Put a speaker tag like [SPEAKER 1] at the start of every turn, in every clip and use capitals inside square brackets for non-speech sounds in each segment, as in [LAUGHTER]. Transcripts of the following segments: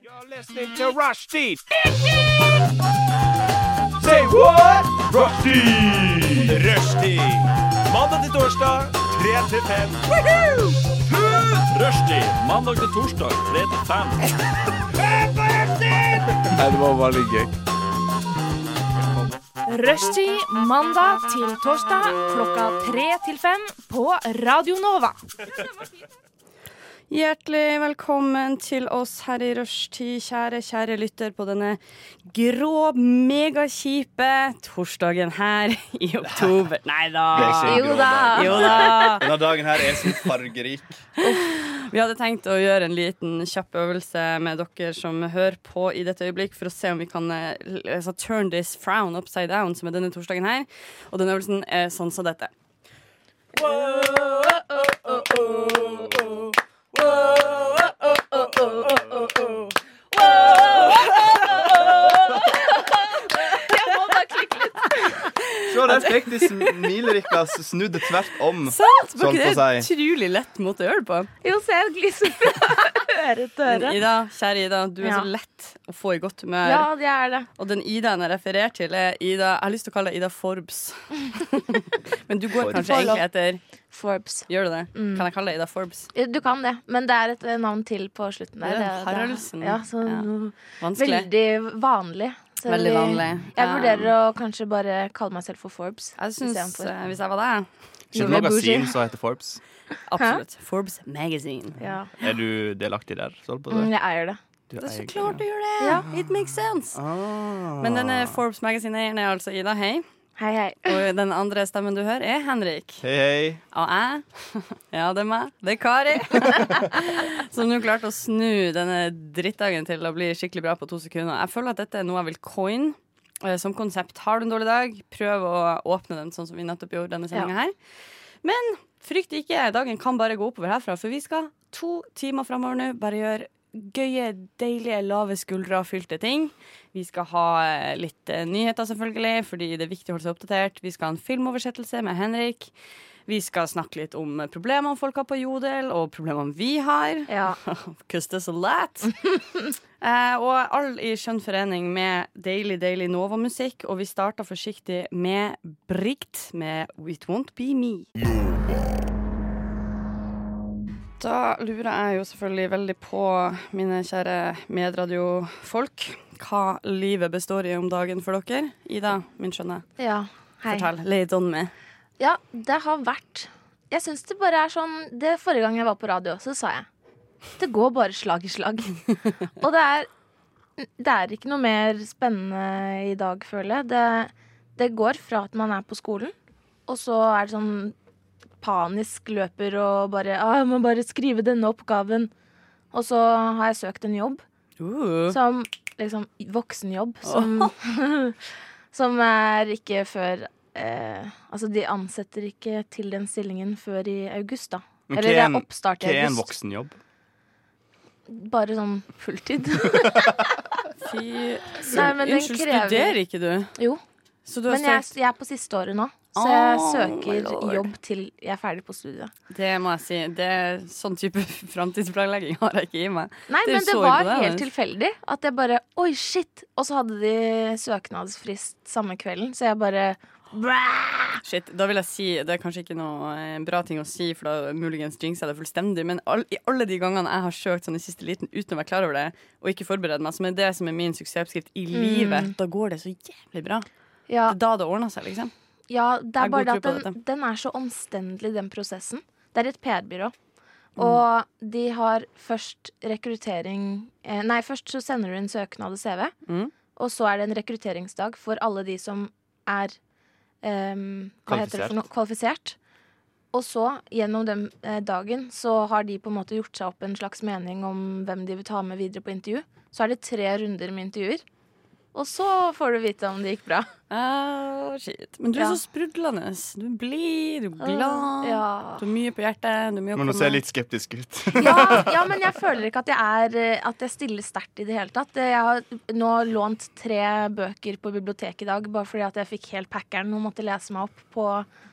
[SPEAKER 1] You're listening to Rushdie. Say what? Rushdie. Rushdie. Mandag til torsdag, 3 til 5. Rushdie. Mandag til torsdag, 3 til 5.
[SPEAKER 2] Rushtid mandag til torsdag klokka tre til fem på Radio Nova.
[SPEAKER 3] Hjertelig velkommen til oss her i rushtid, kjære, kjære lytter, på denne grå, megakjipe torsdagen her i oktober. Nei da.
[SPEAKER 4] Jo da.
[SPEAKER 3] Jo da.
[SPEAKER 5] Denne dagen her er så fargerik.
[SPEAKER 3] Vi hadde tenkt å gjøre en liten kjapp øvelse med dere som hører på i dette øyeblikk, for å se om vi kan eh, l- altså, turn this frown upside down, som er denne torsdagen her. Og den øvelsen er sånn som dette.
[SPEAKER 5] Se der fikk de smilerikka snudd tvert om.
[SPEAKER 3] Sant?
[SPEAKER 5] Sånn
[SPEAKER 3] Var ikke det
[SPEAKER 5] får jeg si.
[SPEAKER 3] utrolig lett måte å gjøre det på?
[SPEAKER 4] Jo, se, jeg gliser
[SPEAKER 3] [LAUGHS]
[SPEAKER 4] fra øre til
[SPEAKER 3] Men
[SPEAKER 4] øre.
[SPEAKER 3] Ida, kjære Ida, du er
[SPEAKER 4] Ja.
[SPEAKER 3] så lett å få i godt humør.
[SPEAKER 4] Ja, det er det.
[SPEAKER 3] Og den Idaen jeg refererer til, er Ida Jeg har lyst til å kalle deg Ida Forbes. Men du går
[SPEAKER 5] Forbes.
[SPEAKER 3] kanskje egentlig etter
[SPEAKER 4] Forbes.
[SPEAKER 3] Gjør du det?
[SPEAKER 4] Mm.
[SPEAKER 3] Kan jeg kalle deg Ida Forbes?
[SPEAKER 4] Du kan det, men det er et eh, navn til på slutten
[SPEAKER 3] Det
[SPEAKER 4] der.
[SPEAKER 3] er
[SPEAKER 4] Det- det-
[SPEAKER 3] Haraldsen.
[SPEAKER 4] Ja, så
[SPEAKER 3] Ja. Vanskelig.
[SPEAKER 4] veldig vanlig. Så
[SPEAKER 3] Veldig
[SPEAKER 4] vi-
[SPEAKER 3] vanlig.
[SPEAKER 4] Jeg
[SPEAKER 3] Ja.
[SPEAKER 4] vurderer å kanskje bare kalle meg selv for Forbes.
[SPEAKER 3] Jeg syns,
[SPEAKER 4] istedenfor.
[SPEAKER 3] eh, hvis jeg var deg
[SPEAKER 5] Ikke
[SPEAKER 4] Noe
[SPEAKER 5] noe
[SPEAKER 4] med
[SPEAKER 5] magasin
[SPEAKER 4] bougie.
[SPEAKER 5] som heter Forbes.
[SPEAKER 3] Absolutt. Forbes Magazine.
[SPEAKER 4] Ja.
[SPEAKER 5] Er du delaktig der? Så holdt på
[SPEAKER 4] Mm,
[SPEAKER 5] det.
[SPEAKER 4] jeg eier det.
[SPEAKER 5] Du
[SPEAKER 3] Det er så
[SPEAKER 5] eier-
[SPEAKER 3] klart du gjør det! It makes sense. Men denne Forbes Magazine-eieren er altså Ida, hei.
[SPEAKER 4] Hei, hei.
[SPEAKER 3] Og den andre stemmen du hører, er Henrik.
[SPEAKER 5] Hei, hei.
[SPEAKER 3] Og jeg [LAUGHS] Ja, det er meg. Det er Kari. [LAUGHS] Som nå klarte å snu denne drittdagen til å bli skikkelig bra på to sekunder. Jeg føler at dette er noe jeg vil coin eh, som konsept. Har du en dårlig dag, prøv å åpne den sånn som vi nettopp gjorde denne sendinga her. Men frykt ikke, dagen kan bare gå oppover herfra, for vi skal to timer framover nå bare gjøre Gøye, deilige, lave skuldre-fylte ting. Vi skal ha eh, litt eh, nyheter, selvfølgelig, fordi det er viktig å holde seg oppdatert. Vi skal ha en filmoversettelse med Henrik. Vi skal snakke litt om problemene folk har på Jodel, og problemene vi har. [LAUGHS]
[SPEAKER 4] Ja.
[SPEAKER 3] Because there's a
[SPEAKER 4] [LAUGHS]
[SPEAKER 3] lot. eh, og all i skjønn forening med deilig, deilig Nova-musikk. Og vi starter forsiktig med Brigt med It Won't Be Me. Da lurer jeg jo selvfølgelig veldig på, mine kjære medradiofolk, hva livet består i om dagen for dere. Ida, min skjønne,
[SPEAKER 4] ja. Hei.
[SPEAKER 3] fortell. Lay it on me.
[SPEAKER 4] Ja, det har vært Jeg syns det bare er sånn Det Forrige gang jeg var på radio, så sa jeg Det går bare slag i slag. Og det er Det er ikke noe mer spennende i dag, føler jeg. Det, det går fra at man er på skolen, og så er det sånn panisk løper og bare «Ah, 'Jeg må bare skrive denne oppgaven'. Og så har jeg søkt en jobb
[SPEAKER 3] Uh.
[SPEAKER 4] som liksom voksenjobb som, [LAUGHS] som er ikke før eh, Altså, de ansetter ikke til den stillingen før i august, da.
[SPEAKER 5] Men
[SPEAKER 4] Eller
[SPEAKER 5] hva
[SPEAKER 4] det
[SPEAKER 5] er
[SPEAKER 4] er
[SPEAKER 5] en-
[SPEAKER 4] oppstart
[SPEAKER 5] Hva
[SPEAKER 4] i
[SPEAKER 5] er en
[SPEAKER 4] august.
[SPEAKER 5] voksenjobb?
[SPEAKER 4] Bare sånn
[SPEAKER 3] [LAUGHS]
[SPEAKER 4] fulltid. [LAUGHS]
[SPEAKER 3] Fy
[SPEAKER 4] Nei, men den
[SPEAKER 3] Unnskyld,
[SPEAKER 4] krever-
[SPEAKER 3] studerer ikke du?
[SPEAKER 4] jo.
[SPEAKER 3] Så du har
[SPEAKER 4] Men jeg,
[SPEAKER 3] søkt
[SPEAKER 4] jeg er på siste året nå, så
[SPEAKER 3] Oh,
[SPEAKER 4] jeg
[SPEAKER 3] my lord.
[SPEAKER 4] søker jobb til jeg er ferdig på studiet.
[SPEAKER 3] Det må jeg si. Det er sånn type [LAUGHS] framtidsplanlegging har jeg ikke i meg.
[SPEAKER 4] Nei,
[SPEAKER 3] Det
[SPEAKER 4] men det
[SPEAKER 3] så
[SPEAKER 4] var
[SPEAKER 3] imponerende.
[SPEAKER 4] helt tilfeldig at jeg bare Oi, shit! Og så hadde de søknadsfrist samme kvelden, så jeg bare
[SPEAKER 3] Shit, da vil jeg si Det er kanskje ikke noe eh, bra ting å si, for da muligens jinxer jeg det fullstendig, men all, i alle de gangene jeg har søkt sånn i siste liten uten å være klar over det, og ikke forberede meg, som er det som er min suksessoppskrift i
[SPEAKER 4] Mm.
[SPEAKER 3] livet, da går det så jævlig bra.
[SPEAKER 4] Ja,
[SPEAKER 3] Det er da det ordner seg, liksom.
[SPEAKER 4] Ja, det
[SPEAKER 3] Jeg
[SPEAKER 4] er
[SPEAKER 3] har
[SPEAKER 4] bare
[SPEAKER 3] god
[SPEAKER 4] det
[SPEAKER 3] tro på
[SPEAKER 4] at den,
[SPEAKER 3] dette.
[SPEAKER 4] den er så omstendelig, den prosessen. Det er et PR-byrå.
[SPEAKER 3] Mm.
[SPEAKER 4] Og de har først rekruttering eh, Nei, først så sender du inn søknad og CV.
[SPEAKER 3] Mm.
[SPEAKER 4] Og så er det en rekrutteringsdag for alle de som er ehm, hva heter det for noe? kvalifisert. Og så, gjennom den eh, dagen, så har de på en måte gjort seg opp en slags mening om hvem de vil ta med videre på intervju. Så er det tre runder med intervjuer. Og så får du vite om det gikk bra.
[SPEAKER 3] Ah, shit. Men du er
[SPEAKER 4] Ja. Ah,
[SPEAKER 3] så sprudlende. Du er blid, du er glad.
[SPEAKER 4] Ja.
[SPEAKER 3] Du har mye på hjertet. Du har mye
[SPEAKER 5] Men
[SPEAKER 3] å
[SPEAKER 5] nå
[SPEAKER 3] komme-
[SPEAKER 5] ser jeg litt skeptisk ut.
[SPEAKER 4] Ja, ja, men jeg føler ikke at jeg, er, eh, at jeg stiller sterkt i det hele tatt. Jeg har nå lånt tre bøker på biblioteket i dag bare fordi at jeg fikk helt packeren og måtte lese meg opp på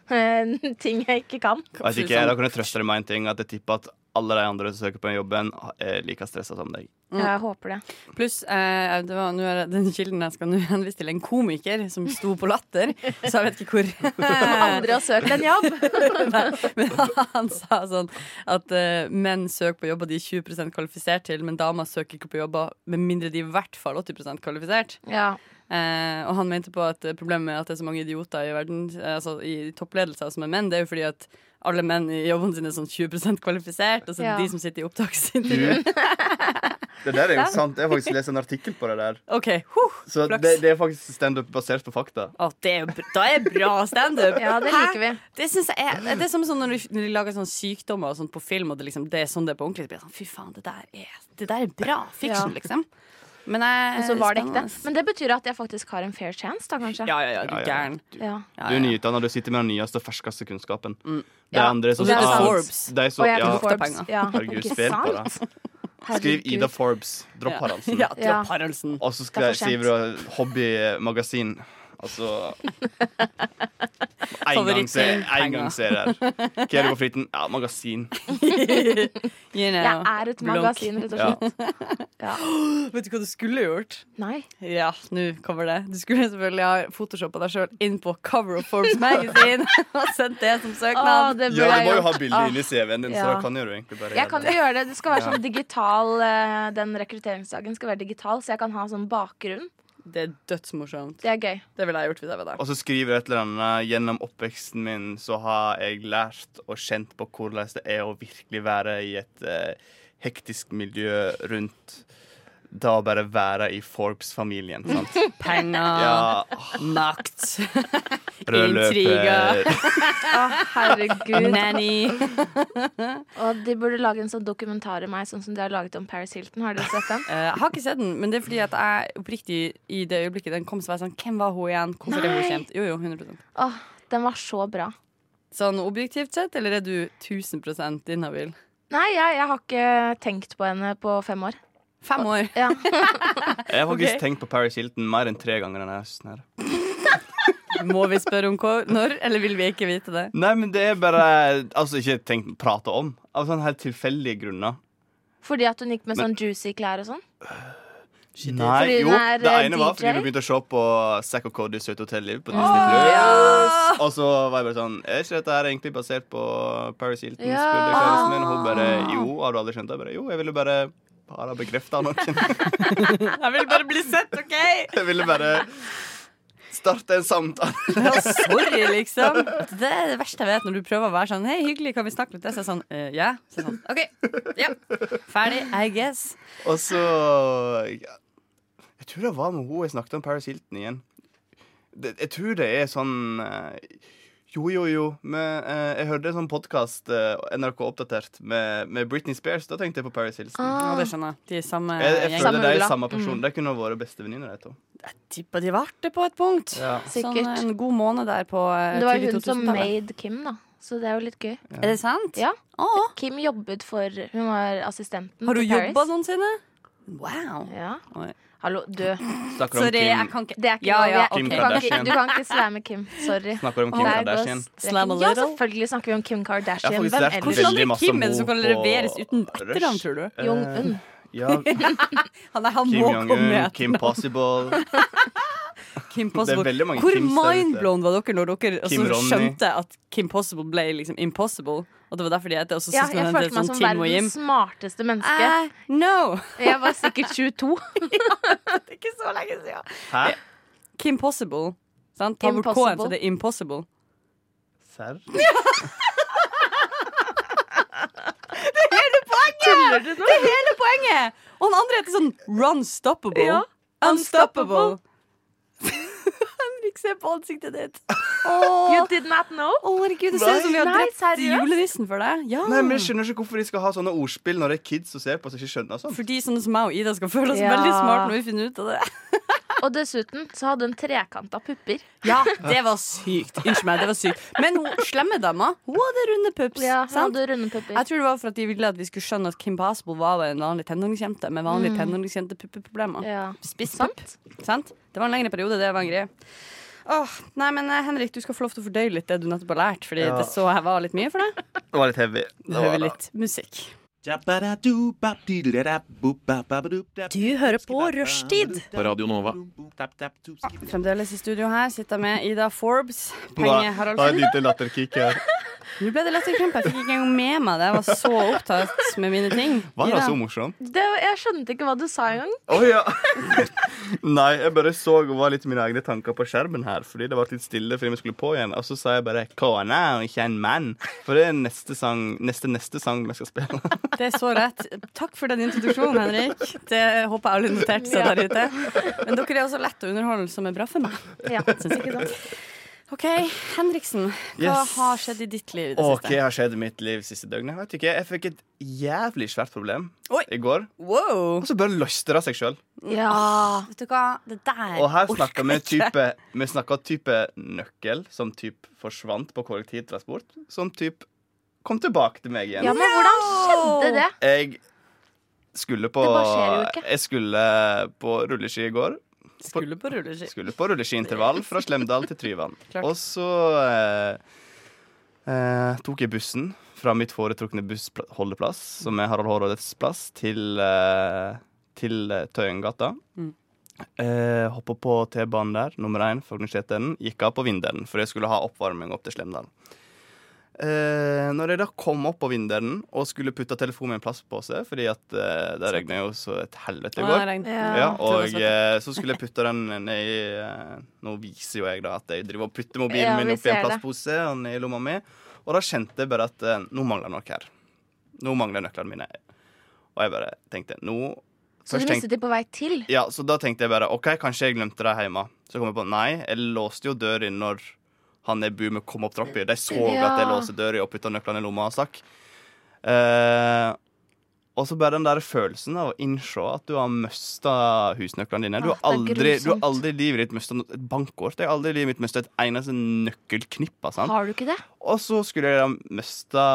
[SPEAKER 4] eh, [LAUGHS] ting jeg ikke kan.
[SPEAKER 5] Vet ikke, da kan jeg trøste deg med en ting. At jeg tipper at alle de andre som søker på den jobben, er like stressa som deg.
[SPEAKER 4] Jeg håper det.
[SPEAKER 3] Pluss, eh, det var, nå er det- den kilden jeg skal nå henvise til, en komiker som sto på latter. Så jeg vet ikke
[SPEAKER 4] Eh.
[SPEAKER 3] hvor. [LAUGHS]
[SPEAKER 4] Andre har søkt en jobb.
[SPEAKER 3] Nei, men han sa sånn at eh, menn søker på jobber de er 20 kvalifisert til, men damer søker ikke på jobber med mindre de er i hvert fall 80 kvalifisert.
[SPEAKER 4] Ja.
[SPEAKER 3] Eh, og han mente på at eh, problemet med at det er så mange idioter i verden, eh, altså i toppledelser som er menn, det er jo fordi at alle menn i jobben sin er sånn 20 kvalifisert, og så er det
[SPEAKER 4] Ja.
[SPEAKER 3] de som sitter i opptaksintervju.
[SPEAKER 5] [LAUGHS] Du, det der er jo sant. Jeg har faktisk lest en artikkel på det der.
[SPEAKER 3] OK. Huh,
[SPEAKER 5] Så
[SPEAKER 3] Flaks.
[SPEAKER 5] det, det er faktisk standup basert på fakta.
[SPEAKER 3] Å, det er, jo br- da er bra standup!
[SPEAKER 4] ja, det
[SPEAKER 3] Hæ?
[SPEAKER 4] liker vi.
[SPEAKER 3] Det, synes jeg er, det er som sånn når, du, når de lager sånne sykdommer og sånt på film, og det, liksom, det er sånn det er på ordentlig. Så blir jeg sånn, Fy faen, det der er, det der er bra fiction, liksom. Men jeg,
[SPEAKER 4] Men så var det ekte.
[SPEAKER 3] spennende.
[SPEAKER 4] Men det betyr at jeg faktisk har en fair chance, da kanskje.
[SPEAKER 3] Ja, ja, ja, du
[SPEAKER 5] Ja, ja.
[SPEAKER 3] er gæren.
[SPEAKER 4] Ja.
[SPEAKER 3] Ja,
[SPEAKER 5] Du er
[SPEAKER 3] ja.
[SPEAKER 5] nyutdanna, du sitter med den nyeste og ferskeste kunnskapen. Det er
[SPEAKER 4] Ja,
[SPEAKER 5] andre som
[SPEAKER 3] og så er det
[SPEAKER 5] Ah,
[SPEAKER 3] Forbes.
[SPEAKER 5] De som,
[SPEAKER 4] Og jeg er
[SPEAKER 5] ja,
[SPEAKER 4] på Forbes.
[SPEAKER 3] penger.
[SPEAKER 4] Ja.
[SPEAKER 5] [LAUGHS] herregud,
[SPEAKER 4] Ikke
[SPEAKER 5] spill
[SPEAKER 4] sant?
[SPEAKER 5] på det. Skriv
[SPEAKER 4] Herregud.
[SPEAKER 5] Ida Forbes. Dropp Haraldsen.
[SPEAKER 3] [LAUGHS] Ja,
[SPEAKER 4] Ja.
[SPEAKER 3] Dropp Haraldsen.
[SPEAKER 5] Og så
[SPEAKER 4] Det
[SPEAKER 5] skal
[SPEAKER 4] er
[SPEAKER 5] jeg
[SPEAKER 4] for
[SPEAKER 5] skrive da hobbymagasin. Altså En gang se-
[SPEAKER 3] Favorittting,
[SPEAKER 5] en gang
[SPEAKER 3] penger.
[SPEAKER 5] ser jeg her. Hva er det på fritiden? Ja, magasin.
[SPEAKER 3] You know,
[SPEAKER 4] Jeg er et
[SPEAKER 3] blunk.
[SPEAKER 4] magasin, rett og
[SPEAKER 5] Ja.
[SPEAKER 4] slett. Ja. [GASPS]
[SPEAKER 3] Vet du hva du skulle gjort?
[SPEAKER 4] Nei.
[SPEAKER 3] Ja, nå kommer det. Du skulle selvfølgelig ha photoshoppa deg sjøl inn på cover of Forbes
[SPEAKER 4] [LAUGHS]
[SPEAKER 3] Magazine og sendt det som
[SPEAKER 4] Å,
[SPEAKER 3] søknad.
[SPEAKER 4] det burde
[SPEAKER 5] Ja, du må
[SPEAKER 4] jeg
[SPEAKER 5] jo ha
[SPEAKER 4] gjort.
[SPEAKER 5] bildet inni CV-en din, så
[SPEAKER 4] Ja.
[SPEAKER 5] da kan jo du egentlig bare
[SPEAKER 4] Jeg kan jo
[SPEAKER 5] gjøre det.
[SPEAKER 4] gjøre det. Det skal være
[SPEAKER 5] Ja.
[SPEAKER 4] sånn digital eh, Den rekrutteringsdagen skal være digital, så jeg kan ha sånn bakgrunn.
[SPEAKER 3] Det er dødsmorsomt.
[SPEAKER 4] Det er gøy.
[SPEAKER 3] Det ville jeg gjort hvis jeg var deg.
[SPEAKER 5] Og så skriver jeg et eller annet gjennom oppveksten min så har jeg lært og kjent på hvordan det er å virkelig være i et eh, hektisk miljø rundt da å bare være i Forbes-familien,
[SPEAKER 3] [LAUGHS]
[SPEAKER 5] sant?
[SPEAKER 3] Penger,
[SPEAKER 5] Ja,
[SPEAKER 3] makt,
[SPEAKER 5] [LAUGHS] rød
[SPEAKER 3] Intriger.
[SPEAKER 5] løper.
[SPEAKER 4] Å, herregud.
[SPEAKER 3] nanny.
[SPEAKER 4] Og de burde lage en sånn dokumentar om meg, sånn som de har laget om Paris Hilton. Har dere sett den?
[SPEAKER 3] Eh, Jeg har ikke sett den, men det er fordi at jeg oppriktig i det øyeblikket den kom, så var jeg sånn Hvem var hun igjen? Hvorfor er hun
[SPEAKER 4] Nei.
[SPEAKER 3] kjent? Jo, jo, 100
[SPEAKER 4] Åh, den var så bra.
[SPEAKER 3] Sånn objektivt sett, eller er du 1000 inhabil?
[SPEAKER 4] Nei, jeg, jeg har ikke tenkt på henne på fem år.
[SPEAKER 3] Fem år.
[SPEAKER 4] Ja.
[SPEAKER 5] [LAUGHS] Jeg har faktisk
[SPEAKER 3] Ok.
[SPEAKER 5] tenkt på Paris Hilton mer enn tre ganger denne høsten. her
[SPEAKER 3] [LAUGHS] Må vi spørre om hvor, når, eller vil vi ikke vite det?
[SPEAKER 5] Nei, men det er bare Altså, ikke tenkt å prate om. Av sånne helt tilfeldige grunner.
[SPEAKER 4] Fordi at hun gikk med sånn juicy klær og sånn.
[SPEAKER 5] Nei,
[SPEAKER 4] Fordi
[SPEAKER 5] jo,
[SPEAKER 4] hun er,
[SPEAKER 5] det
[SPEAKER 4] eh,
[SPEAKER 5] ene var
[SPEAKER 4] DJ?
[SPEAKER 5] fordi vi begynte å se på Zack og Cody Søte Hotel Liv på Disney Plus. Og så var jeg bare sånn Er ikke dette her egentlig basert på Paris Hilton?
[SPEAKER 4] Ja.
[SPEAKER 5] Spurte kjæresten min. Hun bare Jo, har du aldri skjønt det? Jeg bare, jo, jeg ville bare bare bekrefta noen.
[SPEAKER 3] Jeg vil bare bli sett, OK?
[SPEAKER 5] [LAUGHS] Jeg ville bare starte en samtale.
[SPEAKER 3] Ja, sorry, liksom. Det er det verste jeg vet, når du prøver å være sånn Hei, hyggelig, kan vi snakke litt? Så er jeg sånn «Eh, Ja. Så er jeg sånn, OK. Ja. Ferdig, I guess.
[SPEAKER 5] Og så ja, Jeg tror det var med hun jeg snakket om Paris Hilton igjen. Det, jeg tror det er sånn eh, Jo, jo, jo. Men, eh, jeg hørte en sånn podkast, NRK Oppdatert, med, med Britney Spears. Da tenkte jeg på Paris Hilton.
[SPEAKER 3] Ja,
[SPEAKER 4] Ah,
[SPEAKER 3] det skjønner jeg. De er sånn, samme
[SPEAKER 5] Jeg, jeg
[SPEAKER 3] gjeng.
[SPEAKER 4] Samme Mm.
[SPEAKER 5] føler de er
[SPEAKER 4] rulla.
[SPEAKER 5] samme person. De kunne ha vært bestevenninner, de to.
[SPEAKER 3] Tippa de ble det på et punkt.
[SPEAKER 5] Ja.
[SPEAKER 4] sikkert.
[SPEAKER 3] Sånn en god måned der på eh,
[SPEAKER 4] det var jo
[SPEAKER 3] tidlig
[SPEAKER 4] hun som
[SPEAKER 3] 2000-tallet.
[SPEAKER 4] made Kim, da. Så det er jo litt gøy.
[SPEAKER 3] Er det sant?
[SPEAKER 4] Ja.
[SPEAKER 3] Å,
[SPEAKER 4] Kim jobbet for Hun var assistenten
[SPEAKER 3] har du sånn?
[SPEAKER 4] til Paris.
[SPEAKER 3] jobba noensinne? Wow.
[SPEAKER 4] Ja.
[SPEAKER 3] Oi.
[SPEAKER 4] Hallo, du.
[SPEAKER 5] Snakker om
[SPEAKER 3] Sorry, jeg
[SPEAKER 5] Kim,
[SPEAKER 3] kan ikke
[SPEAKER 4] Det er ikke
[SPEAKER 3] Ja,
[SPEAKER 4] lov.
[SPEAKER 3] ja,
[SPEAKER 4] Jeg-
[SPEAKER 5] Kim
[SPEAKER 3] ok.
[SPEAKER 4] du, kan ikke,
[SPEAKER 5] Kardashian.
[SPEAKER 4] du kan ikke slamme Kim. Sorry.
[SPEAKER 5] snakker om
[SPEAKER 4] Der
[SPEAKER 5] Kim
[SPEAKER 4] går
[SPEAKER 5] Kardashian.
[SPEAKER 4] streken.
[SPEAKER 3] Slam a
[SPEAKER 4] Ja,
[SPEAKER 3] little.
[SPEAKER 4] selvfølgelig snakker vi om Kim Kardashian.
[SPEAKER 5] Jeg har
[SPEAKER 4] Hvem
[SPEAKER 5] faktisk lært
[SPEAKER 4] ellers?
[SPEAKER 3] Hvordan
[SPEAKER 5] veldig
[SPEAKER 3] andre
[SPEAKER 5] masse
[SPEAKER 3] Kim
[SPEAKER 5] om
[SPEAKER 3] er det som kan
[SPEAKER 5] henne på
[SPEAKER 3] leveres uten etternavn,
[SPEAKER 5] Rush.
[SPEAKER 3] tror du?
[SPEAKER 4] Jong-un.
[SPEAKER 5] Eh, Ja,
[SPEAKER 3] Han, der, han
[SPEAKER 5] Kim
[SPEAKER 3] må komme
[SPEAKER 5] Jong-un,
[SPEAKER 3] med
[SPEAKER 5] Kim Possible.
[SPEAKER 3] Kim Possible.
[SPEAKER 5] veldig mange
[SPEAKER 3] Hvor
[SPEAKER 5] Kims der ute.
[SPEAKER 3] mindblown var dere når dere
[SPEAKER 5] Kim
[SPEAKER 3] altså,
[SPEAKER 5] Ronny.
[SPEAKER 3] skjønte at Kim Possible ble liksom impossible? Og det var derfor de het det? Og så
[SPEAKER 4] Ja,
[SPEAKER 3] skulle
[SPEAKER 4] jeg
[SPEAKER 3] han
[SPEAKER 4] følte
[SPEAKER 3] hete
[SPEAKER 4] meg
[SPEAKER 3] sånn
[SPEAKER 4] som
[SPEAKER 3] Tim og Jim?
[SPEAKER 4] verdens smarteste menneske.
[SPEAKER 3] Eh, no!
[SPEAKER 4] [LAUGHS] Jeg var sikkert 22.
[SPEAKER 3] Det er ikke så lenge siden.
[SPEAKER 5] Hæ?
[SPEAKER 3] [LAUGHS] Kim Possible. Sant? Ta bort K-en,
[SPEAKER 4] Impossible.
[SPEAKER 3] så det er impossible.
[SPEAKER 5] Serr?
[SPEAKER 4] Tuller du nå?
[SPEAKER 3] Det er hele poenget! Og han andre heter sånn Runstoppable.
[SPEAKER 4] Ja,
[SPEAKER 3] Unstoppable. [LAUGHS] Henrik, se på ansiktet ditt.
[SPEAKER 4] You
[SPEAKER 3] Å,
[SPEAKER 4] did not know?
[SPEAKER 3] å, herregud, det ser ut som vi har
[SPEAKER 4] Nei,
[SPEAKER 3] drept
[SPEAKER 4] seriøst?
[SPEAKER 3] julenissen for deg. Ja.
[SPEAKER 5] Nei, men Jeg skjønner ikke hvorfor de skal ha sånne ordspill når det er kids som ser på, som ikke skjønner sånt.
[SPEAKER 3] Fordi sånne som meg og Ida skal føle oss
[SPEAKER 4] Ja.
[SPEAKER 3] veldig smart når vi finner ut av det.
[SPEAKER 4] Og dessuten så hadde hun trekanta pupper.
[SPEAKER 3] [LAUGHS] Ja, det var sykt. Unnskyld meg, det var sykt. Men hun slemme dama, hun hadde runde pups.
[SPEAKER 4] Ja, hun
[SPEAKER 3] sant?
[SPEAKER 4] hadde runde pupper.
[SPEAKER 3] Jeg tror det var for at de ville at vi skulle skjønne at Kim Possible var en vanlig tenåringsjente med vanlige tenåringsjentepuppeproblemer.
[SPEAKER 4] Ja.
[SPEAKER 3] Spisspupp.
[SPEAKER 4] Sant?
[SPEAKER 3] Sant? Det var en lengre periode, det var en greie. Åh, nei, men eh, Henrik, du skal få lov til å fordøye litt det du nettopp har lært, fordi
[SPEAKER 5] Ja.
[SPEAKER 3] det så jeg var litt mye for deg.
[SPEAKER 5] Det var litt heavy.
[SPEAKER 3] Du hører litt musikk.
[SPEAKER 1] Du
[SPEAKER 6] hører på Rushtid.
[SPEAKER 7] På Radio Nova.
[SPEAKER 3] Fremdeles i studio her sitter jeg med Ida Forbes, Penge
[SPEAKER 5] Da da er et
[SPEAKER 3] Haraldsen.
[SPEAKER 5] lite latterkick her.
[SPEAKER 3] Nå ble det latterkrampe. Jeg fikk ikke engang med meg det. Jeg var så opptatt med mine ting.
[SPEAKER 5] Var
[SPEAKER 3] Ida.
[SPEAKER 5] det så morsomt?
[SPEAKER 4] Det, jeg skjønte ikke hva du sa engang.
[SPEAKER 5] Å ja. [LAUGHS] Nei, jeg bare så og var litt mine egne tanker på skjermen her. Fordi det ble litt stille fordi vi skulle på igjen. Og så sa jeg bare 'Kona og ikke en mann'. For det er neste sang neste neste sang vi skal spille.
[SPEAKER 3] Det er så rett. Takk for den introduksjonen, Henrik. Det håper jeg alle noterte seg der ute. Men dere er også lett å underholde, som er bra for meg.
[SPEAKER 4] Ja, ikke sant?
[SPEAKER 3] OK, Henriksen. Hva
[SPEAKER 5] Yes.
[SPEAKER 3] har skjedd i ditt liv i det
[SPEAKER 5] Og hva
[SPEAKER 3] siste?
[SPEAKER 5] har skjedd i mitt liv siste døgnet? Jeg vet ikke, jeg fikk et jævlig svært problem
[SPEAKER 3] Oi.
[SPEAKER 5] i går.
[SPEAKER 3] Wow.
[SPEAKER 5] Og så bare løste det seg sjøl.
[SPEAKER 3] Ja. Vet du hva, det der
[SPEAKER 5] Og her snakker vi type Vi snakker type nøkkel som type forsvant på kollektivtransport. Som type kom tilbake til meg igjen.
[SPEAKER 4] Ja, men hvordan skjedde det?
[SPEAKER 5] Jeg skulle på
[SPEAKER 4] Det bare skjer jo ikke.
[SPEAKER 5] Jeg skulle på rulleski i går.
[SPEAKER 3] Skulle på rulleski.
[SPEAKER 5] Skulle på rulleskiintervall fra Slemdal til Tryvann.
[SPEAKER 3] [LAUGHS] Klart.
[SPEAKER 5] Og så eh, eh, tok jeg bussen fra mitt foretrukne bussholdeplass, som er Harald Hårrådets plass, til, eh, til eh, Tøyengata.
[SPEAKER 3] Mm.
[SPEAKER 5] Eh, Hoppa på T-banen der, nummer én, Fognerseteren. Gikk av på Vinderen, for jeg skulle ha oppvarming opp til Slemdal. Eh, når jeg da kom opp på Vinderen og skulle putte telefonen i en plastpose, fordi at eh,
[SPEAKER 3] Sånn.
[SPEAKER 5] det regna jo så et helvete i går ja,
[SPEAKER 3] tror
[SPEAKER 5] og
[SPEAKER 3] det var
[SPEAKER 5] eh, så skulle jeg putte den ned i eh, Nå viser jo jeg da at jeg driver og putter mobilen
[SPEAKER 4] Ja, vi
[SPEAKER 5] min oppi en
[SPEAKER 4] ser det.
[SPEAKER 5] plastpose og ned i lomma mi. Og da kjente jeg bare at eh, nå mangler noe her. Nå mangler nøklene mine. Og jeg bare tenkte nå
[SPEAKER 4] Så du
[SPEAKER 5] Først
[SPEAKER 4] mistet de på vei til?
[SPEAKER 5] ja, så da tenkte jeg bare OK, kanskje jeg glemte det hjemme. Så kom jeg på nei, jeg låste jo døra når han i Bume kom opp trappa. De så
[SPEAKER 4] Ja.
[SPEAKER 5] at jeg låste døra og putta nøklene i lomma og stakk. Eh, og så bare den der følelsen av å innse at du har mista husnøklene dine. Du har
[SPEAKER 4] Ah, det er
[SPEAKER 5] aldri, du har
[SPEAKER 4] grusomt.
[SPEAKER 5] aldri i livet ditt mista et bankkort. Jeg har aldri i livet mitt mista et eneste nøkkelknippe. sant?
[SPEAKER 4] Har du ikke det?
[SPEAKER 5] Og så skulle jeg da miste,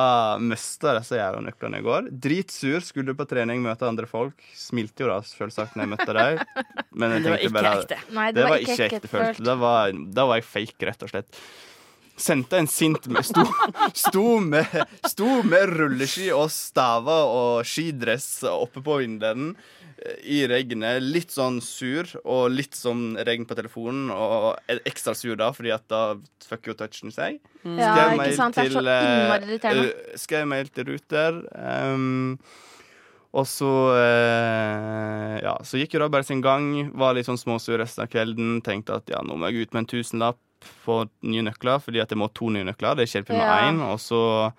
[SPEAKER 5] miste disse jævla nøklene i går. Dritsur, skulle på trening, møte andre folk. Smilte jo da selvsagt når jeg møtte deg. Men jeg
[SPEAKER 3] Det var
[SPEAKER 5] tenkte
[SPEAKER 3] ikke
[SPEAKER 5] bare
[SPEAKER 3] ekte.
[SPEAKER 4] Nei,
[SPEAKER 5] Det var ikke ekte følt. Da var, da var jeg fake, rett og slett. Sendte en sint med Sto, [LAUGHS] sto, med, sto med rulleski og staver og skidress oppe på vindelen eh, i regnet. Litt sånn sur, og litt sånn regn på telefonen, og e- ekstra sur da, fordi at da fucker jo touchen seg.
[SPEAKER 4] Mm. Ja,
[SPEAKER 5] Skrev
[SPEAKER 4] ikke
[SPEAKER 5] mail
[SPEAKER 4] sant? Det er så
[SPEAKER 5] til, eh,
[SPEAKER 4] innmari irriterende.
[SPEAKER 5] eh, Skrev mail til Ruter. ehm, og så eh, Ja, så gikk jo da bare sin gang. Var litt sånn småsur resten av kvelden. Tenkte at ja, nå må jeg ut med en tusenlapp på nye nøkler, fordi at jeg må ha to nye nøkler. Det hjelper med
[SPEAKER 4] Ja.
[SPEAKER 5] én. Og så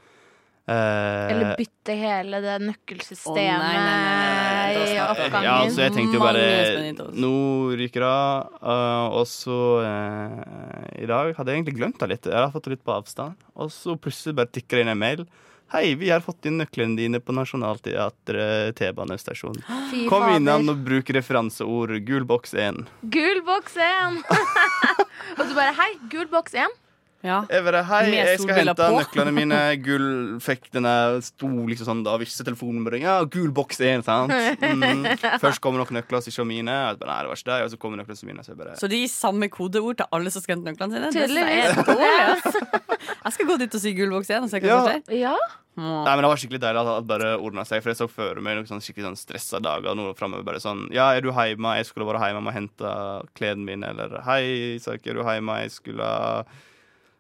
[SPEAKER 5] eh,
[SPEAKER 4] Eller bytte hele det
[SPEAKER 3] Å, nei, nei, nei, nei,
[SPEAKER 4] nøkkelsystemet
[SPEAKER 3] nei,
[SPEAKER 4] i
[SPEAKER 3] da snakker vi.
[SPEAKER 4] oppgangen.
[SPEAKER 5] Ja, altså, så jeg tenkte jo
[SPEAKER 3] Mange
[SPEAKER 5] bare
[SPEAKER 3] spennende tips.
[SPEAKER 5] Nå ryker det av. eh, og så eh, I dag hadde jeg egentlig glemt det litt. Jeg har fått det litt på avstand. Og så plutselig bare tikker det inn en mail. Hei, vi har fått inn nøklene dine på Nationaltheatret T-banestasjon.
[SPEAKER 4] Fy
[SPEAKER 5] Kom
[SPEAKER 4] fader.
[SPEAKER 5] innom og bruk referanseord. Gul boks 1.
[SPEAKER 4] Gul boks
[SPEAKER 5] [LAUGHS]
[SPEAKER 4] 1! og du bare Hei, gul boks 1.
[SPEAKER 3] Ja.
[SPEAKER 5] Jeg bare, hei,
[SPEAKER 3] Med
[SPEAKER 5] jeg skal
[SPEAKER 3] solbriller
[SPEAKER 5] hente
[SPEAKER 3] på.
[SPEAKER 5] nøklene mine. Gul fikk denne sto liksom sånn da, visse telefonen bare, ja, gul boks 1, sant?
[SPEAKER 3] [LAUGHS]
[SPEAKER 5] Mm. Først kommer nok nøkler som ikke var mine. Jeg bare, nei, det var ikke det. Og så kommer nøklene som mine. Så jeg bare,
[SPEAKER 3] Så de gir samme kodeord til alle som skal hente nøklene sine? Det synes jeg er
[SPEAKER 4] Tydeligvis.
[SPEAKER 3] dårlig, ass. Jeg skal gå dit og si gullboks igjen og se hva
[SPEAKER 5] Ja.
[SPEAKER 3] som skjer.
[SPEAKER 4] Ja.
[SPEAKER 5] Nei, men Det var skikkelig deilig at det bare ordna seg. For jeg så føre meg noen sånn skikkelig sånn stressa dager. Noe fremover, bare sånn Ja, er du hjemme? Jeg skulle vært hjemme og hente klærne mine. Eller Hei, Isak, er du hjemme? Jeg skulle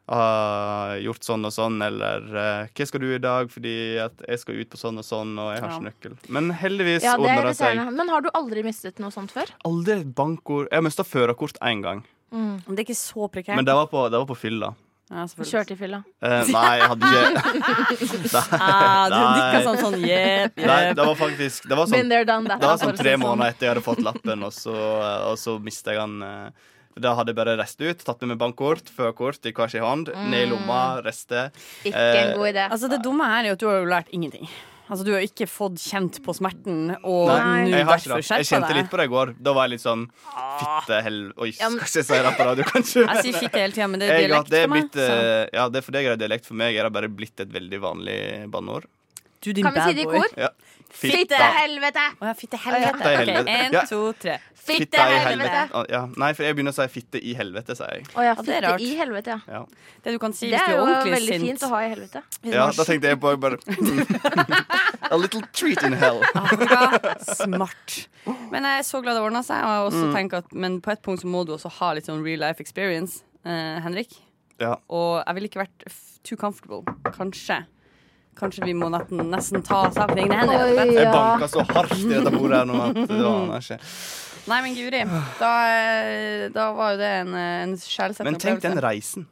[SPEAKER 5] ha gjort sånn og sånn. Eller eh, Hva skal du i dag? Fordi at jeg skal ut på sånn og sånn, og jeg har
[SPEAKER 3] Ja.
[SPEAKER 5] ikke nøkkel. Men heldigvis
[SPEAKER 4] ja, det er
[SPEAKER 5] ordna det seg.
[SPEAKER 4] irriterende. Men har du aldri mistet noe sånt før?
[SPEAKER 5] Aldri et bankord. Jeg har mista førerkort én gang.
[SPEAKER 3] Men det er ikke så prekært.
[SPEAKER 5] Men det var på, det var på fylla.
[SPEAKER 3] ja, selvfølgelig.
[SPEAKER 4] Kjørt i fylla.
[SPEAKER 5] Eh, nei, jeg hadde
[SPEAKER 4] [LAUGHS]
[SPEAKER 5] ikke
[SPEAKER 3] Ah, du
[SPEAKER 5] Nei.
[SPEAKER 3] nikka sånn sånn jepp,
[SPEAKER 5] Nei,
[SPEAKER 3] jepp.
[SPEAKER 5] det var faktisk Det var sånn
[SPEAKER 4] Been there, done that.
[SPEAKER 5] Det var
[SPEAKER 3] for å
[SPEAKER 5] sånn
[SPEAKER 3] si
[SPEAKER 5] tre
[SPEAKER 3] det sånn.
[SPEAKER 5] måneder etter jeg hadde fått lappen, og så, og så mista jeg den. eh, Da hadde jeg bare reist ut, tatt med meg bankkort, førerkort i hver sin hånd, ned i lomma, reste.
[SPEAKER 4] Ikke
[SPEAKER 5] Eh,
[SPEAKER 4] en god idé.
[SPEAKER 3] Altså, det dumme her er jo at du har jo lært ingenting. Altså, du har ikke fått kjent på smerten, og
[SPEAKER 5] Nei,
[SPEAKER 3] nå
[SPEAKER 5] jeg, har ikke
[SPEAKER 3] derfor
[SPEAKER 5] det. jeg
[SPEAKER 3] skjerpa
[SPEAKER 5] kjente litt
[SPEAKER 3] deg.
[SPEAKER 5] på det i går. Da var jeg litt sånn fitte hel... Oi,
[SPEAKER 4] Ja, men-
[SPEAKER 5] skal ikke jeg si det på radio, kanskje?
[SPEAKER 3] Jeg sier fitte hele tida, men det er
[SPEAKER 5] Jeg, ja,
[SPEAKER 3] dialekt
[SPEAKER 5] det er
[SPEAKER 3] for meg.
[SPEAKER 5] blitt, eh, ja, det er for deg er det dialekt. For meg er det bare blitt et veldig vanlig banneord.
[SPEAKER 3] så Du, din
[SPEAKER 4] Kan vi
[SPEAKER 3] Altså, bad
[SPEAKER 4] si det i
[SPEAKER 3] boy.
[SPEAKER 4] kor?
[SPEAKER 5] Ja.
[SPEAKER 4] Fittehelvete!
[SPEAKER 3] Å ja, fitte
[SPEAKER 5] Fitte
[SPEAKER 3] helvete.
[SPEAKER 5] i
[SPEAKER 3] Ok,
[SPEAKER 5] helvete.
[SPEAKER 3] en,
[SPEAKER 5] Ja.
[SPEAKER 3] to, tre.
[SPEAKER 5] Fitte i
[SPEAKER 4] helvete.
[SPEAKER 5] helvete. Ja. Nei, for jeg begynner å si fitte i helvete, sier jeg.
[SPEAKER 4] Å ja,
[SPEAKER 3] Ja, det er
[SPEAKER 4] fitte
[SPEAKER 3] rart.
[SPEAKER 4] i helvete, ja.
[SPEAKER 5] Ja,
[SPEAKER 3] Det du kan si
[SPEAKER 4] Det
[SPEAKER 3] hvis du
[SPEAKER 4] er
[SPEAKER 3] er
[SPEAKER 4] jo
[SPEAKER 3] ordentlig
[SPEAKER 4] veldig
[SPEAKER 3] sint. [LAUGHS]
[SPEAKER 4] fint å ha i helvete.
[SPEAKER 5] ja da tenkte jeg
[SPEAKER 4] [LAUGHS]
[SPEAKER 5] bare, bare A little treat in hell.
[SPEAKER 3] Afrika. Smart. Men jeg er så glad det ordna seg. Og jeg også
[SPEAKER 5] Mm.
[SPEAKER 3] tenker at, men på et punkt så må du også ha litt sånn real life experience, eh, Henrik.
[SPEAKER 5] Ja.
[SPEAKER 3] Og jeg ville ikke vært f- too comfortable. Kanskje. Kanskje vi må nesten, nesten ta saken i egne hender. rett og slett.
[SPEAKER 5] Jeg
[SPEAKER 4] Ja.
[SPEAKER 5] banka så hardt i dette bordet her nå at
[SPEAKER 4] [LAUGHS]
[SPEAKER 5] det aner jeg ikke.
[SPEAKER 3] Nei, men Guri, da, eh, da var jo det en, eh, en sjelsettende
[SPEAKER 5] Men tenk den reisen.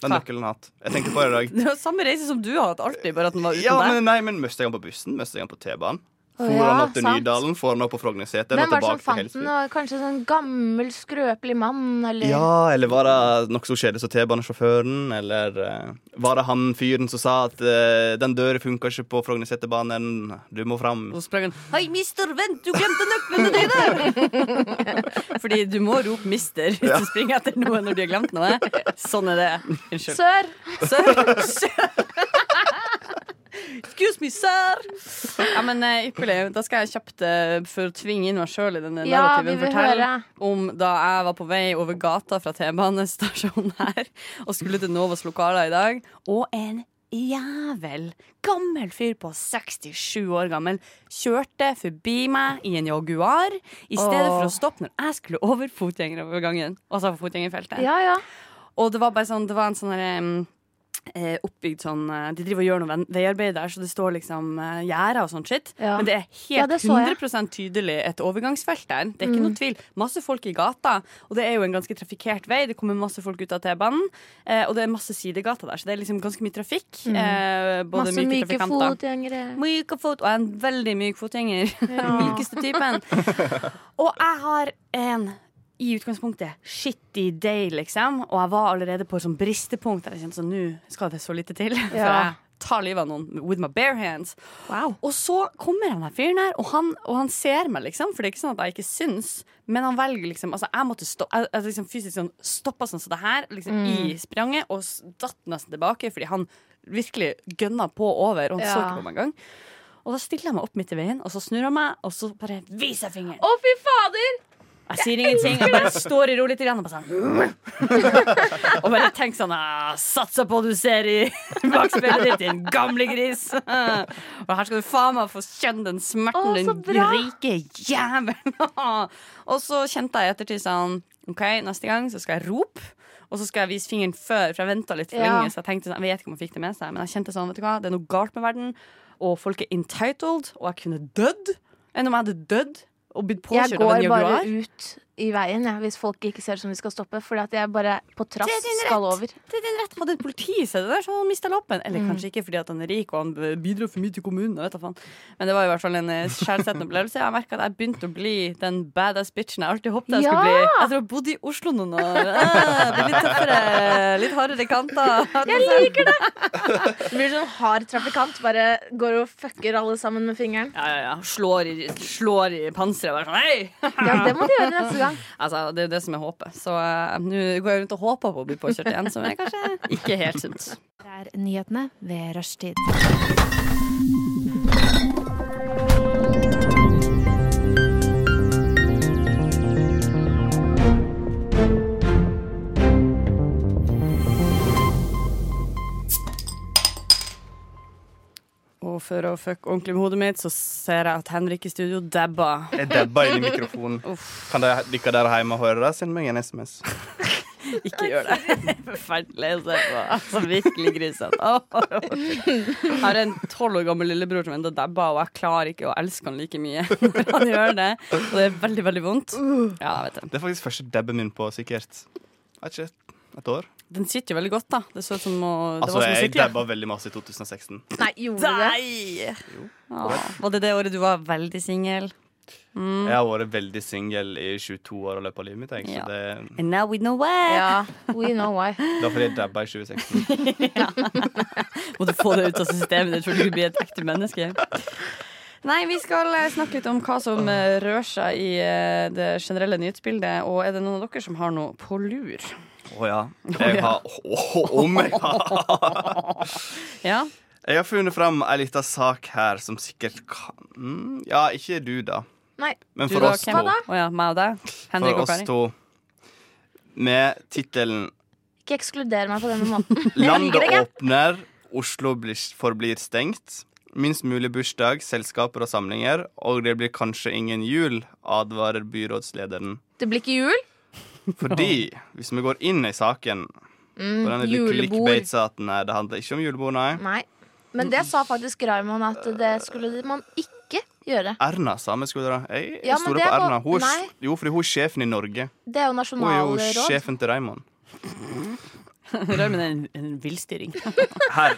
[SPEAKER 5] Den
[SPEAKER 3] Hva?
[SPEAKER 5] nøkkelen jeg har hatt. Jeg tenkte på det i
[SPEAKER 4] [LAUGHS]
[SPEAKER 5] dag.
[SPEAKER 3] Det var samme reise som du har hatt alltid, bare at den var uten
[SPEAKER 5] Ja,
[SPEAKER 3] deg.
[SPEAKER 5] men nei, men Møste jeg han på bussen? Møste jeg han på T-banen?
[SPEAKER 4] Å,
[SPEAKER 5] For
[SPEAKER 4] ja,
[SPEAKER 5] han opp til
[SPEAKER 4] sant.
[SPEAKER 5] Nydalen? For han opp på Frognerseter?
[SPEAKER 4] Hvem
[SPEAKER 5] og
[SPEAKER 4] var det som
[SPEAKER 5] tilbake til
[SPEAKER 4] fant den?
[SPEAKER 5] Helsfyr?
[SPEAKER 4] Og Kanskje sånn gammel, skrøpelig mann? Eller?
[SPEAKER 5] Ja, eller var det nokså kjedelig som T-banesjåføren? Eller eh, var det han fyren som sa at eh, den døra funka ikke på Frognerseterbanen, du må fram?
[SPEAKER 3] Og så sprang han Hei, mister, vent, du glemte nøklene dine! [LAUGHS] Fordi du må rope mister hvis du springer etter noe når de har glemt noe. Sånn er det. Unnskyld.
[SPEAKER 4] Sør!
[SPEAKER 3] Sir. Excuse me, sir. Ja, men eh, Ypperlig. Da skal jeg kjapt eh, for å tvinge inn meg sjøl i denne
[SPEAKER 4] Ja, vi
[SPEAKER 3] narrativen
[SPEAKER 4] vil
[SPEAKER 3] fortelle
[SPEAKER 4] høre.
[SPEAKER 3] om da jeg var på vei over gata fra T-banestasjonen her og skulle til Novas lokaler i dag, og en jævel gammel fyr på 67 år gammel kjørte forbi meg i en Jaguar i stedet for å stoppe når jeg skulle over fotgjengerovergangen, altså fotgjengerfeltet.
[SPEAKER 4] Ja, ja.
[SPEAKER 3] Og det var bare sånn, det var en sånn her em, eh, oppbygd sånn eh, De driver og gjør noe ven- veiarbeid der, så det står liksom uh, gjerder og sånn shit.
[SPEAKER 4] Ja.
[SPEAKER 3] Men det er helt
[SPEAKER 4] Ja, det så jeg. Mm.
[SPEAKER 3] 100 tydelig et overgangsfelt der. Det er ikke noe tvil. Masse folk i gata, og det er jo en ganske trafikkert vei. Det kommer masse folk ut av T-banen, eh, og det er masse sidegater der, så det er liksom ganske mye trafikk. eh, både
[SPEAKER 4] Mm. Masse
[SPEAKER 3] myke
[SPEAKER 4] myke
[SPEAKER 3] trafikanter.
[SPEAKER 4] fotgjengere.
[SPEAKER 3] Myk og fot, og jeg er en veldig myk fotgjenger. Den mykeste typen. Og jeg har en i utgangspunktet shitty day, liksom. Og jeg var allerede på et sånt bristepunkt der jeg kjente sånn nå skal det så lite til. [LAUGHS] For
[SPEAKER 4] Ja.
[SPEAKER 3] jeg tar livet av noen with my bare hands.
[SPEAKER 4] Wow.
[SPEAKER 3] Og så kommer han her fyren her, og han, og han ser meg, liksom. For det er ikke sånn at jeg ikke syns. Men han velger liksom Altså, jeg måtte stå, jeg, jeg liksom fysisk sånn, stoppa sånn som det her, liksom i spranget, og s- datt nesten tilbake fordi han virkelig gønna på over, og han så
[SPEAKER 4] Ja.
[SPEAKER 3] ikke på meg engang. Og da stiller jeg meg opp midt i veien, og så snur han meg, og så bare viser jeg fingeren.
[SPEAKER 4] Å, fy fader!
[SPEAKER 3] Jeg sier ingenting, jeg bare står i ro litt grann, og bare sånn Og bare tenker sånn «Ah, Satser på du ser i [LAUGHS] bakspeilet ditt, din gamle gris. Og her skal du faen meg få kjenne den smerten,
[SPEAKER 4] Å, så
[SPEAKER 3] den
[SPEAKER 4] bra.
[SPEAKER 3] rike jævelen. [LAUGHS] Og så kjente jeg i ettertid sånn OK, neste gang så skal jeg rope. Og så skal jeg vise fingeren før, for jeg venta litt for
[SPEAKER 4] Ja.
[SPEAKER 3] lenge. Så jeg tenkte sånn, jeg vet ikke om jeg fikk det med seg, men jeg kjente sånn, vet du hva, det er noe galt med verden. Og folk er entitled, og jeg kunne dødd. Enn om jeg hadde dødd og blitt
[SPEAKER 4] Jeg
[SPEAKER 3] påkjørt av en
[SPEAKER 4] går
[SPEAKER 3] jaguar.
[SPEAKER 4] bare ut i veien jeg, hvis folk ikke ser ut som de skal stoppe. Fordi at jeg bare på
[SPEAKER 3] Det er
[SPEAKER 4] trass
[SPEAKER 3] din rett.
[SPEAKER 4] skal over.
[SPEAKER 3] Det er din rett. Hadde et politi sett det der, så hadde han mista lappen. Eller
[SPEAKER 4] Mm.
[SPEAKER 3] kanskje ikke fordi at han er rik og han eh, bidro for mye til kommunen. jeg Vet da faen. Men det var i hvert fall en eh, skjellsettende opplevelse. Jeg merka at jeg begynte å bli den badass bitchen jeg alltid håpet jeg
[SPEAKER 4] Ja!
[SPEAKER 3] skulle bli. Jeg tror jeg bodde i Oslo noen år. Ah, det er litt tøffere. Litt hardere kanter.
[SPEAKER 4] Jeg liker det! Du blir sånn hard trafikant. Bare går og fucker alle sammen med fingeren.
[SPEAKER 3] Ja, ja, ja. Slår i, slår i panseret. Bare sånn hei!
[SPEAKER 4] Ja, Det må de gjøre neste gang.
[SPEAKER 3] Altså, det er jo det som er håpet. Så eh, nå går jeg rundt og håper på å bli påkjørt igjen, som er kanskje ikke helt sunt.
[SPEAKER 6] Her er nyhetene ved rushtid.
[SPEAKER 3] Og for å fucke ordentlig med hodet mitt, så ser jeg at Henrik i studio dabba.
[SPEAKER 5] Jeg dabba inn i mikrofonen. Kan dere, dere der hjemme høre det? Send meg en SMS.
[SPEAKER 3] Ikke gjør det. [LAUGHS] Forferdelig å se på. Altså, virkelig grisete. Åh, åh, åh. Jeg har en tolv år gammel lillebror som ennå dabber, og jeg klarer ikke å elske han like mye [LAUGHS] når han gjør det. Og det er veldig, veldig vondt. Ja, jeg vet det.
[SPEAKER 5] Det er faktisk første dabben min på sikkert vet ikke, et år.
[SPEAKER 3] Den sitter jo veldig godt, da. Det så ut som å det
[SPEAKER 5] Altså,
[SPEAKER 3] var som å
[SPEAKER 5] jeg
[SPEAKER 3] sykle.
[SPEAKER 5] dabba veldig masse i 2016.
[SPEAKER 4] Nei, gjorde du det?
[SPEAKER 3] Nei! Åh, var det det året du var veldig singel?
[SPEAKER 5] Jeg har vært veldig singel i 22 år i løpet av livet mitt. Jeg,
[SPEAKER 3] Mm. Ja.
[SPEAKER 5] så det,
[SPEAKER 3] And now we know where.
[SPEAKER 4] Ja, we know why.
[SPEAKER 5] det var fordi jeg dabba i 2016.
[SPEAKER 3] [LAUGHS] Må du få det ut av systemet ditt før du blir et ekte menneske? Nei, vi skal eh, snakke litt om hva som eh, rører seg i eh, det generelle nyhetsbildet. Og er det noen av dere som har noe på lur?
[SPEAKER 5] Å ja. Jeg har Å, om jeg har
[SPEAKER 3] Ja?
[SPEAKER 5] oh Jeg har funnet fram ei lita sak her som sikkert kan mm, Ja, ikke du, da.
[SPEAKER 4] Nei.
[SPEAKER 5] Men
[SPEAKER 3] Du
[SPEAKER 5] for
[SPEAKER 3] da,
[SPEAKER 5] oss
[SPEAKER 3] hvem?
[SPEAKER 5] to.
[SPEAKER 4] Hva da?
[SPEAKER 3] Å ja, meg og deg? Henrik
[SPEAKER 5] For
[SPEAKER 3] og
[SPEAKER 5] oss
[SPEAKER 3] Kari?
[SPEAKER 5] to. Med tittelen
[SPEAKER 4] Ikke ekskluder meg på denne måten. liker
[SPEAKER 5] 'Landet
[SPEAKER 4] det ikke.
[SPEAKER 5] åpner, Oslo blir, forblir stengt'. Minst mulig bursdag, selskaper og samlinger, og det blir kanskje ingen jul, advarer byrådslederen.
[SPEAKER 4] Det blir ikke jul.
[SPEAKER 5] Fordi, hvis vi går inn i saken på denne
[SPEAKER 4] Mm,
[SPEAKER 5] litt
[SPEAKER 4] Julebord. Mm.
[SPEAKER 5] clickbait-saken her, Det handler ikke om julebord, nei.
[SPEAKER 4] Nei. Men det sa faktisk Raymond at det skulle man ikke gjøre.
[SPEAKER 5] Erna sa vi skulle dra. Jeg
[SPEAKER 4] Ja, men det
[SPEAKER 5] stoler på
[SPEAKER 4] er
[SPEAKER 5] Erna.
[SPEAKER 4] bare-
[SPEAKER 5] Hun er,
[SPEAKER 4] nei.
[SPEAKER 5] sj- jo, fordi hun er sjefen i Norge.
[SPEAKER 4] Det er jo
[SPEAKER 5] Hun er jo
[SPEAKER 4] nasjonalråd.
[SPEAKER 5] sjefen til Raymond.
[SPEAKER 3] Rømmen er en, en villstyring.
[SPEAKER 5] Her.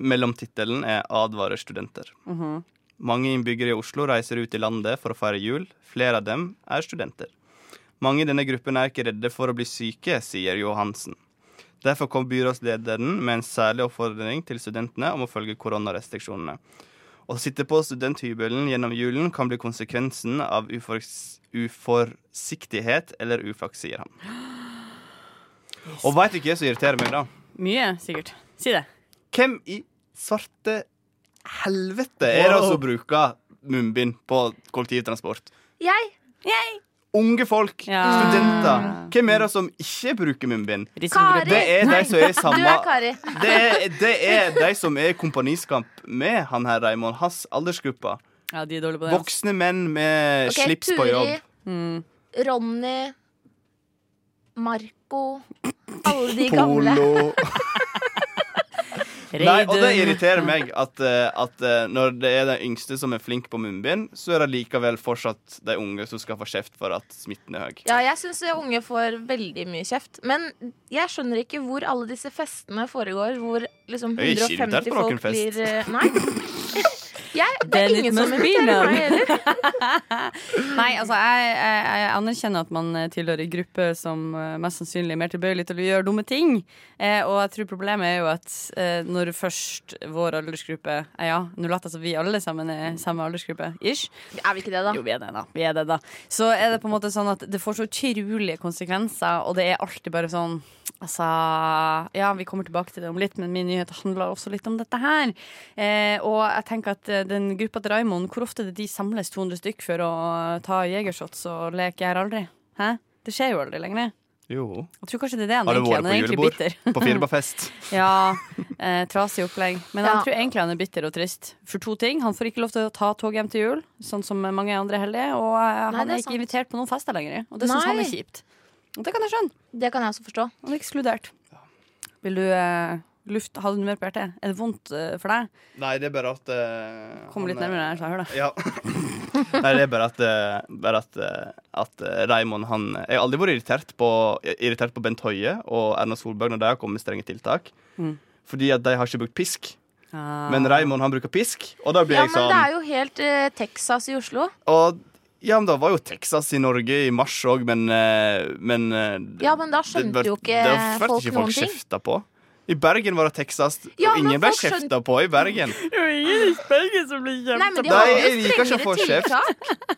[SPEAKER 5] Mellomtittelen er 'Advarer studenter'. Mange innbyggere i Oslo reiser ut i landet for å feire jul. Flere av dem er studenter. Mange i denne gruppen er ikke redde for å bli syke, sier Johansen. Derfor kom byrådslederen med en særlig oppfordring til studentene om å følge koronarestriksjonene. Å sitte på studenthybelen gjennom julen kan bli konsekvensen av uforks- uforsiktighet eller uflaks, sier han. Og veit du ikke hva som irriterer meg, da?
[SPEAKER 3] [LAUGHS] Mye, sikkert. Si det.
[SPEAKER 5] Hvem i svarte helvete er det som bruker munnbind på kollektivtransport?
[SPEAKER 4] Jeg
[SPEAKER 5] Unge folk,
[SPEAKER 3] Ja.
[SPEAKER 5] studenter. Hvem er det som ikke bruker munnbind?
[SPEAKER 3] Risikogruppe.
[SPEAKER 5] Det er de
[SPEAKER 4] Nei.
[SPEAKER 5] som er
[SPEAKER 4] [LAUGHS]
[SPEAKER 5] i
[SPEAKER 4] Du
[SPEAKER 5] samme
[SPEAKER 4] er Kari.
[SPEAKER 5] det er, det er de som er i kompaniskap med han her Raymond. Hans aldersgruppe.
[SPEAKER 3] Ja, de er dårlige på det. altså.
[SPEAKER 5] Voksne menn med
[SPEAKER 4] Ok,
[SPEAKER 5] slips på jobb.
[SPEAKER 3] Mm.
[SPEAKER 4] Ronny, Marco Alle de gamle. [LAUGHS]
[SPEAKER 5] Polo. Nei, og det
[SPEAKER 3] Reidun.
[SPEAKER 5] irriterer meg at, eh, at eh, når det er den yngste som er flink på munnbind, så er det likevel fortsatt de unge som skal få kjeft for at smitten er høy.
[SPEAKER 4] Ja, jeg syns unge får veldig mye kjeft. Men jeg skjønner ikke hvor alle disse festene foregår, hvor liksom
[SPEAKER 5] Jeg er ikke
[SPEAKER 4] 150
[SPEAKER 5] invitert på noen
[SPEAKER 4] folk
[SPEAKER 5] fest.
[SPEAKER 4] blir eh,
[SPEAKER 5] [LAUGHS]
[SPEAKER 4] Nei. Jeg, det
[SPEAKER 3] Then
[SPEAKER 4] er
[SPEAKER 3] it
[SPEAKER 4] ingen som
[SPEAKER 3] must be
[SPEAKER 4] inviterer
[SPEAKER 3] known.
[SPEAKER 4] meg heller.
[SPEAKER 3] Nei, altså, jeg, jeg, jeg anerkjenner at man eh, tilhører en gruppe som eh, mest sannsynlig er mer tilbøyelig til å gjøre dumme ting. Eh, og jeg tror problemet er jo at eh, når først vår aldersgruppe eh, Ja, nå later jeg som vi alle sammen er samme aldersgruppe, ish.
[SPEAKER 4] Er vi ikke det, da?
[SPEAKER 3] Jo, vi er det, da. Vi er det, da. Så er det på en måte sånn at det får så utrolige konsekvenser, og det er alltid bare sånn Altså, ja, vi kommer tilbake til det om litt, men min nyhet handler også litt om dette her. Eh, og jeg tenker at eh, den gruppa til Raymond, hvor ofte er det de samles 200 stykk for å ta jegershots og leke Jeg er aldri? Hæ? Det skjer jo aldri lenger.
[SPEAKER 4] [LAUGHS]
[SPEAKER 5] Jo.
[SPEAKER 3] Jeg tror kanskje det er det han
[SPEAKER 5] Har du
[SPEAKER 3] egentlig
[SPEAKER 5] vært
[SPEAKER 3] Han
[SPEAKER 5] på
[SPEAKER 3] er egentlig
[SPEAKER 5] julebord?
[SPEAKER 3] bitter.
[SPEAKER 5] På Firmafest.
[SPEAKER 3] Ja, eh, trasig opplegg. Men
[SPEAKER 4] Ja.
[SPEAKER 3] jeg tror egentlig han er bitter og trist for to ting. Han får ikke lov til å ta tog hjem til jul, sånn som mange andre er heldige. Og eh,
[SPEAKER 4] Nei,
[SPEAKER 3] han
[SPEAKER 4] det er
[SPEAKER 3] er ikke
[SPEAKER 4] sant.
[SPEAKER 3] invitert på noen fester lenger. Og det syns han
[SPEAKER 4] Nei.
[SPEAKER 3] er kjipt. Og det kan jeg skjønne.
[SPEAKER 4] Det kan jeg også forstå.
[SPEAKER 3] Han er ekskludert. Vil du eh, luft, ha det noe mer på hjertet? Er det vondt eh, for deg?
[SPEAKER 5] Nei, det er bare at eh,
[SPEAKER 3] Kom litt
[SPEAKER 5] han, eh,
[SPEAKER 3] nærmere her, så jeg hører deg.
[SPEAKER 5] [LAUGHS] Ja. Nei, det er bare at, eh, bare at, eh, at eh, Raymond han Jeg har aldri vært irritert på, irritert på Bent Høie og Erna Solberg når de har kommet med strenge tiltak.
[SPEAKER 3] Mm.
[SPEAKER 5] Fordi at de har ikke brukt pisk.
[SPEAKER 3] Ah.
[SPEAKER 5] Men Raymond han bruker pisk, og da blir
[SPEAKER 4] Ja,
[SPEAKER 5] jeg
[SPEAKER 4] men
[SPEAKER 5] sånn
[SPEAKER 4] det er jo helt eh, Texas i Oslo.
[SPEAKER 5] Og ja, men da var jo Texas i Norge i mars òg, men, eh, men eh,
[SPEAKER 4] Ja, men da skjønte
[SPEAKER 5] var-
[SPEAKER 4] jo ikke
[SPEAKER 5] det var
[SPEAKER 4] folk
[SPEAKER 5] ikke
[SPEAKER 4] noen
[SPEAKER 5] folk
[SPEAKER 4] ting.
[SPEAKER 5] kjefta på. I Bergen var det Texas.
[SPEAKER 4] Ja,
[SPEAKER 5] og
[SPEAKER 4] men
[SPEAKER 5] ingen ble
[SPEAKER 4] folk skjønte-
[SPEAKER 5] kjefta på i Bergen.
[SPEAKER 4] Nei, men de
[SPEAKER 5] Nei,
[SPEAKER 4] har
[SPEAKER 5] jeg
[SPEAKER 4] jo
[SPEAKER 5] liker ikke å få
[SPEAKER 4] strengere tiltak.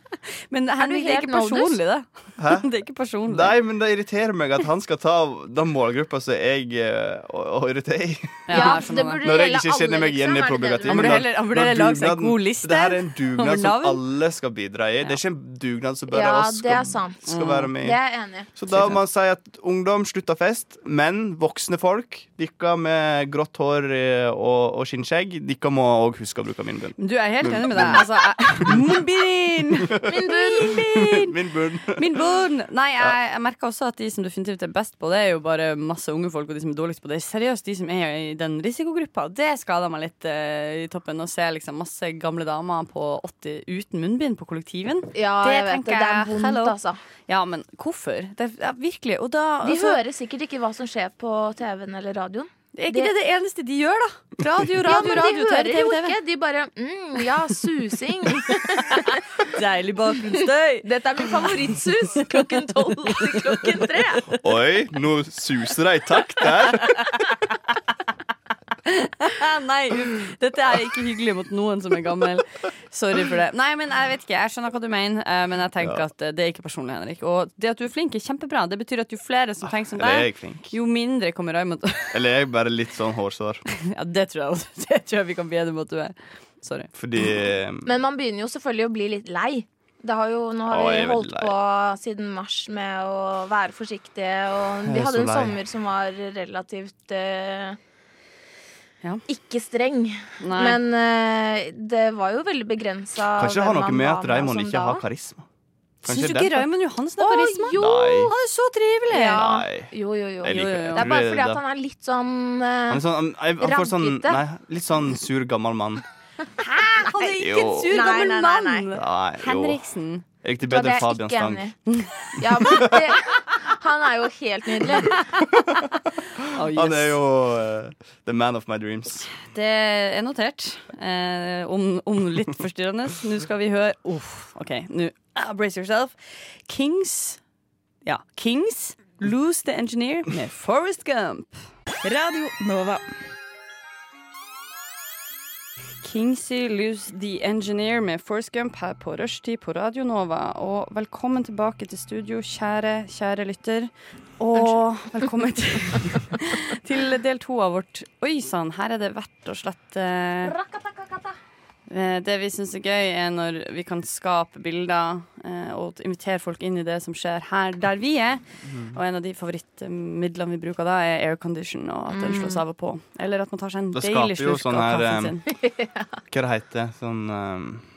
[SPEAKER 3] Men
[SPEAKER 4] Er du
[SPEAKER 3] Henrik, det er
[SPEAKER 4] helt
[SPEAKER 3] ikke personlig, det. [LAUGHS] Det er ikke personlig.
[SPEAKER 5] Nei, men det irriterer meg at han skal ta den målgruppa som jeg eh, å, å irritere i.
[SPEAKER 3] Ja,
[SPEAKER 4] Ja,
[SPEAKER 3] jeg skjønner
[SPEAKER 4] det
[SPEAKER 3] det. sånn
[SPEAKER 4] burde
[SPEAKER 5] Når jeg
[SPEAKER 4] gjelde
[SPEAKER 5] ikke kjenner
[SPEAKER 4] alle,
[SPEAKER 5] meg igjen i
[SPEAKER 4] liksom, er det det du
[SPEAKER 5] problematikken.
[SPEAKER 3] Han burde
[SPEAKER 5] men
[SPEAKER 3] heller- han burde heller lage seg en
[SPEAKER 5] dugnaden-
[SPEAKER 3] god liste
[SPEAKER 5] Det her er en
[SPEAKER 3] over
[SPEAKER 5] dugnad som
[SPEAKER 3] navn.
[SPEAKER 5] alle skal bidra i. Det er ikke en dugnad som bare
[SPEAKER 4] Ja,
[SPEAKER 5] oss
[SPEAKER 4] det er
[SPEAKER 5] skal,
[SPEAKER 4] sant.
[SPEAKER 5] skal være med i.
[SPEAKER 4] Det er jeg enig i.
[SPEAKER 5] Så da må man si at ungdom slutter fest, men voksne folk, dere med grått hår eh, og, og skinnskjegg, dere må òg huske å bruke munnbind.
[SPEAKER 3] Du jeg er helt enig med deg. Altså, jeg- Munnbind!
[SPEAKER 4] Min bunn. [LAUGHS]
[SPEAKER 5] Munnbind.
[SPEAKER 3] Min bund! Nei, jeg, jeg merker også at de som definitivt er best på det, er jo bare masse unge folk, og de som er dårligst på det. Seriøst, de som er i den risikogruppa, det skada meg litt eh, i toppen. Å se liksom masse gamle damer på 80 uten munnbind på kollektiven.
[SPEAKER 4] Ja,
[SPEAKER 3] Det
[SPEAKER 4] jeg vet
[SPEAKER 3] tenker
[SPEAKER 4] det. Det er
[SPEAKER 3] jeg.
[SPEAKER 4] vondt,
[SPEAKER 3] Hello.
[SPEAKER 4] altså.
[SPEAKER 3] Ja, men hvorfor? Det er, ja, virkelig. Og da
[SPEAKER 4] De
[SPEAKER 3] altså,
[SPEAKER 4] hører sikkert ikke hva som skjer på TV-en eller radioen.
[SPEAKER 3] Er ikke det det eneste de gjør, da? Radio,
[SPEAKER 4] Ja,
[SPEAKER 3] radio,
[SPEAKER 4] men de
[SPEAKER 3] radio,
[SPEAKER 4] hører
[SPEAKER 3] TV,
[SPEAKER 4] jo
[SPEAKER 3] TV, TV.
[SPEAKER 4] ikke. De bare mm, ja, [LAUGHS] susing.
[SPEAKER 3] Deilig bakgrunnsstøy.
[SPEAKER 4] Dette er min favorittsus. Klokken tolv til klokken tre.
[SPEAKER 5] Oi, nå suser det i takt der.
[SPEAKER 3] Ah, Nei, dette er ikke hyggelig mot noen som er gammel. Sorry for det. Nei, men jeg vet ikke, jeg skjønner hva du mener, eh, men jeg tenker
[SPEAKER 5] Ja.
[SPEAKER 3] at eh, det er ikke personlig, Henrik. Og det at du er flink, er kjempebra. Det betyr at jo flere som tenker som
[SPEAKER 5] Eller er
[SPEAKER 3] deg,
[SPEAKER 5] jeg flink?
[SPEAKER 3] jo mindre kommer Raymond [LAUGHS]
[SPEAKER 5] Eller er jeg bare litt sånn hårsår?
[SPEAKER 3] Ja, det tror jeg, også. [LAUGHS] det tror jeg vi kan bli enige om at du er. Sorry.
[SPEAKER 5] Fordi eh,
[SPEAKER 4] Men man begynner jo selvfølgelig å bli litt lei. Det har jo, nå har
[SPEAKER 5] Å, jeg
[SPEAKER 4] vi
[SPEAKER 5] er
[SPEAKER 4] holdt
[SPEAKER 5] veldig lei.
[SPEAKER 4] på siden mars med å være forsiktige, og
[SPEAKER 5] Jeg
[SPEAKER 4] vi
[SPEAKER 5] er
[SPEAKER 4] hadde
[SPEAKER 5] så
[SPEAKER 4] en
[SPEAKER 5] lei.
[SPEAKER 4] sommer som var relativt eh,
[SPEAKER 3] Ja.
[SPEAKER 4] Ikke streng,
[SPEAKER 3] Nei.
[SPEAKER 4] men eh, det var jo veldig begrensa.
[SPEAKER 5] Kan ikke det ha noe med at Raymond ikke har
[SPEAKER 4] karisma?
[SPEAKER 5] karisma?
[SPEAKER 3] Syns du
[SPEAKER 5] derfor?
[SPEAKER 3] ikke Raymond Johansen
[SPEAKER 4] Å
[SPEAKER 3] har karisma?
[SPEAKER 4] jo!
[SPEAKER 5] Nei.
[SPEAKER 3] Han er så trivelig!
[SPEAKER 4] Ja.
[SPEAKER 5] Nei.
[SPEAKER 4] Jo, jo, jo.
[SPEAKER 5] Jeg
[SPEAKER 3] jo,
[SPEAKER 5] liker
[SPEAKER 3] jo.
[SPEAKER 5] jeg
[SPEAKER 4] Det er
[SPEAKER 5] tror
[SPEAKER 4] bare fordi
[SPEAKER 5] det.
[SPEAKER 4] at han er litt sånn eh,
[SPEAKER 5] Han er sånn, han, jeg, han får sånn
[SPEAKER 4] Rampete.
[SPEAKER 5] nei, Litt sånn sur, gammel
[SPEAKER 4] [LAUGHS]
[SPEAKER 5] mann.
[SPEAKER 3] Han er ikke en
[SPEAKER 5] Jo.
[SPEAKER 3] sur
[SPEAKER 4] Nei,
[SPEAKER 3] gammel
[SPEAKER 4] nei, nei, nei.
[SPEAKER 3] mann!
[SPEAKER 5] Nei, jo.
[SPEAKER 3] Henriksen.
[SPEAKER 5] Jeg
[SPEAKER 4] Da
[SPEAKER 5] likte
[SPEAKER 4] ble
[SPEAKER 5] bedre
[SPEAKER 4] jeg
[SPEAKER 5] Fabian
[SPEAKER 4] ikke
[SPEAKER 5] Stang.
[SPEAKER 4] enig. Ja, men det, han er jo helt nydelig.
[SPEAKER 3] Oh, yes.
[SPEAKER 5] Han er jo eh, the man of my dreams.
[SPEAKER 3] Det er notert. Eh, om, om litt forstyrrende. Nå skal vi høre Uff, OK. Nå. Ah, brace yourself. Kings Ja, Kings Lose The Engineer med Forest Gump. Radio Nova. Kingsy Lose The Engineer med Forest Gump her på Rushtid på Radio Nova. Og velkommen tilbake til studio, kjære, kjære lytter. Og velkommen til til del to av vårt Oi sann, her er det verdt og slett eh, eh, Det vi syns er gøy, er når vi kan skape bilder eh, og invitere folk inn i det som skjer her der vi er.
[SPEAKER 5] Mm.
[SPEAKER 3] Og en av de favorittmidlene vi bruker da, er aircondition, og at den slås av og på. Eller at man tar seg en
[SPEAKER 5] Det
[SPEAKER 3] deilig
[SPEAKER 5] skaper jo
[SPEAKER 3] slurk av
[SPEAKER 5] sånn her,
[SPEAKER 3] kaffen sin.
[SPEAKER 5] Hva det heter det? Sånn eh,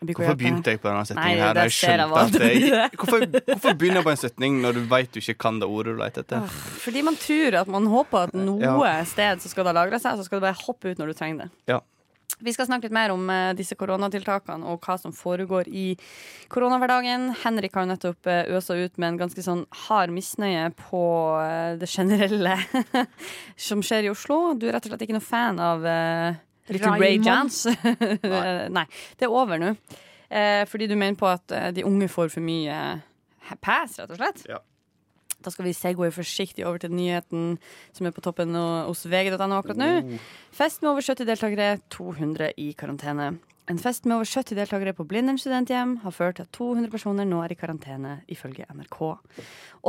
[SPEAKER 3] Jeg blir ikke
[SPEAKER 5] Hvorfor
[SPEAKER 3] hjulpet.
[SPEAKER 5] begynte jeg på denne
[SPEAKER 3] Nei,
[SPEAKER 5] setningen? her?
[SPEAKER 3] det
[SPEAKER 5] Jeg
[SPEAKER 3] ser jeg
[SPEAKER 5] skjønte
[SPEAKER 3] hva
[SPEAKER 5] at
[SPEAKER 3] du
[SPEAKER 5] jeg,
[SPEAKER 3] gjør.
[SPEAKER 5] hvorfor, hvorfor begynne på en setning når du veit du ikke kan det ordet du leter etter?
[SPEAKER 3] Fordi man tror at man håper at noe
[SPEAKER 5] Ja.
[SPEAKER 3] sted så skal det lagre seg, så skal det bare hoppe ut når du trenger det.
[SPEAKER 5] Ja.
[SPEAKER 3] Vi skal snakke litt mer om eh, disse koronatiltakene og hva som foregår i koronahverdagen. Henrik har jo nettopp eh, øsa ut med en ganske sånn hard misnøye på eh, det generelle [LAUGHS] som skjer i Oslo. Du er rett og slett ikke noe fan av eh, Little Ray
[SPEAKER 4] Raymond.
[SPEAKER 3] Jans. [LAUGHS] Eh, Nei. Det er over nå. Eh, fordi du mener på at eh, de unge får for mye eh, pass, rett og slett.
[SPEAKER 5] Ja.
[SPEAKER 3] Da skal vi segway forsiktig over til nyheten som er på toppen nå hos vg.no akkurat nå.
[SPEAKER 5] Oh.
[SPEAKER 3] Fest med over 70 deltakere, 200 i karantene. En fest med over 70 deltakere på Blindern studenthjem har ført til at 200 personer nå er i karantene, ifølge NRK.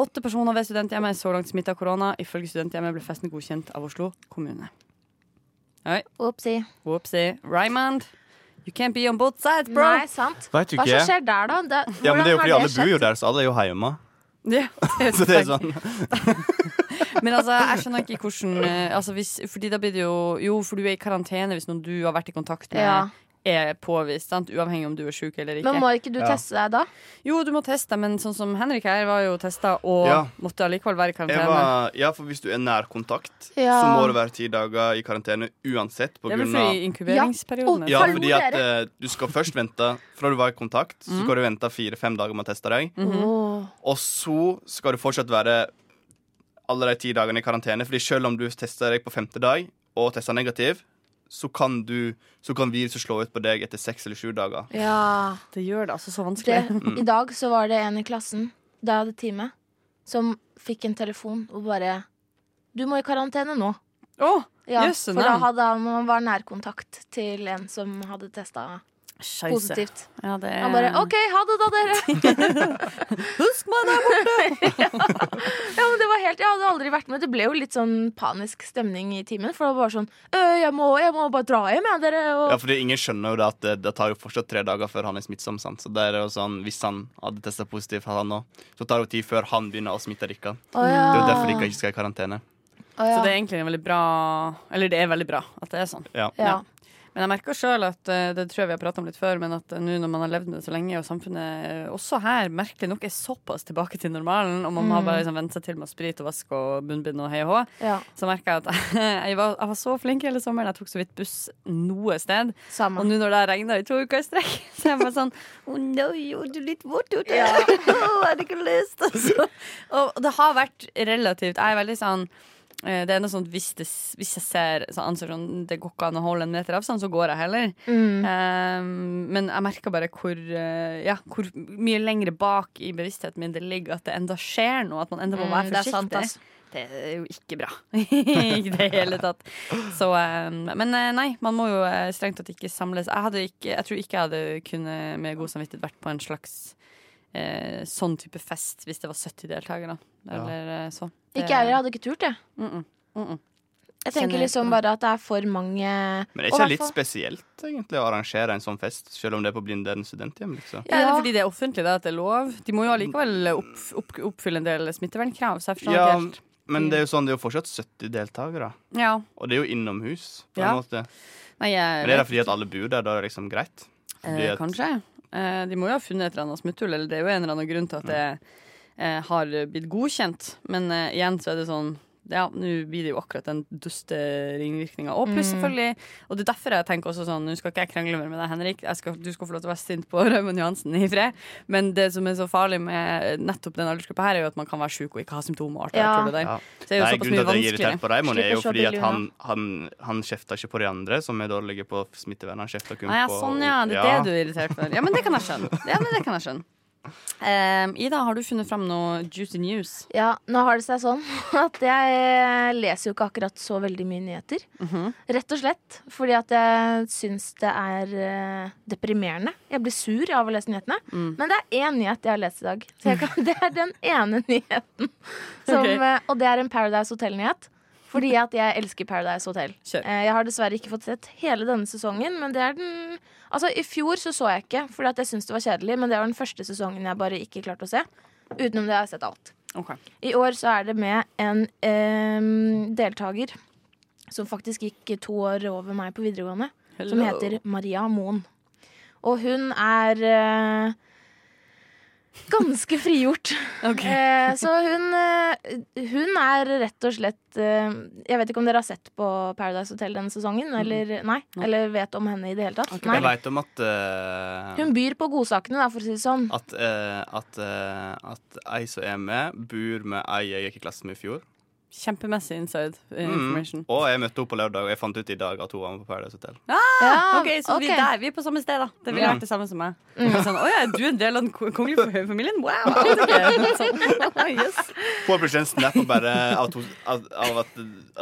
[SPEAKER 3] Åtte personer ved studenthjemmet er så langt smitta av korona. Ifølge studenthjemmet ble festen godkjent av Oslo kommune.
[SPEAKER 4] Oppsi.
[SPEAKER 3] Whoopsie. Raymond, you can't be on both sides, bro!
[SPEAKER 4] Nei, sant.
[SPEAKER 5] Vet du
[SPEAKER 4] Hva som
[SPEAKER 5] ikke?
[SPEAKER 4] skjer der, da? Det,
[SPEAKER 5] Ja, men det er
[SPEAKER 4] hvordan
[SPEAKER 5] jo fordi
[SPEAKER 4] har
[SPEAKER 5] alle bor
[SPEAKER 4] skjedd?
[SPEAKER 5] jo der, så alle er jo hjemme. [LAUGHS]
[SPEAKER 3] Ja, det
[SPEAKER 5] Så det er sånn
[SPEAKER 3] Men altså, jeg skjønner ikke hvordan eh, altså hvis, Fordi da blir det jo Jo, for du er i karantene hvis noen du har vært i kontakt med,
[SPEAKER 4] Ja.
[SPEAKER 3] er påvist. sant? Uavhengig om du er sjuk eller ikke.
[SPEAKER 4] Men må ikke du teste deg da?
[SPEAKER 3] Jo, du må teste, men sånn som Henrik her var jo testa og
[SPEAKER 5] Ja.
[SPEAKER 3] måtte allikevel være i
[SPEAKER 5] jeg
[SPEAKER 3] karantene.
[SPEAKER 5] var, Ja, for hvis du er nærkontakt,
[SPEAKER 4] Ja.
[SPEAKER 5] så må det være ti dager i karantene uansett. På
[SPEAKER 3] Det er vel
[SPEAKER 5] grunn av
[SPEAKER 3] fordi inkuberingsperioden er
[SPEAKER 5] Ja,
[SPEAKER 4] Hallo,
[SPEAKER 5] fordi at eh, du skal først vente fra du var i kontakt,
[SPEAKER 3] Mm.
[SPEAKER 5] så skal du vente fire-fem dager med å teste deg.
[SPEAKER 4] Åh.
[SPEAKER 5] Og så skal du fortsatt være alle de ti dagene i karantene. Fordi selv om du tester deg på femte dag og tester negativ, så kan, du, så kan viruset slå ut på deg etter seks eller sju dager.
[SPEAKER 4] Ja.
[SPEAKER 3] Det gjør det altså så
[SPEAKER 4] Det,
[SPEAKER 3] vanskelig.
[SPEAKER 5] Mm.
[SPEAKER 4] I dag så var det en i klassen da jeg hadde time, som fikk en telefon og bare 'Du må i karantene nå'.
[SPEAKER 3] Å,
[SPEAKER 4] Ja,
[SPEAKER 3] Jøsse
[SPEAKER 4] for
[SPEAKER 3] navn.
[SPEAKER 4] da hadde han han var nærkontakt til en som hadde testa
[SPEAKER 3] scheisse.
[SPEAKER 4] positivt.
[SPEAKER 3] Ja, det er...
[SPEAKER 4] Han bare 'OK, ha det da, dere'.
[SPEAKER 3] [LAUGHS] Husk meg der borte!
[SPEAKER 4] [LAUGHS] Ja, men det var helt, Jeg hadde aldri vært med. Det ble jo litt sånn panisk stemning i timen. For det var bare sånn «Øh, jeg må, 'Jeg må bare dra hjem, jeg, dere'. Og
[SPEAKER 5] Ja, fordi ingen skjønner jo det at det, det tar jo fortsatt tre dager før han er smittsom. Sant? Så det er jo sånn, Hvis han hadde testa positivt, han nå, så tar det jo tid før han begynner å smitte dere.
[SPEAKER 4] Å ja.
[SPEAKER 5] Det er jo derfor dere ikke skal i karantene.
[SPEAKER 4] Å ja.
[SPEAKER 3] Så det er egentlig en veldig bra Eller det er veldig bra at det er sånn.
[SPEAKER 5] Ja.
[SPEAKER 4] ja.
[SPEAKER 3] Men jeg merker sjøl at eh, det tror jeg vi har pratet om litt før, men at eh, nå når man har levd med det så lenge, og samfunnet eh, også her merkelig nok er såpass tilbake til normalen, og man har bare liksom vent seg til med sprit og vask og bunnbind og hei og hå,
[SPEAKER 4] ja.
[SPEAKER 3] så merker jeg at [LAUGHS] jeg var, jeg var så flink hele sommeren. Jeg tok så vidt buss noe sted. Og
[SPEAKER 4] Samme.
[SPEAKER 3] nå når det har regna i to uker i strekk, [LAUGHS] så er jeg bare sånn Å nei, å, du er litt våt ute.
[SPEAKER 4] Ja.
[SPEAKER 3] [LAUGHS] Å, har du ikke lyst? Og så- og det har vært relativt Jeg er veldig sånn eh, det er noe sånt, Hvis, det, hvis jeg ser så anser jeg sånn, det går ikke an å holde en meter avstand, så går jeg heller.
[SPEAKER 4] Mm.
[SPEAKER 3] Eh, men jeg merker bare hvor, eh, ja, hvor mye lengre bak i bevisstheten min det ligger at det enda skjer noe. At man enda må
[SPEAKER 4] Mm,
[SPEAKER 3] være
[SPEAKER 4] det er sant,
[SPEAKER 3] forsiktig.
[SPEAKER 4] ass.
[SPEAKER 3] Det er jo ikke bra [LAUGHS] i det hele tatt. Så, eh, men eh, nei, man må jo eh, strengt tatt ikke samles. Jeg, hadde ikke, jeg tror ikke jeg hadde kunnet med god samvittighet vært på en slags eh, sånn type fest hvis det var 70 deltakere. da. Eller eh, så. Det-
[SPEAKER 4] Ikke jeg heller. Hadde ikke turt, jeg.
[SPEAKER 3] Mm -mm, mm -mm.
[SPEAKER 4] Jeg tenker
[SPEAKER 3] Kjenner-
[SPEAKER 4] liksom bare at det er for mange
[SPEAKER 5] Men det er
[SPEAKER 4] Og
[SPEAKER 5] ikke
[SPEAKER 4] hvertfall-
[SPEAKER 5] litt spesielt egentlig å arrangere en sånn fest, selv om det er på Blindern studenthjem? liksom.
[SPEAKER 3] Ja, det
[SPEAKER 4] Ja.
[SPEAKER 3] er fordi det er offentlig, det at det er lov. De må jo allikevel opp, opp, oppfylle en del smittevernkrav. Så jeg forstår
[SPEAKER 5] Ja,
[SPEAKER 3] ikke helt.
[SPEAKER 5] men det er jo sånn, det er jo fortsatt 70 deltakere,
[SPEAKER 3] Ja.
[SPEAKER 5] og det er jo innomhus. på en
[SPEAKER 3] Ja.
[SPEAKER 5] måte.
[SPEAKER 3] Nei, jeg,
[SPEAKER 5] Men det er da fordi at alle bor der, da er det liksom greit? Fordi
[SPEAKER 3] Eh,
[SPEAKER 5] at-
[SPEAKER 3] kanskje. Eh, de må jo ha funnet et eller annet smutthull, eller det er jo en eller annen grunn til at det eh, har blitt godkjent. Men eh, igjen så er det sånn ja, nå blir det jo akkurat den duste ringvirkninga. Og
[SPEAKER 5] Mm.
[SPEAKER 3] pluss, selvfølgelig Og det er derfor jeg tenker også sånn Nå skal ikke jeg krangle mer med deg, Henrik. Jeg skal, du skal få lov til å være sint på [LAUGHS] Raymond Johansen i fred. Men det som er så farlig med nettopp den aldersgruppa her, er jo at man kan være sjuk og ikke ha symptomer. og alt det
[SPEAKER 4] Ja.
[SPEAKER 3] der tullet der.
[SPEAKER 5] Ja.
[SPEAKER 3] Så det er jo
[SPEAKER 5] Nei,
[SPEAKER 3] såpass
[SPEAKER 5] grunnen til
[SPEAKER 3] mye
[SPEAKER 5] at jeg er irritert
[SPEAKER 3] vanskeligere.
[SPEAKER 5] på Raymond, er
[SPEAKER 4] Slipper
[SPEAKER 5] jo
[SPEAKER 4] å se
[SPEAKER 5] fordi at
[SPEAKER 4] billig
[SPEAKER 5] han, han, han kjefter ikke på de andre, som er dårlige på smittevern. Han kjefter kun
[SPEAKER 3] Ah, ja,
[SPEAKER 5] på
[SPEAKER 3] sånn, ja. Det er det du er irritert for. Ja, men det kan jeg skjønne. Ja, men det kan jeg skjønne. Ehm, Ida, har du funnet fram noe juicy news?
[SPEAKER 4] Ja, nå har det seg sånn [LAUGHS] at jeg eh, leser jo ikke akkurat så veldig mye nyheter.
[SPEAKER 3] Mhm.
[SPEAKER 4] Rett og slett fordi at jeg syns det er eh, deprimerende. Jeg blir sur av å lese nyhetene.
[SPEAKER 3] Mm.
[SPEAKER 4] Men det er én nyhet jeg har lest i dag. Så jeg kan, [LAUGHS] det er den ene nyheten. Som,
[SPEAKER 3] Ok.
[SPEAKER 4] eh, Og det er en Paradise Hotel-nyhet. Fordi at jeg elsker Paradise Hotel.
[SPEAKER 3] Kjør.
[SPEAKER 4] Eh, Jeg har dessverre ikke fått sett hele denne sesongen, men det er den Altså, i fjor så så jeg ikke, fordi at jeg syntes det var kjedelig, men det var den første sesongen jeg bare ikke klarte å se. Utenom det har jeg sett alt.
[SPEAKER 3] Ok.
[SPEAKER 4] I år så er det med en em, deltaker som faktisk gikk to år over meg på videregående. Som heter Maria Moen. Og hun er eh, ganske frigjort. Eh, så hun, eh, hun er rett og slett eh, Jeg vet ikke om dere har sett på Paradise Hotel denne sesongen? Eller, nei, eller vet om henne i det hele tatt?
[SPEAKER 5] Jeg
[SPEAKER 4] Nei.
[SPEAKER 5] veit om at eh,
[SPEAKER 4] Hun byr på godsakene, da, for å si det sånn.
[SPEAKER 5] at, eh, at, eh, at ei som er med, bor med ei jeg gikk i klasse med i fjor.
[SPEAKER 3] Kjempemessig inside eh,
[SPEAKER 5] Mm.
[SPEAKER 3] information.
[SPEAKER 5] Og jeg møtte henne på lørdag, og jeg fant ut i dag at hun var med på Paradise Hotel.
[SPEAKER 4] Ja,
[SPEAKER 3] Ok, så vi,
[SPEAKER 4] ok.
[SPEAKER 3] er der, vi er på samme sted, da. Det ville
[SPEAKER 5] Ja.
[SPEAKER 3] vært det samme som meg. Sånn, Å ja, er du en del av den ko- kongelige fa- familien? Wow! [LAUGHS] Jeg vet ikke. Sånn, «Å, yes.
[SPEAKER 5] Får plutselig en snap og bare at hun, at, av at,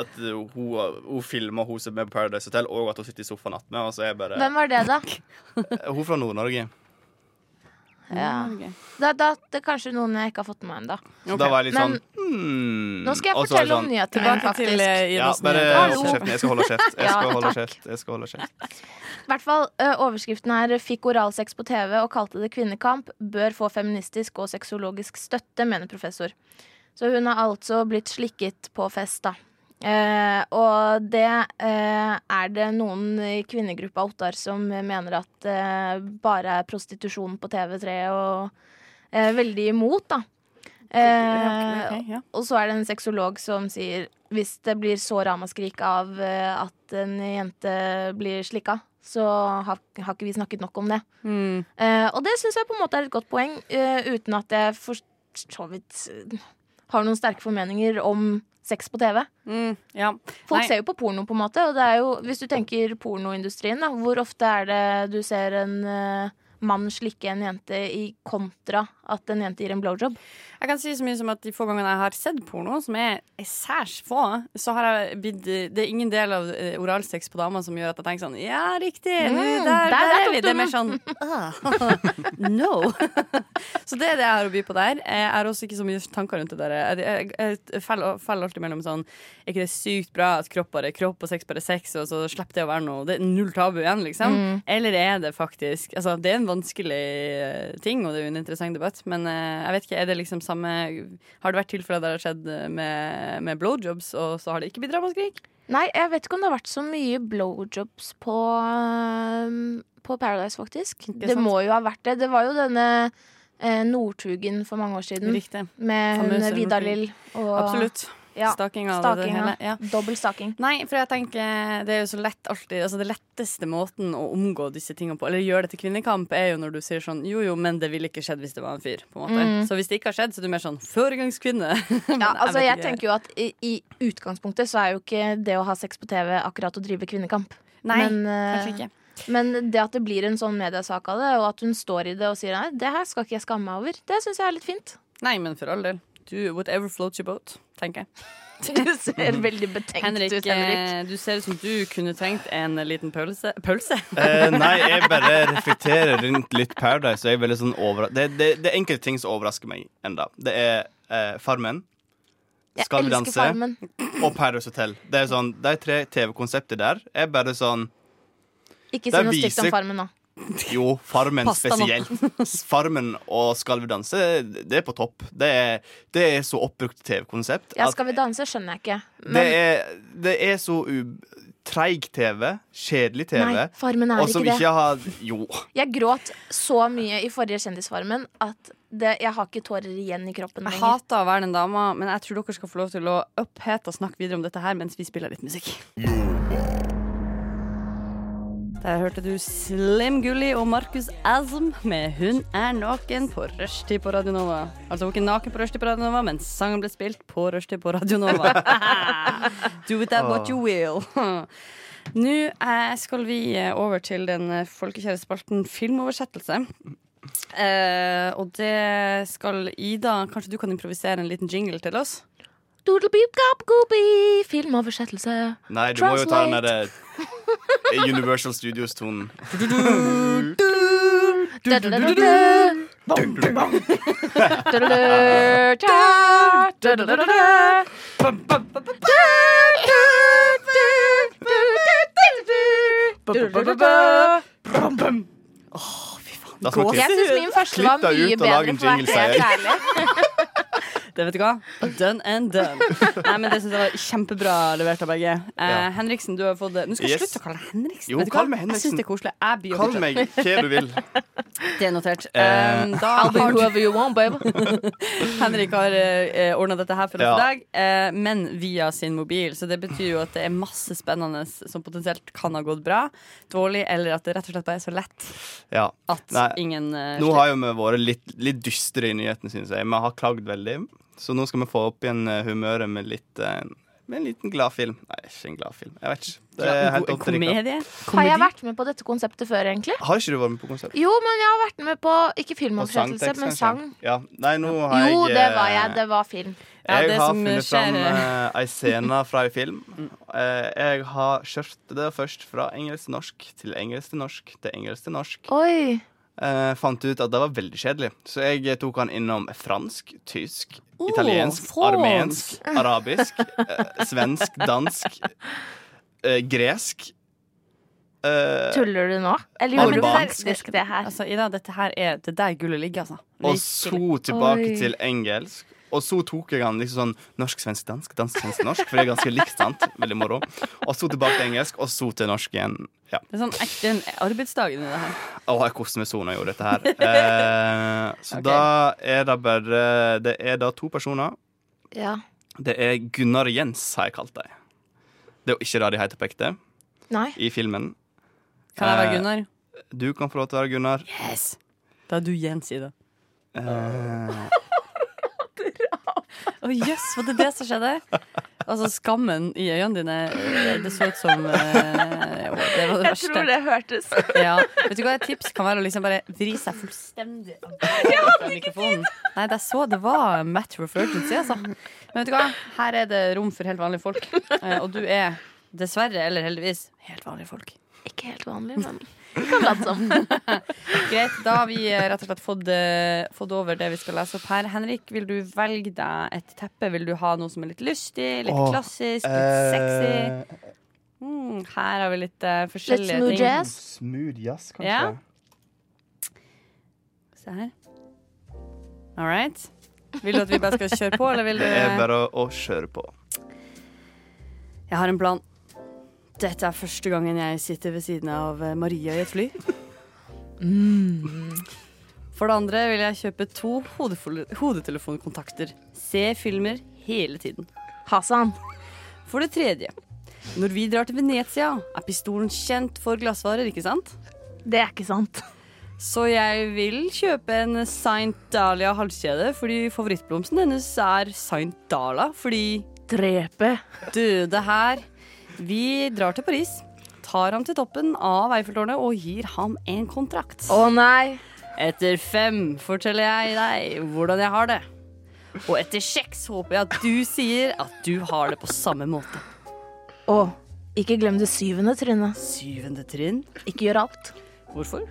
[SPEAKER 5] at hun, hun filmer hun som er med på Paradise Hotel, og at hun sitter i sofaen attmed. Og så er jeg bare
[SPEAKER 4] Hvem var det, da?
[SPEAKER 5] Hun fra Nord-Norge.
[SPEAKER 3] Ah,
[SPEAKER 4] Ja.
[SPEAKER 3] ok.
[SPEAKER 4] Da, da, det er kanskje noen jeg ikke har fått med meg ennå.
[SPEAKER 5] Så da var jeg litt
[SPEAKER 4] Men-
[SPEAKER 5] sånn hmm.
[SPEAKER 4] Nå skal jeg
[SPEAKER 5] Og så var
[SPEAKER 4] fortelle om
[SPEAKER 5] sånn,
[SPEAKER 4] nyhetene,
[SPEAKER 3] Tilbake
[SPEAKER 4] faktisk.
[SPEAKER 3] til eh,
[SPEAKER 5] Ja,
[SPEAKER 3] Idas
[SPEAKER 5] bare
[SPEAKER 3] nyheter.
[SPEAKER 5] hold kjeften. Jeg skal holde kjeft. Jeg
[SPEAKER 4] Ja,
[SPEAKER 5] skal holde
[SPEAKER 4] takk.
[SPEAKER 5] kjeft. Jeg skal holde kjeft.
[SPEAKER 4] hvert fall, ø, overskriften er eh, 'Fikk oralsex på TV og kalte det kvinnekamp'. Bør få feministisk og sexologisk støtte, mener professor. Så hun har altså blitt slikket på fest, da. Eh, og det eh, er det noen i kvinnegruppa Ottar som mener at eh, bare er prostitusjon på TV3 og eh, veldig imot, da.
[SPEAKER 3] Ja,
[SPEAKER 4] Eh,
[SPEAKER 3] ok, ja.
[SPEAKER 4] og så er det en sexolog som sier hvis det blir så ramaskrik av eh, at en jente blir slikka, så har, har ikke vi snakket nok om det.
[SPEAKER 3] Mm.
[SPEAKER 4] Eh, og det syns jeg på en måte er et godt poeng, eh, uten at jeg for så vidt eh, har noen sterke formeninger om sex på TV.
[SPEAKER 3] Mm. ja.
[SPEAKER 4] Folk
[SPEAKER 3] Nei.
[SPEAKER 4] ser jo på porno, på en måte. Og det er jo, hvis du tenker pornoindustrien, da, hvor ofte er det du ser en eh, mann slikke en jente i kontra at en jente gir en blowjob?
[SPEAKER 3] Jeg kan si så mye som at de få gangene jeg har sett porno, som er særs få, så har jeg blitt Det er ingen del av eh, oralsex på damer som gjør at jeg tenker sånn Ja, riktig! nå,
[SPEAKER 4] Mm,
[SPEAKER 3] der,
[SPEAKER 4] der-
[SPEAKER 3] der,
[SPEAKER 4] der
[SPEAKER 3] er
[SPEAKER 4] tok
[SPEAKER 3] vi!
[SPEAKER 4] du
[SPEAKER 3] Det er mer sånn «Ah,
[SPEAKER 4] [LAUGHS]
[SPEAKER 3] [LAUGHS] No! så det er det jeg har å by på der. Eh, Jeg har også ikke så mye tanker rundt det der. Jeg, jeg, jeg, feller feller alltid mellom sånn Er ikke det sykt bra at kropp bare er kropp og sex bare er sex, og så slipper det å være noe Det er null tabu igjen, liksom? Eller er det faktisk Altså, det er en vanskelig eh, ting, og det er jo en interessant debatt, men eh, jeg vet ikke, er det liksom samme Har det vært tilfeller der det har skjedd eh, med, med blowjobs, og så har det ikke blitt ramaskrik?
[SPEAKER 4] Nei, jeg vet ikke om det har vært så mye blowjobs på, øhm, på Paradise, faktisk. Det
[SPEAKER 3] sant?
[SPEAKER 4] må jo ha vært det. Det var jo denne eh, Northugen for mange år siden.
[SPEAKER 3] Riktig.
[SPEAKER 4] Med hun
[SPEAKER 3] Famøse
[SPEAKER 4] Vidar
[SPEAKER 3] Northugen.
[SPEAKER 4] Lill. Mm. Og,
[SPEAKER 3] Absolutt.
[SPEAKER 4] Ja,
[SPEAKER 3] Staking av det
[SPEAKER 4] stakinga.
[SPEAKER 3] hele. Ja.
[SPEAKER 4] Dobbel staking.
[SPEAKER 3] Nei, for jeg tenker det er jo så lett alltid Altså det letteste måten å omgå disse tingene på, eller gjøre det til kvinnekamp, er jo når du sier sånn jo jo, men det ville ikke skjedd hvis det var en fyr, på en måte. Så hvis det ikke har skjedd, så er du mer sånn foregangskvinne. Men
[SPEAKER 4] Ja, altså jeg
[SPEAKER 3] vet ikke.
[SPEAKER 4] tenker jo at i, i utgangspunktet så er jo ikke det å ha sex på TV akkurat å drive kvinnekamp.
[SPEAKER 3] Nei,
[SPEAKER 4] men, eh,
[SPEAKER 3] kanskje ikke.
[SPEAKER 4] Men det at det blir en sånn mediesak av det, og at hun står i det og sier nei, det her skal ikke jeg skamme meg over, det syns jeg er litt fint. [LAUGHS]
[SPEAKER 3] Nei, men for all del. do whatever floats your boat, tenker jeg.
[SPEAKER 4] Du ser veldig betenkt
[SPEAKER 3] Mm. Henrik,
[SPEAKER 4] ut, Henrik.
[SPEAKER 3] eh, du ser ut som du kunne trengt en liten pølse. Pølse?
[SPEAKER 5] Eh, nei, jeg bare reflekterer rundt litt Paradise. Og jeg er veldig sånn overra det, det, det er enkelte ting som overrasker meg enda Det er eh, Farmen,
[SPEAKER 4] Jeg
[SPEAKER 5] Skal vi
[SPEAKER 4] elsker
[SPEAKER 5] danse?
[SPEAKER 4] Farmen.
[SPEAKER 5] og Paradise Hotel. Det er sånn, De tre TV-konseptet der er bare sånn
[SPEAKER 4] Ikke si
[SPEAKER 5] Der
[SPEAKER 4] noe stygt om
[SPEAKER 5] viser-
[SPEAKER 4] Farmen nå.
[SPEAKER 5] Jo, Farmen
[SPEAKER 3] Pass deg nå.
[SPEAKER 5] spesielt. Farmen og Skal vi danse, det er på topp. Det er, det er så oppbrukt TV-konsept.
[SPEAKER 4] Ja,
[SPEAKER 5] at
[SPEAKER 4] skal vi danse? Skjønner jeg ikke.
[SPEAKER 5] det, er, det er så u... treig TV. Kjedelig TV.
[SPEAKER 4] nei, Farmen er
[SPEAKER 5] og som
[SPEAKER 4] ikke det.
[SPEAKER 5] ikke har Jo.
[SPEAKER 4] Jeg gråt så mye i forrige Kjendisfarmen at det, jeg har ikke tårer igjen i kroppen
[SPEAKER 3] Jeg
[SPEAKER 4] lenger.
[SPEAKER 3] hater å være den dama, men jeg tror dere skal få lov til å opphete og snakke videre om dette her mens vi spiller litt musikk. Der hørte du Slim Gulli og Markus Asm med 'Hun er naken' på rushtid på Radio Nova. Altså hun er ikke naken på rushtid på Radio Nova, men sangen ble spilt på rushtid på Radio Nova. Do with that what you will. Nå eh, skal vi eh, over til den eh, folkekjære spalten Filmoversettelse. Eh, og det skal Ida Kanskje du kan improvisere en liten jingle til oss?
[SPEAKER 4] Doodle-beep-gap-goopy, filmoversettelse.
[SPEAKER 5] Nei, du må jo ta den derre Universal Studios-tonen.
[SPEAKER 4] Du-du-du-du-du. Du-du-du-du. Du-du-du-du-du.
[SPEAKER 5] Da skal
[SPEAKER 4] Jeg
[SPEAKER 5] vi-
[SPEAKER 4] syns min første var
[SPEAKER 5] Klipp deg
[SPEAKER 4] mye
[SPEAKER 5] ut og lag
[SPEAKER 4] bedre,
[SPEAKER 5] en
[SPEAKER 4] for å
[SPEAKER 5] jingle,
[SPEAKER 4] være helt ærlig.
[SPEAKER 3] Det vet du hva? Done and done. Nei, men Det synes jeg var kjempebra levert av begge. Eh,
[SPEAKER 5] Ja.
[SPEAKER 3] Henriksen, du har fått det. Nå skal jeg
[SPEAKER 5] Yes.
[SPEAKER 3] slutte å kalle deg Henriksen.
[SPEAKER 5] Jo,
[SPEAKER 3] Vet du
[SPEAKER 5] kall
[SPEAKER 3] hva? Jeg
[SPEAKER 5] meg Henriksen.
[SPEAKER 3] syns det er koselig. Jeg blir jo
[SPEAKER 5] Kall
[SPEAKER 3] fortsatt-
[SPEAKER 5] meg hva du vil.
[SPEAKER 4] [LAUGHS]
[SPEAKER 3] Det er notert.
[SPEAKER 5] Eh.
[SPEAKER 3] Um, da har du,
[SPEAKER 4] Whoever you want, babe.
[SPEAKER 3] [LAUGHS] Henrik har uh, ordna dette her for oss
[SPEAKER 5] Ja.
[SPEAKER 3] i dag, eh, men via sin mobil. Så det betyr jo at det er masse spennende som potensielt kan ha gått bra, dårlig, eller at det rett og slett bare er så lett
[SPEAKER 5] Ja.
[SPEAKER 3] at
[SPEAKER 5] Nei.
[SPEAKER 3] ingen eh,
[SPEAKER 5] Nå har jo vi vært litt, litt dystre i nyhetene, syns jeg. Vi har klagd veldig. Så nå skal vi få opp igjen eh, humøret med, litt, eh, med en liten glad film. Nei, ikke en glad film. Jeg vet ikke. Det er
[SPEAKER 3] Ja,
[SPEAKER 5] eh, helt
[SPEAKER 3] en
[SPEAKER 5] opp til dere.
[SPEAKER 3] Komedie?
[SPEAKER 4] Har jeg
[SPEAKER 3] Komedi?
[SPEAKER 4] vært med på dette konseptet før, egentlig?
[SPEAKER 5] Har ikke du vært med på konsert?
[SPEAKER 4] Jo, men jeg har vært med på ikke
[SPEAKER 5] Og
[SPEAKER 4] filmoversettelse,
[SPEAKER 5] sangtekst,
[SPEAKER 4] men
[SPEAKER 5] kanskje?
[SPEAKER 4] sang.
[SPEAKER 5] Ja. Nei, nå har
[SPEAKER 4] Jo,
[SPEAKER 5] jeg
[SPEAKER 4] det
[SPEAKER 5] eh,
[SPEAKER 4] var jeg. Det var film.
[SPEAKER 3] Ja, det
[SPEAKER 5] jeg har
[SPEAKER 3] som
[SPEAKER 5] funnet
[SPEAKER 3] skjer-
[SPEAKER 5] fram eh, ei scene fra ei film. Eh, jeg har kjørt det først fra engelsk til norsk til engelsk til norsk til engelsk til norsk.
[SPEAKER 4] Oi.
[SPEAKER 5] Eh, fant ut at det var veldig kjedelig, så jeg tok han innom fransk, tysk,
[SPEAKER 3] Oh,
[SPEAKER 5] italiensk,
[SPEAKER 3] fransk.
[SPEAKER 5] armensk, arabisk, eh, svensk, dansk, eh, gresk. eh,
[SPEAKER 4] Tuller du nå? Eller
[SPEAKER 5] Alle
[SPEAKER 4] gjorde du
[SPEAKER 5] barn.
[SPEAKER 4] faktisk det her?
[SPEAKER 3] Altså, Ida, dette her er det er der gullet ligger, altså.
[SPEAKER 5] og
[SPEAKER 3] Virkelig.
[SPEAKER 5] så tilbake
[SPEAKER 4] Oi.
[SPEAKER 5] til engelsk. Og så tok jeg han liksom sånn norsk, svensk, dansk, dansk, svensk, norsk. For det er ganske likt, sant? Veldig moro. Og så tilbake til engelsk, og så til norsk igjen. Ja.
[SPEAKER 3] Det er sånn ekte en arbeidsdag inni det her.
[SPEAKER 5] Å, jeg koser meg sånn når jeg gjorde dette her. Eh,
[SPEAKER 3] [LAUGHS]
[SPEAKER 5] så
[SPEAKER 3] Ok.
[SPEAKER 5] da er det bare Det er da to personer.
[SPEAKER 4] Ja.
[SPEAKER 5] Det er Gunnar og Jens, har jeg kalt dem. Det er jo ikke det de heter på ekte
[SPEAKER 4] Nei.
[SPEAKER 5] i filmen.
[SPEAKER 3] Kan jeg være
[SPEAKER 5] Eh,
[SPEAKER 3] Gunnar?
[SPEAKER 5] Du kan få lov til å være Gunnar.
[SPEAKER 3] Yes! Da er du Jens, Ida.
[SPEAKER 5] Eh,
[SPEAKER 3] Å jøss, var det det som skjedde? Altså, skammen i øynene dine, eh, det så ut som eh, å, Det var det verste.
[SPEAKER 4] det hørtes.
[SPEAKER 3] Ja. Vet du hva et tips kan være? Å liksom bare vri seg fullstendig av fra mikrofonen. Nei, det jeg så det var matter of urgency, altså. Men vet du hva? Her er det rom for helt vanlige folk. Eh, Og du er dessverre, eller heldigvis, helt vanlige folk.
[SPEAKER 4] Ikke helt vanlig, men vi kan sånn. late som. [LAUGHS]
[SPEAKER 3] Greit, da har vi eh, rett og slett fått, eh, fått over det vi skal lese opp her. Henrik, vil du velge deg et teppe? Vil du ha noe som er litt lystig, litt
[SPEAKER 5] Åh,
[SPEAKER 3] klassisk, litt sexy?
[SPEAKER 5] eh,
[SPEAKER 3] Mm, her har vi litt eh,
[SPEAKER 4] Litt
[SPEAKER 3] forskjellige
[SPEAKER 4] smooth
[SPEAKER 3] ting.
[SPEAKER 4] jazz.
[SPEAKER 5] Smooth jazz, kanskje.
[SPEAKER 3] Ja. Se her. All right. Vil du at vi bare skal kjøre på, eller
[SPEAKER 5] [LAUGHS]
[SPEAKER 3] vil du
[SPEAKER 5] Det er bare å, å kjøre på. [LAUGHS]
[SPEAKER 3] Jeg har en plan. Dette er første gangen jeg sitter ved siden av eh, Maria i et fly. For det andre vil jeg kjøpe to hodefol- hodetelefonkontakter. Se filmer hele tiden.
[SPEAKER 4] Hasan.
[SPEAKER 3] For det tredje. Når vi drar til Venezia, er pistolen kjent for glassvarer, ikke sant?
[SPEAKER 4] Det er ikke sant.
[SPEAKER 3] Så jeg vil kjøpe en Saint Dahlia halskjede, fordi favorittblomsten hennes er Saint Dahlia. Fordi
[SPEAKER 4] Drepe.
[SPEAKER 3] døde her. Vi drar til Paris, tar ham til toppen av Eiffeltårnet og gir ham en kontrakt.
[SPEAKER 4] Å nei.
[SPEAKER 3] Etter fem forteller jeg deg hvordan jeg har det. Og etter kjeks håper jeg at du sier at du har det på samme måte.
[SPEAKER 4] Og ikke glem det syvende trynet.
[SPEAKER 3] Syvende trinn.
[SPEAKER 4] Ikke gjør alt.
[SPEAKER 3] Hvorfor?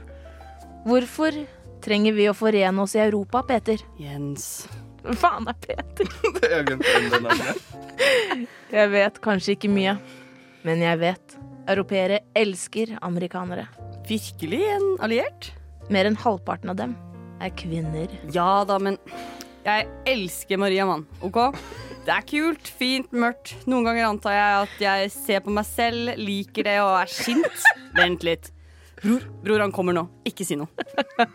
[SPEAKER 4] Hvorfor trenger vi å forene oss i Europa, Peter?
[SPEAKER 3] Jens.
[SPEAKER 4] Hvem faen er Peter?
[SPEAKER 5] Jeg har glemt den navnet.
[SPEAKER 4] Jeg vet kanskje ikke mye, men jeg vet. Europeere elsker amerikanere.
[SPEAKER 3] Virkelig en alliert?
[SPEAKER 4] Mer enn halvparten av dem er kvinner.
[SPEAKER 3] Ja da, men jeg elsker Maria, mann. OK? Det er kult, fint, mørkt. Noen ganger antar jeg at jeg ser på meg selv, liker det og er sint. Vent litt. Bror, bror, han kommer nå. Ikke si noe.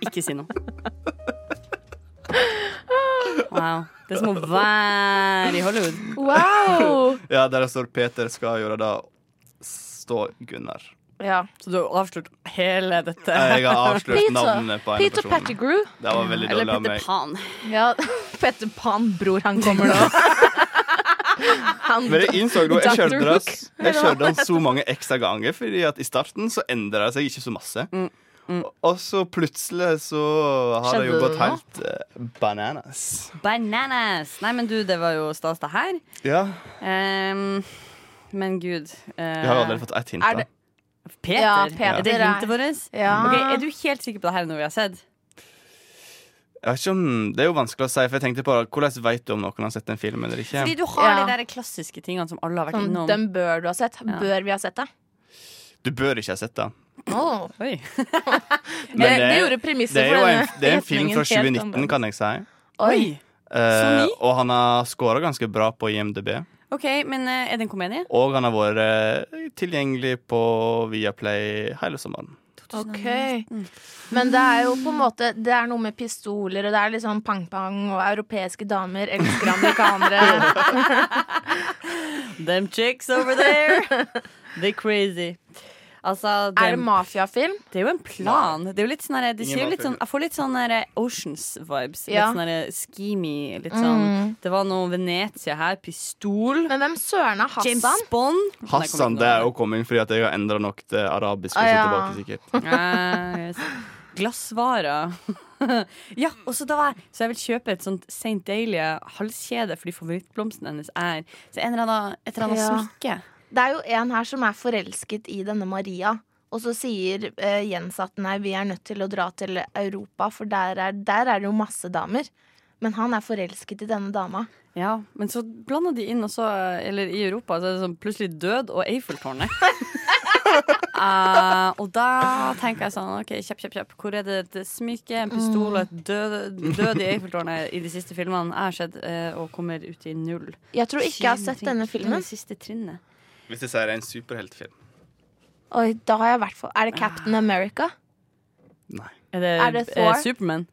[SPEAKER 3] Ikke si noe. Wow. Det er som å være i Hollywood.
[SPEAKER 4] Wow!
[SPEAKER 5] Ja, der det står Peter skal gjøre det, står Gunnar.
[SPEAKER 4] Ja.
[SPEAKER 3] Så du har avslørt hele dette.
[SPEAKER 5] Jeg har avslørt
[SPEAKER 4] Peter,
[SPEAKER 5] navnet på en
[SPEAKER 4] Peter
[SPEAKER 5] person.
[SPEAKER 4] Pettigrew.
[SPEAKER 5] Det var veldig
[SPEAKER 3] Eller
[SPEAKER 5] dårlig av
[SPEAKER 3] Petter
[SPEAKER 5] meg.
[SPEAKER 3] Pan.
[SPEAKER 4] [LAUGHS] Ja, Petter Pan, bror, han kommer nå. Han
[SPEAKER 5] Men jeg innså nå, jeg
[SPEAKER 4] Dr.
[SPEAKER 5] kjørte den,
[SPEAKER 4] Hook.
[SPEAKER 5] jeg kjørte den så mange ekstra ganger, fordi at i starten så endra det seg ikke så masse.
[SPEAKER 4] Mm,
[SPEAKER 5] Og- Og så plutselig så har det
[SPEAKER 4] Skjedde
[SPEAKER 5] jo
[SPEAKER 4] det
[SPEAKER 5] gått
[SPEAKER 4] noe?
[SPEAKER 5] helt eh, bananas.
[SPEAKER 3] Bananas. Nei, men du, det var jo stas, det her.
[SPEAKER 5] Ja,
[SPEAKER 3] Ehm, men gud. eh,
[SPEAKER 5] jeg har jo allerede fått ett hint.
[SPEAKER 4] Eh, Er
[SPEAKER 5] da.
[SPEAKER 4] det-
[SPEAKER 3] Peter.
[SPEAKER 4] Ja, Peter
[SPEAKER 3] Er det
[SPEAKER 4] er-
[SPEAKER 3] hintet vårt?
[SPEAKER 4] [LAUGHS] Ja.
[SPEAKER 3] Ok, Er du helt sikker på det her når vi har sett?
[SPEAKER 5] Jeg vet ikke om, det er jo vanskelig å si, for jeg tenkte på hvordan vet du om noen har sett en film eller ikke.
[SPEAKER 3] Fordi du har
[SPEAKER 4] Ja.
[SPEAKER 3] de der klassiske tingene som alle har vært
[SPEAKER 4] Sånn,
[SPEAKER 3] innom.
[SPEAKER 4] den bør du ha sett. Bør vi ha sett det?
[SPEAKER 5] Du bør ikke ha sett det.
[SPEAKER 4] Oh.
[SPEAKER 3] Oi.
[SPEAKER 5] Men
[SPEAKER 4] det, det
[SPEAKER 5] det-
[SPEAKER 4] gjorde premisset
[SPEAKER 5] Det er
[SPEAKER 4] for
[SPEAKER 5] jo en,
[SPEAKER 4] denne
[SPEAKER 5] det er en film
[SPEAKER 4] retningen
[SPEAKER 5] fra
[SPEAKER 4] helt
[SPEAKER 5] 2019,
[SPEAKER 4] annerledes.
[SPEAKER 5] kan jeg si.
[SPEAKER 4] Oi.
[SPEAKER 3] Oi.
[SPEAKER 5] Eh,
[SPEAKER 3] ny?
[SPEAKER 5] og han har scora ganske bra på IMDb.
[SPEAKER 3] Ok, men eh, er det en komedie?
[SPEAKER 5] Og han har vært eh, tilgjengelig på Viaplay hele sommeren.
[SPEAKER 4] Ok. Mm. Men det er jo på en måte Det er noe med pistoler, og det er liksom pang-pang, og europeiske damer elsker [LAUGHS] amerikanere.
[SPEAKER 3] Them chicks over [LAUGHS] there. They crazy. Altså,
[SPEAKER 4] er det
[SPEAKER 3] dem-
[SPEAKER 4] mafiafilm?
[SPEAKER 3] det er jo en plan. Det er jo litt sånn her- de
[SPEAKER 5] Ingen
[SPEAKER 3] sier jo litt
[SPEAKER 5] bakgrunn.
[SPEAKER 3] sånn, jeg får litt sånn her Oceans-vibes.
[SPEAKER 4] Ja.
[SPEAKER 3] Litt sånn her schemy. Litt sånn Det var noe Venezia her. Pistol.
[SPEAKER 4] Men hvem søren er
[SPEAKER 3] James
[SPEAKER 4] Hassan?
[SPEAKER 3] Bond. Nei, jeg kommer
[SPEAKER 5] Hassan,
[SPEAKER 3] ikke
[SPEAKER 5] det
[SPEAKER 3] på
[SPEAKER 5] er jo kommet inn fordi at jeg har endra nok til arabisk. Og
[SPEAKER 4] Ah,
[SPEAKER 5] så
[SPEAKER 4] ja.
[SPEAKER 5] tilbake
[SPEAKER 3] [LAUGHS]
[SPEAKER 5] sikkert
[SPEAKER 3] Ah, yes. Glassvarer. [LAUGHS] ja, og så da var jeg Så jeg vil kjøpe et sånt St. Dahlia halskjede fordi favorittblomsten hennes er Så en eller annen, et eller annet
[SPEAKER 4] Ja.
[SPEAKER 3] smykke.
[SPEAKER 4] Det er jo en her som er forelsket i denne Maria. Og så sier eh, Jens at nei, vi er nødt til å dra til Europa, for der er, der er det jo masse damer. Men han er forelsket i denne dama.
[SPEAKER 3] Ja, men så blander de inn også Eller i Europa så er det sånn plutselig død og Eiffeltårnet. [LAUGHS] Eh, og da tenker jeg sånn OK, kjapp, kjapp, kjapp. Hvor er det et smykke, en pistol og et død, død i Eiffeltårnet i de siste filmene jeg har sett, eh, og kommer ut i null?
[SPEAKER 4] Jeg tror ikke jeg har sett denne filmen.
[SPEAKER 3] Det siste trinnet.
[SPEAKER 5] Hvis jeg sier det er en superheltfilm.
[SPEAKER 4] Oi, da har jeg vært for... Er det Captain America?
[SPEAKER 5] Nei.
[SPEAKER 3] Er det,
[SPEAKER 4] Er det Thor?
[SPEAKER 3] eh, Superman?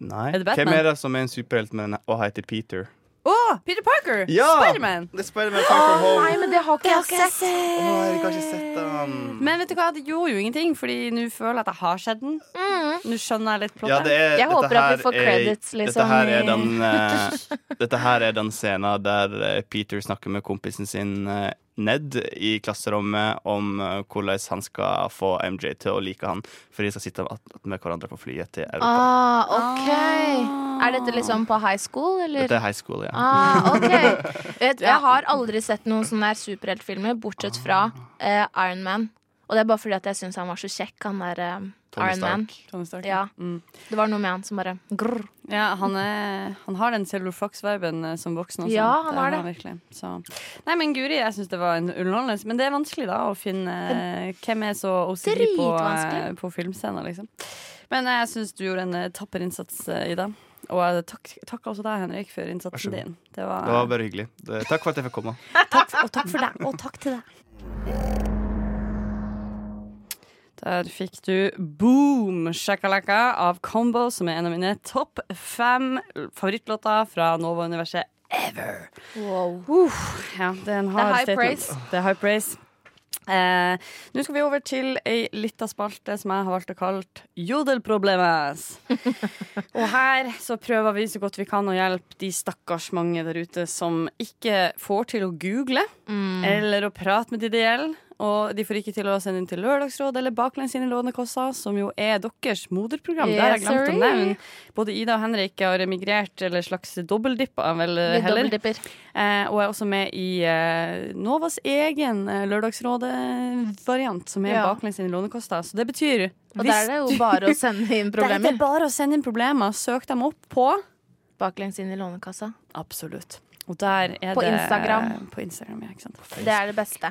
[SPEAKER 5] Nei.
[SPEAKER 3] Er det Batman?
[SPEAKER 5] Hvem er det som er en superhelt med den- og heter Peter?
[SPEAKER 3] Å, Peter Parker!
[SPEAKER 5] Ja!
[SPEAKER 3] Spiderman!
[SPEAKER 5] Det er Spiderman Far From
[SPEAKER 4] Nei,
[SPEAKER 5] Home.
[SPEAKER 4] men det har ikke jeg sett.
[SPEAKER 5] Å, jeg har ikke sett den.
[SPEAKER 3] Men vet du hva, det gjorde jo ingenting, Fordi nå føler jeg at jeg har sett den.
[SPEAKER 4] Mm.
[SPEAKER 3] Nå skjønner jeg litt plottet.
[SPEAKER 5] Ja, det er,
[SPEAKER 4] Jeg
[SPEAKER 5] dette
[SPEAKER 4] håper at vi
[SPEAKER 5] her
[SPEAKER 4] får
[SPEAKER 5] er-
[SPEAKER 4] credits, liksom,
[SPEAKER 5] Dette her
[SPEAKER 4] i-
[SPEAKER 5] er den,
[SPEAKER 4] [LAUGHS]
[SPEAKER 5] eh, dette her er den scenen der eh, Peter snakker med kompisen sin eh, Ned i klasserommet om eh, hvordan han skal få MJ til å like han, for de skal sitte at- med hverandre på flyet til Europa.
[SPEAKER 4] Ah, ok. Er dette liksom på high school, eller?
[SPEAKER 5] Dette er high school, ja.
[SPEAKER 4] Ah,
[SPEAKER 3] [LAUGHS]
[SPEAKER 4] ok. Vet, jeg har aldri sett noen sånne der superheltfilmer, bortsett fra eh, Iron Man. Og det er bare fordi at jeg syns han var så kjekk, han der eh,
[SPEAKER 5] Tony
[SPEAKER 4] Iron Man.
[SPEAKER 3] Tony Stark.
[SPEAKER 4] Ja.
[SPEAKER 3] Mm.
[SPEAKER 4] Det var noe med han som bare grrr.
[SPEAKER 3] ja han, er, han har den celluloflax-verben eh, som voksen også.
[SPEAKER 4] Ja, han har
[SPEAKER 3] virkelig. Så. Nei, men Guri, jeg syns det var en underholdende. Men det er vanskelig da å finne eh, hvem er så OCD på, eh,
[SPEAKER 4] Dritvanskelig.
[SPEAKER 3] på filmscenen, liksom. Men eh, jeg syns du gjorde en eh, tapper innsats, eh, Ida. Og jeg takk, takker også deg, Henrik, for
[SPEAKER 5] så
[SPEAKER 3] innsatsen
[SPEAKER 5] god.
[SPEAKER 3] din. Det var,
[SPEAKER 5] Det var bare hyggelig. Det, takk for at jeg fikk komme.
[SPEAKER 3] Takk, og takk for deg, og takk til deg. Der fikk du Boom Shakalaka av Combo, som er en av mine topp fem favorittlåter fra Nova-universet ever.
[SPEAKER 4] Wow.
[SPEAKER 3] Ja, det er en
[SPEAKER 4] Det er
[SPEAKER 3] hard
[SPEAKER 4] high
[SPEAKER 3] statement.
[SPEAKER 4] praise.
[SPEAKER 3] Det er high praise. Eh, Nå skal vi over til ei lita spalte som jeg har valgt å kalle Jodelproblemet. Og her så prøver vi så godt vi kan å hjelpe de stakkars Mm. mange der ute som ikke får til å google eller å prate med de det gjelder. og de får ikke til å sende inn til Lørdagsrådet eller Baklengs inn i Lånekassa, som jo er deres moderprogram. det har jeg
[SPEAKER 4] Yes,
[SPEAKER 3] glemt å
[SPEAKER 4] sorry.
[SPEAKER 3] nevne. Både Ida og Henrik har migrert, eller slags dobbeltdippa, vel
[SPEAKER 4] Vi
[SPEAKER 3] heller.
[SPEAKER 4] dobbeltdipper.
[SPEAKER 3] Eh, og er også med i eh, Novas egen eh, Lørdagsrådet-variant, som er
[SPEAKER 4] Ja.
[SPEAKER 3] Baklengs inn i Lånekassa. Så det betyr
[SPEAKER 4] Og der er det jo bare å sende inn
[SPEAKER 3] Der er [LAUGHS] det
[SPEAKER 4] problemer.
[SPEAKER 3] bare å sende inn problemer. Søk dem opp på
[SPEAKER 4] Baklengs inn i Lånekassa.
[SPEAKER 3] Absolutt. Og der er
[SPEAKER 4] På
[SPEAKER 3] det
[SPEAKER 4] Instagram.
[SPEAKER 3] På Instagram, ja, ikke sant.
[SPEAKER 4] Det er det beste.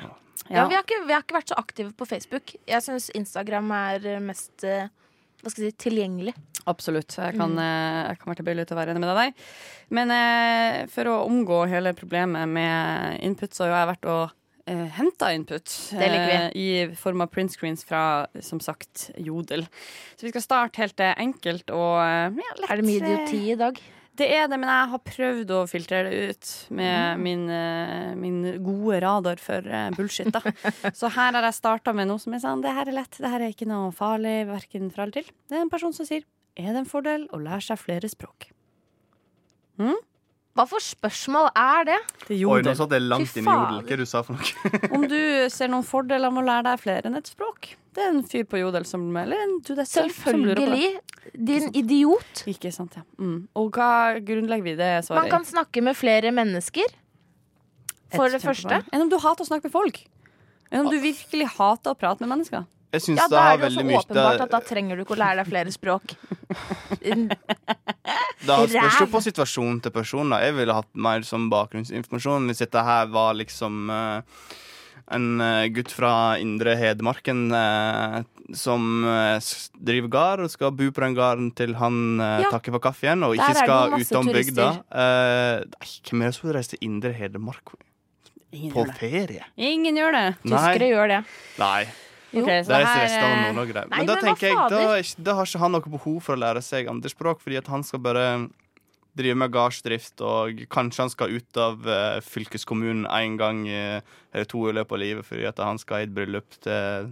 [SPEAKER 4] Ja, vi, har ikke, vi har ikke vært så aktive på Facebook. Jeg syns Instagram er eh, mest eh, hva skal jeg si, tilgjengelig.
[SPEAKER 3] Absolutt. Jeg
[SPEAKER 4] Mm.
[SPEAKER 3] kan, eh, jeg kan være tilbøyelig til å være enig med deg der. Men eh, for å omgå hele problemet med input, så har jo jeg vært og eh, henta input.
[SPEAKER 4] liker
[SPEAKER 3] eh, I form av printscreens fra, som sagt, Jodel. Så vi skal starte helt eh, enkelt og eh, ja, lett. eh.
[SPEAKER 4] Er det mye idioti i dag?
[SPEAKER 3] Det er det, men jeg har prøvd å filtrere det ut med min, eh, min gode radar for eh, bullshit. da. Så her har jeg starta med noe som er sånn, det her er lett, det her er ikke noe farlig, verken fra eller til. Det er en person som sier er det en fordel å lære seg flere språk.
[SPEAKER 4] Hva for spørsmål er det?
[SPEAKER 3] Det er
[SPEAKER 5] Oi, nå
[SPEAKER 3] jodel.
[SPEAKER 5] satt jeg langt
[SPEAKER 4] Fy
[SPEAKER 5] inn i jodel.
[SPEAKER 4] faen.
[SPEAKER 5] Hva du sa for noe? [LAUGHS]
[SPEAKER 3] Om du ser noen fordeler med å lære deg flere enn ett språk? Det er en fyr på jodel som Eller en du, det er selv som lurer på det.
[SPEAKER 4] Selvfølgelig. Din idiot.
[SPEAKER 3] Ikke sant, ja. Mm. Og hva grunnlegger vi det svaret
[SPEAKER 4] Man kan snakke med flere mennesker.
[SPEAKER 3] i?
[SPEAKER 4] For
[SPEAKER 3] Et
[SPEAKER 4] det første.
[SPEAKER 3] kjempepoeng. Enn om du hater å snakke med folk? Enn om du virkelig hater å prate med mennesker?
[SPEAKER 5] Jeg syns
[SPEAKER 4] Ja,
[SPEAKER 5] det
[SPEAKER 4] da
[SPEAKER 5] har
[SPEAKER 4] er det jo
[SPEAKER 5] veldig
[SPEAKER 4] så
[SPEAKER 5] mye
[SPEAKER 4] åpenbart at da trenger du ikke å lære deg flere
[SPEAKER 5] [LAUGHS]
[SPEAKER 4] språk.
[SPEAKER 5] Da spørs det
[SPEAKER 4] Ræv.
[SPEAKER 5] på situasjonen til personen. da. Jeg ville hatt mer som bakgrunnsinformasjon hvis dette her var liksom eh, en eh, gutt fra indre Hedmarken eh, som eh, s- driver gard og skal bo på den garden til han eh,
[SPEAKER 4] Ja.
[SPEAKER 5] takker for kaffen,
[SPEAKER 4] Der er
[SPEAKER 5] og ikke
[SPEAKER 4] det jo
[SPEAKER 5] skal
[SPEAKER 4] masse
[SPEAKER 5] utom bygda.
[SPEAKER 4] turister.
[SPEAKER 5] Eh, nei, hvem er det som reiser til indre Hedmark
[SPEAKER 3] Ingen
[SPEAKER 5] på
[SPEAKER 3] gjør det.
[SPEAKER 5] ferie?
[SPEAKER 3] Ingen gjør det.
[SPEAKER 4] Tyskere
[SPEAKER 5] Nei.
[SPEAKER 4] gjør det.
[SPEAKER 5] nei.
[SPEAKER 4] Jo.
[SPEAKER 3] Ok, så
[SPEAKER 5] Det er
[SPEAKER 3] her,
[SPEAKER 5] resten av
[SPEAKER 3] eh,
[SPEAKER 5] Nord-Norge, det.
[SPEAKER 4] Nei,
[SPEAKER 5] Men da
[SPEAKER 4] men hva
[SPEAKER 5] tenker jeg, da,
[SPEAKER 4] fader?
[SPEAKER 5] er ikke- da har ikke han noe behov for å lære seg andre språk, fordi at han skal bare mm, drive med gardsdrift, og kanskje han skal ut av eh, fylkeskommunen én gang eh, eller to i løpet av livet fordi at han skal i et bryllup til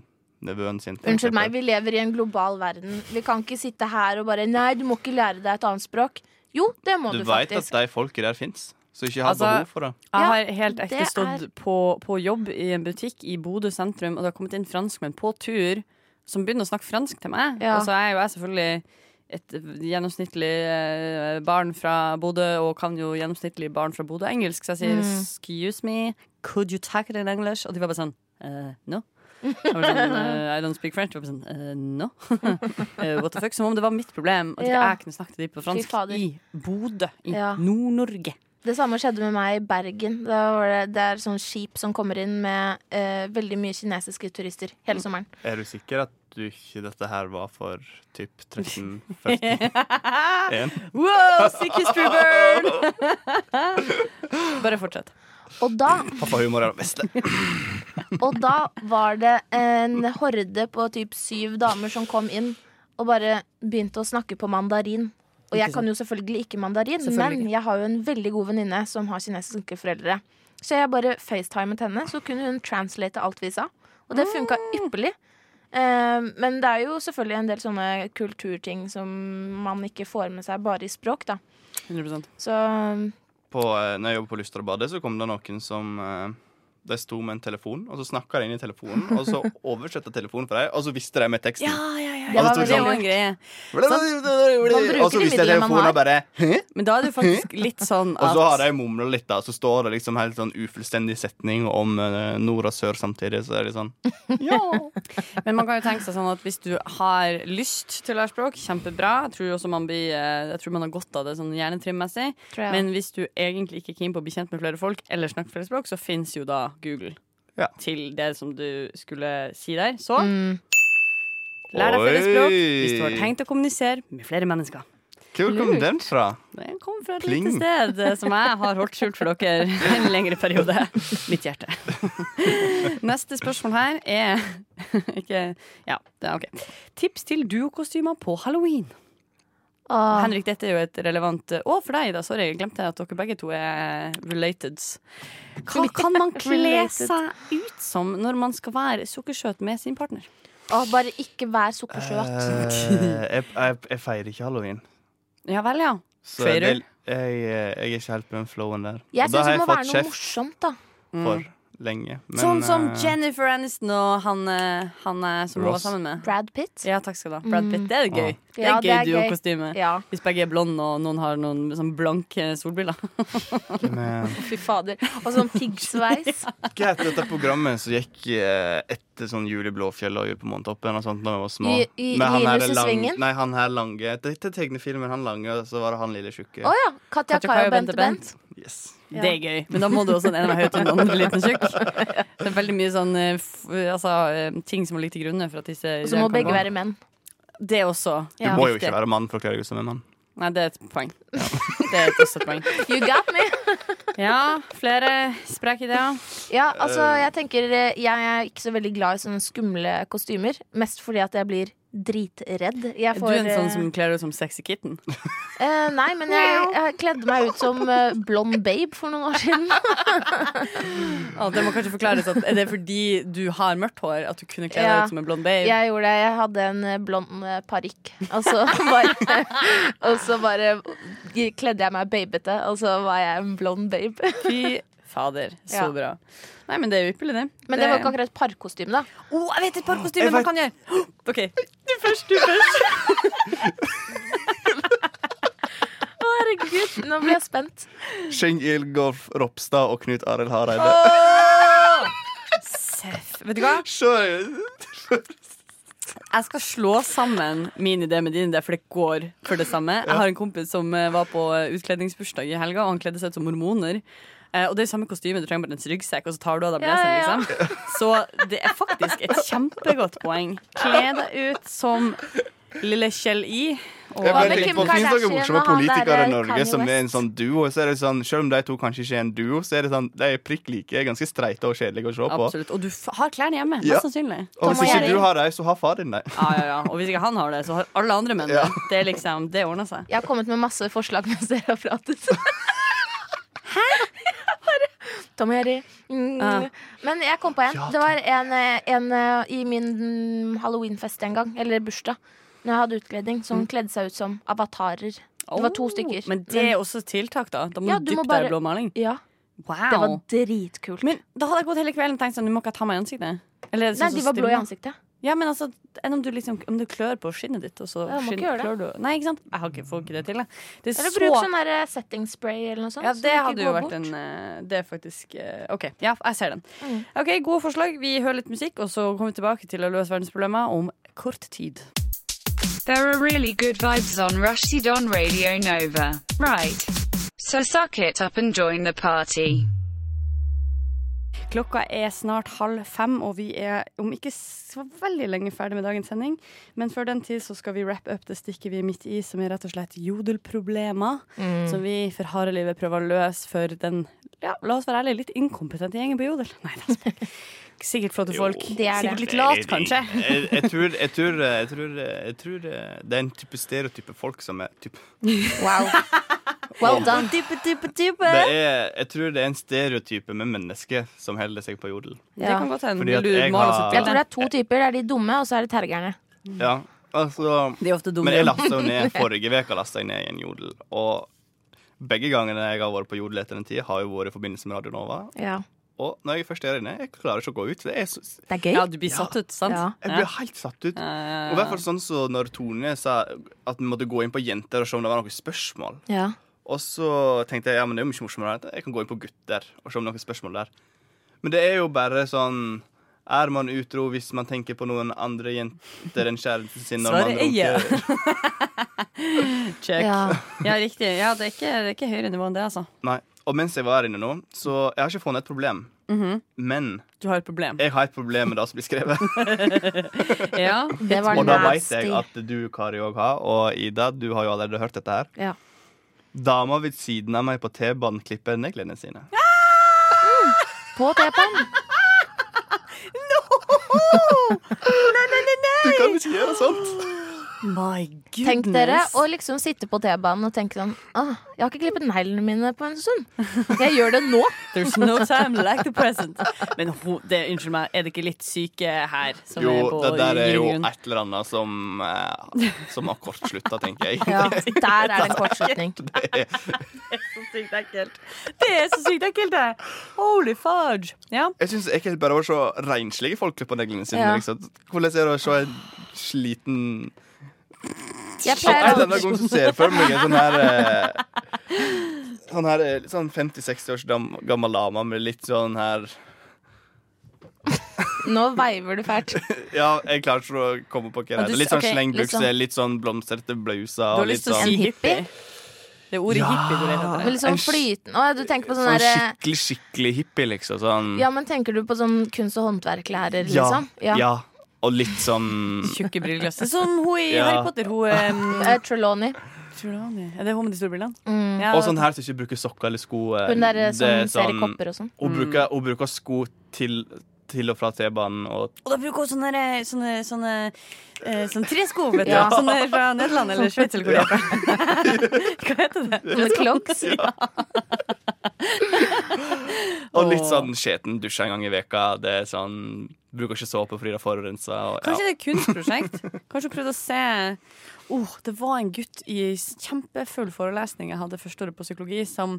[SPEAKER 5] nevøen sin. for
[SPEAKER 4] Unnskyld
[SPEAKER 5] eksempel.
[SPEAKER 4] meg, vi lever i en global verden. Vi kan ikke sitte her og bare Nei, du må ikke lære deg et annet språk. Jo, det må
[SPEAKER 5] Du
[SPEAKER 4] du,
[SPEAKER 5] veit at
[SPEAKER 4] faktisk.
[SPEAKER 5] de folket der fins, så ikke har
[SPEAKER 3] Altså,
[SPEAKER 5] behov for det.
[SPEAKER 3] Jeg
[SPEAKER 4] Ja,
[SPEAKER 3] har helt ekte
[SPEAKER 4] det er-
[SPEAKER 3] stått på, på jobb i en butikk i Bodø sentrum, og det har kommet inn franskmenn på tur som begynner å snakke fransk til meg.
[SPEAKER 4] Ja.
[SPEAKER 3] Og så er jo jeg selvfølgelig et gjennomsnittlig eh, barn fra Bodø, og kan jo gjennomsnittlig barn fra Bodø engelsk, så jeg sier
[SPEAKER 4] Mm.
[SPEAKER 3] 'excuse me, could you take it in English?' Og de var bare sånn «Eh, 'no'. Jeg var
[SPEAKER 4] [LAUGHS]
[SPEAKER 3] sånn, «Eh, I don't speak French. Jeg var bare sånn, «Eh, no. [LAUGHS] Eh, what the fuck? Som om det var mitt problem at ikke
[SPEAKER 4] Ja.
[SPEAKER 3] jeg kunne snakke til de på fransk
[SPEAKER 4] fader.
[SPEAKER 3] i Bodø, i
[SPEAKER 4] Ja.
[SPEAKER 3] Nord-Norge.
[SPEAKER 4] Det samme skjedde med meg i Bergen. Da var det, det er sånn skip som kommer inn med eh, veldig mye kinesiske turister
[SPEAKER 5] Mm.
[SPEAKER 4] hele sommeren.
[SPEAKER 5] Er du sikker at du ikke dette her var for typ
[SPEAKER 4] [LAUGHS]
[SPEAKER 5] 1341?
[SPEAKER 3] Wow, sick history
[SPEAKER 4] [LAUGHS]
[SPEAKER 3] burn! Bare fortsett.
[SPEAKER 4] Og da,
[SPEAKER 5] Pappahumor er det beste.
[SPEAKER 4] og da var det en horde på typ syv damer som kom inn og bare begynte å snakke på mandarin. Og jeg
[SPEAKER 3] Ikke sant.
[SPEAKER 4] kan jo selvfølgelig ikke mandarin,
[SPEAKER 3] Selvfølgelig
[SPEAKER 4] men jeg har jo en veldig god venninne som har kinesiske foreldre. Så jeg bare facetimet henne, så kunne hun translate alt vi sa. Og det funka
[SPEAKER 5] Ah.
[SPEAKER 4] ypperlig. Eh, men det er jo selvfølgelig en del sånne kulturting som man ikke får med seg bare i språk, da.
[SPEAKER 3] 100
[SPEAKER 4] Så
[SPEAKER 5] på, eh, når jeg jobbet på Lystadbadet, så kom det noen som eh, De sto med en telefon, og så snakka de inn i telefonen, og
[SPEAKER 4] [LAUGHS]
[SPEAKER 5] så oversatte telefonen for dem, og så visste de med teksten.
[SPEAKER 4] det
[SPEAKER 5] Og
[SPEAKER 4] var
[SPEAKER 5] så
[SPEAKER 3] Det er jo
[SPEAKER 4] veldig
[SPEAKER 3] en greie.
[SPEAKER 4] bruker
[SPEAKER 5] Og så
[SPEAKER 4] de
[SPEAKER 5] visste jeg
[SPEAKER 4] midlene man
[SPEAKER 5] telefonen
[SPEAKER 4] har.
[SPEAKER 5] og bare Hæ?
[SPEAKER 3] Men da er det jo
[SPEAKER 5] [LAUGHS]
[SPEAKER 3] faktisk litt sånn
[SPEAKER 5] Og så har
[SPEAKER 3] at
[SPEAKER 5] de mumla litt, da, og så står det liksom helt sånn ufullstendig setning om eh, nord og sør samtidig, så er det sånn
[SPEAKER 3] Men man kan jo tenke seg sånn at hvis du har lyst til å lære språk, kjempebra. Jeg tror også man blir eh, Jeg tror man har godt av det sånn hjernetrimmessig.
[SPEAKER 4] tror jeg
[SPEAKER 3] Men hvis du egentlig ikke er keen på å bli kjent med flere folk, eller snakke flere språk, så fins jo da Google
[SPEAKER 5] Ja.
[SPEAKER 3] til det som du skulle si der. Så
[SPEAKER 4] mm.
[SPEAKER 3] lær deg flere språk
[SPEAKER 5] Oi.
[SPEAKER 3] hvis du har tenkt å kommunisere med flere mennesker.
[SPEAKER 5] Hvor kom
[SPEAKER 3] Lurt.
[SPEAKER 5] den fra?
[SPEAKER 3] Den kom fra et
[SPEAKER 5] Pling.
[SPEAKER 3] lite sted eh, som jeg har holdt skjult for dere en lengre periode. Mitt hjerte. [LAUGHS] Neste spørsmål her er [LAUGHS] ikke Ja, det er OK. Tips til duokostymer på halloween.
[SPEAKER 4] Åh.
[SPEAKER 3] Henrik, dette er jo et relevant Å, for deg, da. Sorry, jeg glemte at dere begge to er related. Hva kan man kle
[SPEAKER 4] Related.
[SPEAKER 3] seg ut som når man skal være sukkersøt med sin partner?
[SPEAKER 4] Åh, bare ikke vær sukkersøt.
[SPEAKER 5] Eh, jeg, jeg, jeg feirer ikke halloween.
[SPEAKER 3] Ja vel, ja.
[SPEAKER 5] Så
[SPEAKER 3] Feirer?
[SPEAKER 5] det- jeg, eh, jeg er ikke helt på den flowen der.
[SPEAKER 4] jeg
[SPEAKER 5] Og da
[SPEAKER 4] syns
[SPEAKER 5] har
[SPEAKER 4] det
[SPEAKER 5] jeg
[SPEAKER 4] må
[SPEAKER 5] fått
[SPEAKER 4] være noe Mm.
[SPEAKER 5] kjeft
[SPEAKER 4] morsomt, da.
[SPEAKER 5] for lenge. men,
[SPEAKER 3] Mm. sånn som
[SPEAKER 5] eh,
[SPEAKER 3] Jennifer Aniston og han, eh, han eh, som hun var
[SPEAKER 5] Ross.
[SPEAKER 3] sammen med.
[SPEAKER 4] Brad Pitt.
[SPEAKER 3] Ja, takk skal du ha. Brad Pitt. Det er gøy. Det er
[SPEAKER 4] Mm. Ja,
[SPEAKER 3] gøy
[SPEAKER 4] det er gøy.
[SPEAKER 3] duo-kostyme.
[SPEAKER 4] Ja.
[SPEAKER 3] Hvis begge er blonde og noen har noen sånn blanke solbriller.
[SPEAKER 5] hvem er-
[SPEAKER 4] Fy fader. Og sånn piggsveis.
[SPEAKER 5] Hva het dette programmet som gikk eh, etter sånn Juli Blåfjell og Jul på Månetoppen og sånt da vi var små?
[SPEAKER 4] Ju- ju-
[SPEAKER 5] Med han her
[SPEAKER 4] Julius i Svingen?
[SPEAKER 5] Nei, han her lange. Til, til tegnefilmen han lange, og så var det han lille tjukke.
[SPEAKER 4] Å [LAUGHS] ja. Katja
[SPEAKER 3] Katja Kai
[SPEAKER 4] Kai og Bente Bent.
[SPEAKER 5] Yes.
[SPEAKER 4] Ja.
[SPEAKER 3] Det er gøy, men da må du også den ene være høyt og den andre liten tjukk. Det er veldig mye sånn eh, f altså, eh, ting som må ligge til grunne for at disse
[SPEAKER 4] Og så
[SPEAKER 3] ideene
[SPEAKER 4] må
[SPEAKER 3] kan
[SPEAKER 4] begge
[SPEAKER 3] gå.
[SPEAKER 4] være menn.
[SPEAKER 3] Det også.
[SPEAKER 5] Du
[SPEAKER 4] Ja.
[SPEAKER 5] må jo
[SPEAKER 3] Viktig.
[SPEAKER 5] ikke være mann for å kle deg ut som en mann.
[SPEAKER 3] Nei, det er et poeng. Det er også et poeng.
[SPEAKER 4] [LAUGHS] You got me!
[SPEAKER 3] Ja, flere spreke ideer.
[SPEAKER 4] Ja, altså, jeg tenker eh, Jeg er ikke så veldig glad i sånne skumle kostymer. Mest fordi at jeg blir dritredd. Jeg
[SPEAKER 3] Er du
[SPEAKER 4] får
[SPEAKER 3] en sånn
[SPEAKER 4] eh,
[SPEAKER 3] som kler deg ut som sexy kitten?
[SPEAKER 4] eh, Nei, men jeg, jeg kledde meg ut som eh, blond [LAUGHS] babe for noen år siden.
[SPEAKER 3] Ja, det må kanskje forklares at Er det fordi du har mørkt hår at du kunne kle deg
[SPEAKER 4] Ja.
[SPEAKER 3] ut som en blond babe?
[SPEAKER 4] Jeg gjorde det. Jeg hadde en eh, blond eh, parykk. Og så bare, [LAUGHS] og så bare kledde jeg meg babete, og så var jeg en blond babe.
[SPEAKER 3] Fy fader, så
[SPEAKER 4] Ja.
[SPEAKER 3] bra. Nei, men det er jo ypperlig, det.
[SPEAKER 4] Men det var ikke akkurat et parkostyme, da.
[SPEAKER 3] Å, jeg vet et par kostymer
[SPEAKER 5] Jeg
[SPEAKER 3] man
[SPEAKER 5] vet-
[SPEAKER 3] kan gjøre! OK. Du først, du først.
[SPEAKER 4] Å, herregud, nå blir jeg spent.
[SPEAKER 5] Skjeng Ilgolf Ropstad og Knut Arild Hareide. [LAUGHS]
[SPEAKER 3] Seff. Vet du hva?
[SPEAKER 5] Se-
[SPEAKER 3] Jeg skal slå sammen min idé med din idé, for det går for det samme. Jeg har en kompis som eh, var på utkledningsbursdag i helga, og han kledde seg ut som mormoner. Eh, Og det er samme kostyme, du trenger bare en ryggsekk, og så tar du av deg
[SPEAKER 4] Ja, ja, ja.
[SPEAKER 3] blazeren, liksom. Så det er faktisk et kjempegodt poeng. Kle deg ut som lille Kjell I. Og
[SPEAKER 5] Jeg
[SPEAKER 4] Hva
[SPEAKER 5] bare
[SPEAKER 4] med
[SPEAKER 5] tenkte
[SPEAKER 4] Kim
[SPEAKER 5] på, Fins det
[SPEAKER 4] Kardashian
[SPEAKER 5] noen morsomme
[SPEAKER 4] og han
[SPEAKER 5] politikere
[SPEAKER 4] der, eh,
[SPEAKER 5] i Norge
[SPEAKER 4] Kanye
[SPEAKER 5] som er en
[SPEAKER 4] West?
[SPEAKER 5] sånn duo? Så er det sånn, Selv om de to kanskje ikke er en duo, så er det sånn, de er prikk like. er Ganske streite og kjedelige å se på.
[SPEAKER 3] Absolutt. Og du f har klærne hjemme,
[SPEAKER 5] Ja.
[SPEAKER 3] mest sannsynlig.
[SPEAKER 5] Og hvis
[SPEAKER 4] Tom og
[SPEAKER 5] ikke
[SPEAKER 4] Jerry.
[SPEAKER 5] du har dem, så har far din dem.
[SPEAKER 3] Ja, ja, ja. Og hvis ikke han har det, så har alle andre menn det.
[SPEAKER 5] Ja.
[SPEAKER 3] Det, er liksom, det ordner seg.
[SPEAKER 4] Jeg har kommet med masse forslag mens dere har pratet. [LAUGHS] Hæ? Tom og Jerry. Mm.
[SPEAKER 3] Ja.
[SPEAKER 4] Men jeg kom på en.
[SPEAKER 5] Ja,
[SPEAKER 4] Det var en, eh, en eh, i min mm, halloweenfest en gang, eller bursdag, når jeg hadde utkledning, som kledde seg ut som avatarer. Det var to
[SPEAKER 3] Mm. Oh,
[SPEAKER 4] stykker.
[SPEAKER 3] Men det er også tiltak, da. Da må
[SPEAKER 4] Ja,
[SPEAKER 3] du
[SPEAKER 4] du må
[SPEAKER 3] dyppe deg
[SPEAKER 4] bare-
[SPEAKER 3] i blå maling.
[SPEAKER 4] Ja,
[SPEAKER 3] Wow.
[SPEAKER 4] det var dritkult.
[SPEAKER 3] Men da hadde jeg gått hele kvelden og tenkt sånn, du må ikke ta meg i ansiktet. Eller, er det
[SPEAKER 4] Nei,
[SPEAKER 3] sånn
[SPEAKER 4] de
[SPEAKER 3] som
[SPEAKER 4] var blå i
[SPEAKER 3] stimler?
[SPEAKER 4] ansiktet.
[SPEAKER 3] Ja, men altså, enn om du, liksom, om du klør på skinnet ditt, og så
[SPEAKER 4] Ja, må ikke
[SPEAKER 3] skinn-
[SPEAKER 4] gjøre det.
[SPEAKER 3] klør du Nei, ikke sant? Jeg har ikke, får ikke det til, jeg. Det er
[SPEAKER 4] Eller
[SPEAKER 3] så
[SPEAKER 4] bruk sånn der eh, setting spray eller noe sånt.
[SPEAKER 3] ja,
[SPEAKER 4] som
[SPEAKER 3] det
[SPEAKER 4] ikke
[SPEAKER 3] hadde jo
[SPEAKER 4] går
[SPEAKER 3] vært
[SPEAKER 4] bort.
[SPEAKER 3] en eh, Det er faktisk eh, OK. Ja, jeg ser den.
[SPEAKER 4] Mm.
[SPEAKER 3] OK, gode forslag. Vi hører litt musikk, og så kommer vi tilbake til å løse verdensproblemer om kort tid.
[SPEAKER 7] There are really good vibes on Rushdie on Radio Nova. Right. So suck it up and join the party.
[SPEAKER 3] Klokka er snart halv fem, og vi er om ikke så veldig lenge ferdig med dagens sending. Men før den tid så skal vi wrap up det stikket vi er midt i, som er rett og slett jodelproblemer. Som vi for harde livet prøver å løse for den, ja, la oss være ærlige, litt inkompetente gjengen på jodel. [LAUGHS] Nei, det er spøk. Sikkert flotte folk.
[SPEAKER 4] det er det.
[SPEAKER 3] Sikkert litt lat, kanskje.
[SPEAKER 5] Jeg, jeg, tror, jeg, tror, jeg, tror, jeg tror det er en type stereotype folk som er typ,
[SPEAKER 3] eh,
[SPEAKER 4] Wow. [LAUGHS] Well done.
[SPEAKER 5] det er, Jeg tror det er en stereotype med mennesker som holder seg på jodel.
[SPEAKER 3] Det kan godt hende.
[SPEAKER 5] Fordi at
[SPEAKER 3] Vil du
[SPEAKER 5] jeg
[SPEAKER 3] male
[SPEAKER 5] har-
[SPEAKER 3] oss
[SPEAKER 4] Jeg
[SPEAKER 3] et
[SPEAKER 4] tror det
[SPEAKER 3] bilde?
[SPEAKER 4] er to typer. Det er de dumme, og så er det tergerne.
[SPEAKER 5] Ja, altså
[SPEAKER 3] De er ofte dumme.
[SPEAKER 5] Men jeg lasta jo
[SPEAKER 3] [LAUGHS]
[SPEAKER 5] ned forrige uke lastet jeg ned i en jodel. Og begge gangene jeg har vært på jodel etter den tid, har jo vært i forbindelse med Radio Nova.
[SPEAKER 4] Ja.
[SPEAKER 5] Og når jeg først er inne, jeg klarer ikke å gå ut. Det er så,
[SPEAKER 4] Det er gøy.
[SPEAKER 3] Ja, du blir satt ut, sant? Eh,
[SPEAKER 4] Ja.
[SPEAKER 5] jeg blir helt satt ut. Og i hvert fall sånn så når Tone sa at vi måtte gå inn på jenter og se om det var noen spørsmål.
[SPEAKER 4] Ja.
[SPEAKER 5] Og så tenkte jeg ja, men det er jo mye morsommere enn dette. Jeg kan gå inn på gutter og se om det er noen spørsmål der. Men det er jo bare sånn Er man utro hvis man tenker på noen andre jenter enn kjæresten sin? når man
[SPEAKER 3] Svaret er ja.
[SPEAKER 5] runker?
[SPEAKER 3] Check. Ja.
[SPEAKER 4] Ja.
[SPEAKER 3] riktig. Ja, det er ikke, det er ikke høyere nivå enn det, altså.
[SPEAKER 5] Nei. Og mens jeg var her inne nå, så Jeg har ikke funnet et problem.
[SPEAKER 3] Mhm.
[SPEAKER 5] Men
[SPEAKER 3] Du har et problem.
[SPEAKER 5] jeg har et problem med det som blir skrevet.
[SPEAKER 3] [LAUGHS]
[SPEAKER 5] Eh.
[SPEAKER 3] Ja.
[SPEAKER 5] [LAUGHS]
[SPEAKER 4] Det var
[SPEAKER 5] og da vet
[SPEAKER 4] nasty.
[SPEAKER 5] jeg at du, Kari, òg har. Og Ida, du har jo allerede hørt dette her.
[SPEAKER 4] Ja.
[SPEAKER 5] Dama ved siden av meg på T-banen klipper neglene sine.
[SPEAKER 4] På T-banen.
[SPEAKER 5] Du kan ikke gjøre sånt!
[SPEAKER 3] My goodness.
[SPEAKER 4] Tenk dere å liksom sitte på T-banen og tenke sånn ah, Jeg har ikke klippet neglene mine på en stund. Jeg gjør det [LAUGHS] nå.
[SPEAKER 3] There's no time like the present. Men ho, det, unnskyld meg, er det ikke litt syke her som
[SPEAKER 5] Jo,
[SPEAKER 3] er på
[SPEAKER 5] det der er jo
[SPEAKER 3] grunn?
[SPEAKER 5] et eller annet som,
[SPEAKER 3] [LAUGHS]
[SPEAKER 5] eh, som har kortslutta, tenker jeg. [LAUGHS]
[SPEAKER 4] Ja, der er det en kortslutning.
[SPEAKER 5] Det er-
[SPEAKER 4] så sykt ekkelt.
[SPEAKER 3] Det er så sykt ekkelt, det! Holy fudge. Ja.
[SPEAKER 5] Jeg syns det er ekkelt bare å se renslige folk klippe neglene sine.
[SPEAKER 3] Ja.
[SPEAKER 5] Liksom. Hvordan er det å se en sliten
[SPEAKER 4] Jeg
[SPEAKER 5] En
[SPEAKER 4] pleier å
[SPEAKER 5] eller annen gang så ser jeg for meg en sånn her
[SPEAKER 3] [LAUGHS]
[SPEAKER 5] eh, Sånn her eh, litt sånn 50-60 års gam, gammel dame med litt sånn her
[SPEAKER 4] Nå veiver du fælt. [LAUGHS]
[SPEAKER 5] Ja, jeg klarer ikke å komme på hva
[SPEAKER 3] Ja, du
[SPEAKER 5] det er.
[SPEAKER 3] s-
[SPEAKER 5] Litt sånn
[SPEAKER 3] ok,
[SPEAKER 5] slengbukse,
[SPEAKER 3] litt
[SPEAKER 5] litt sånn blomstrete blouser
[SPEAKER 3] Du
[SPEAKER 5] og
[SPEAKER 3] har
[SPEAKER 5] litt
[SPEAKER 3] lyst til å si
[SPEAKER 5] sånn
[SPEAKER 6] En hippie?
[SPEAKER 3] hippie? Det er ordet
[SPEAKER 5] Ja.
[SPEAKER 3] hippie du leter etter.
[SPEAKER 4] Veldig sånn
[SPEAKER 5] En sk-
[SPEAKER 4] flytende Å, ja, du tenker på sånn
[SPEAKER 5] Sånn
[SPEAKER 4] derre
[SPEAKER 5] skikkelig, skikkelig hippie, liksom. Sånn
[SPEAKER 4] Ja, men tenker du på sånn kunst- og håndverklærer,
[SPEAKER 5] ja,
[SPEAKER 4] liksom?
[SPEAKER 5] ja. Og litt sånn
[SPEAKER 3] Tjukke briller. Det er Som hun i
[SPEAKER 5] Ja.
[SPEAKER 3] Harry Potter. Hun um,
[SPEAKER 4] Eh, Trelawney.
[SPEAKER 3] Trelawney. Er det hun med de store brillene?
[SPEAKER 4] Mm.
[SPEAKER 3] Ja,
[SPEAKER 5] Og sånn her som ikke bruker sokker eller sko. eh,
[SPEAKER 4] Hun der eh,
[SPEAKER 5] det
[SPEAKER 4] som
[SPEAKER 5] er
[SPEAKER 4] ser i
[SPEAKER 5] sånn-
[SPEAKER 4] kopper og sånn.
[SPEAKER 5] Hun bruker, hun bruker sko til, til og fra T-banen og
[SPEAKER 3] Og da bruker hun sånne, der- sånne, sånne, eh, sånne tresko, vet du.
[SPEAKER 5] Ja.
[SPEAKER 3] Sånne fra Nederland eller Sveits eller hvor de er fra. [LAUGHS] Hva heter det?
[SPEAKER 4] Sånne clogs.
[SPEAKER 5] Og litt
[SPEAKER 3] Åh.
[SPEAKER 5] sånn skjeten dusj en gang i veka. Det er sånn Bruker ikke såpe fordi det forurenser. Og,
[SPEAKER 3] Kanskje
[SPEAKER 5] ja.
[SPEAKER 3] det er et kunstprosjekt? Kanskje hun prøvde å se oh, Det var en gutt i kjempefull forelesning jeg hadde første året på psykologi, som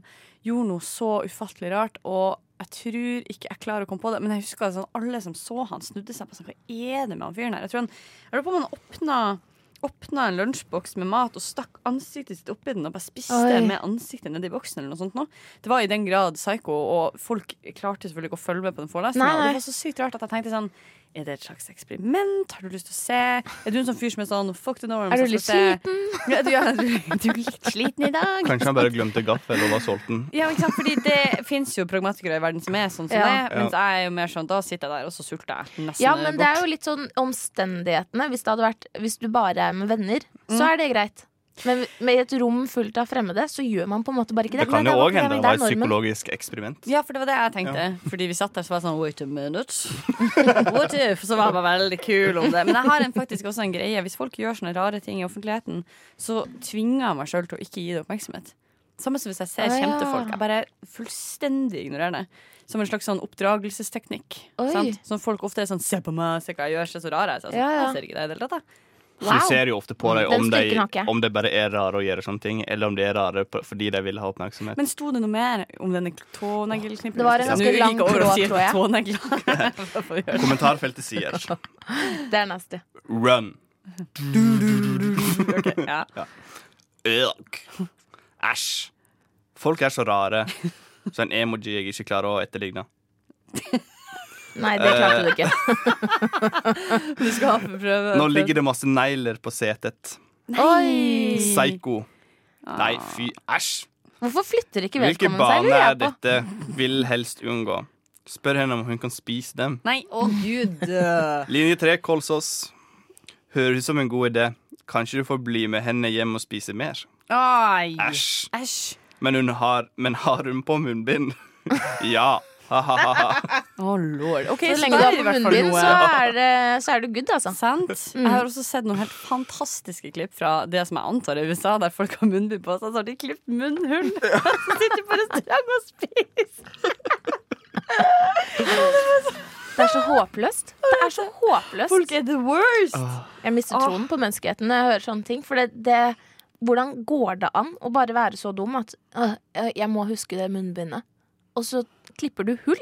[SPEAKER 3] gjorde noe så ufattelig rart. Og jeg tror ikke jeg klarer å komme på det, men jeg husker sånn, alle som så han, snudde seg på sånn, hva er det med han fyren her? Jeg tror han, jeg lurer på om han åpna Åpna en lunsjboks med mat og stakk ansiktet sitt oppi den og bare spiste
[SPEAKER 4] Oi.
[SPEAKER 3] med ansiktet nedi boksen. eller noe sånt nå. Det var i den grad psycho, og folk klarte selvfølgelig ikke å følge med på den forelesninga.
[SPEAKER 4] Nei,
[SPEAKER 3] og
[SPEAKER 4] nei.
[SPEAKER 3] Det var så sykt rart at jeg tenkte sånn er det et slags eksperiment? Har du lyst til å se? Er du en sånn fyr som er sånn fuck the norm?
[SPEAKER 4] Er du
[SPEAKER 3] så
[SPEAKER 4] litt
[SPEAKER 3] skal jeg se- Ja, du, ja, du, du er litt sliten i dag.
[SPEAKER 5] Kanskje han bare glemte gaffel og var sulten.
[SPEAKER 3] Ja, ikke sant? Fordi det fins jo pragmatikere i verden som er sånn som
[SPEAKER 4] Ja.
[SPEAKER 3] det. Mens jeg er jo mer sånn da sitter jeg der, og så sulter jeg nesten
[SPEAKER 4] Ja, men det
[SPEAKER 3] bort.
[SPEAKER 4] er jo litt sånn omstendighetene. Hvis, det hadde vært, hvis du bare er med venner, så
[SPEAKER 5] Mm.
[SPEAKER 4] er det greit. Men med et rom fullt av fremmede, så gjør man på en måte bare ikke det.
[SPEAKER 5] Det kan
[SPEAKER 4] Nei,
[SPEAKER 5] jo
[SPEAKER 4] er
[SPEAKER 5] òg
[SPEAKER 4] bare-
[SPEAKER 5] hende det
[SPEAKER 4] er
[SPEAKER 5] var et
[SPEAKER 4] normen.
[SPEAKER 5] psykologisk eksperiment.
[SPEAKER 3] Ja, for det var det jeg tenkte. Fordi vi satt der så var jeg sånn Wait a minute. What if? Så var jeg bare veldig kul om det. Men jeg har en, faktisk også en greie. Hvis folk gjør sånne rare ting i offentligheten, så tvinger jeg meg sjøl til å ikke gi det oppmerksomhet. Samme som hvis jeg ser
[SPEAKER 4] Å, ja.
[SPEAKER 3] kjente folk. Jeg bare fullstendig ignorerer det. Som en slags sånn oppdragelsesteknikk.
[SPEAKER 4] Oi.
[SPEAKER 3] Sant? Som folk ofte er sånn Se på meg, se hva jeg gjør, se så rar jeg er. Så jeg er. Sånn,
[SPEAKER 4] Ja, ja.
[SPEAKER 3] Jeg ser ikke deg i det hele tatt, jeg.
[SPEAKER 5] Så du ser jo ofte på
[SPEAKER 4] Mm,
[SPEAKER 5] dem
[SPEAKER 4] Den
[SPEAKER 5] om,
[SPEAKER 4] styrken har ikke
[SPEAKER 5] de,
[SPEAKER 4] jeg.
[SPEAKER 5] om de bare er rare og gjør sånne ting, eller om de er rare på- fordi de vil ha oppmerksomhet.
[SPEAKER 3] Men sto det noe mer om denne tånegleknipperen?
[SPEAKER 4] Det var en ganske lang tråd, tror jeg.
[SPEAKER 3] [LAUGHS] jeg.
[SPEAKER 5] Kommentarfeltet sier
[SPEAKER 4] [LAUGHS] Det er nasty. [LAUGHS]
[SPEAKER 5] run.
[SPEAKER 3] ja.
[SPEAKER 5] Ugh. Æsj. Folk er så rare. Så en emoji jeg ikke klarer å etterligne.
[SPEAKER 4] Nei, det klarte du ikke.
[SPEAKER 5] Eh.
[SPEAKER 3] Du skal prøve
[SPEAKER 5] Nå ligger det masse negler på setet.
[SPEAKER 4] [LAUGHS] Oi!
[SPEAKER 5] Psycho. Nei, fy. Æsj.
[SPEAKER 4] Hvorfor flytter Ah. ikke
[SPEAKER 5] Hvilke
[SPEAKER 4] vedkommende seg?
[SPEAKER 5] bane
[SPEAKER 4] lurer
[SPEAKER 5] er
[SPEAKER 4] jeg på?
[SPEAKER 5] dette vil helst unngå? Spør henne om hun kan spise dem.
[SPEAKER 3] Nei, å gud.
[SPEAKER 5] Linje 3, Kolsås. Høres ut som en god idé. Kanskje du får bli med henne hjem og spise mer?
[SPEAKER 3] Ai.
[SPEAKER 5] Æsj.
[SPEAKER 3] Æsj.
[SPEAKER 5] Men, hun har, men har hun på munnbind? [LAUGHS] ja. Ha-ha-ha.
[SPEAKER 3] Å lord. Ok,
[SPEAKER 4] Så lenge du
[SPEAKER 3] da
[SPEAKER 4] har
[SPEAKER 3] er det i
[SPEAKER 4] på
[SPEAKER 3] hvert fall
[SPEAKER 4] munnbind,
[SPEAKER 3] noe.
[SPEAKER 4] så er, det, så er du good, altså.
[SPEAKER 3] Sant? Jeg har også sett noen helt fantastiske klipp fra det som jeg antar er USA, der folk har munnbind på seg, så har de klippet munnhull. Så sitter de på restaurant og spiser.
[SPEAKER 4] Det er så håpløst. Det er så håpløst.
[SPEAKER 3] Folk er the worst.
[SPEAKER 4] Jeg mister troen på menneskeheten når jeg hører sånne ting. For det, det Hvordan går det an å bare være så dum at «Åh, jeg jeg må huske det munnbindet? Og så klipper du hull.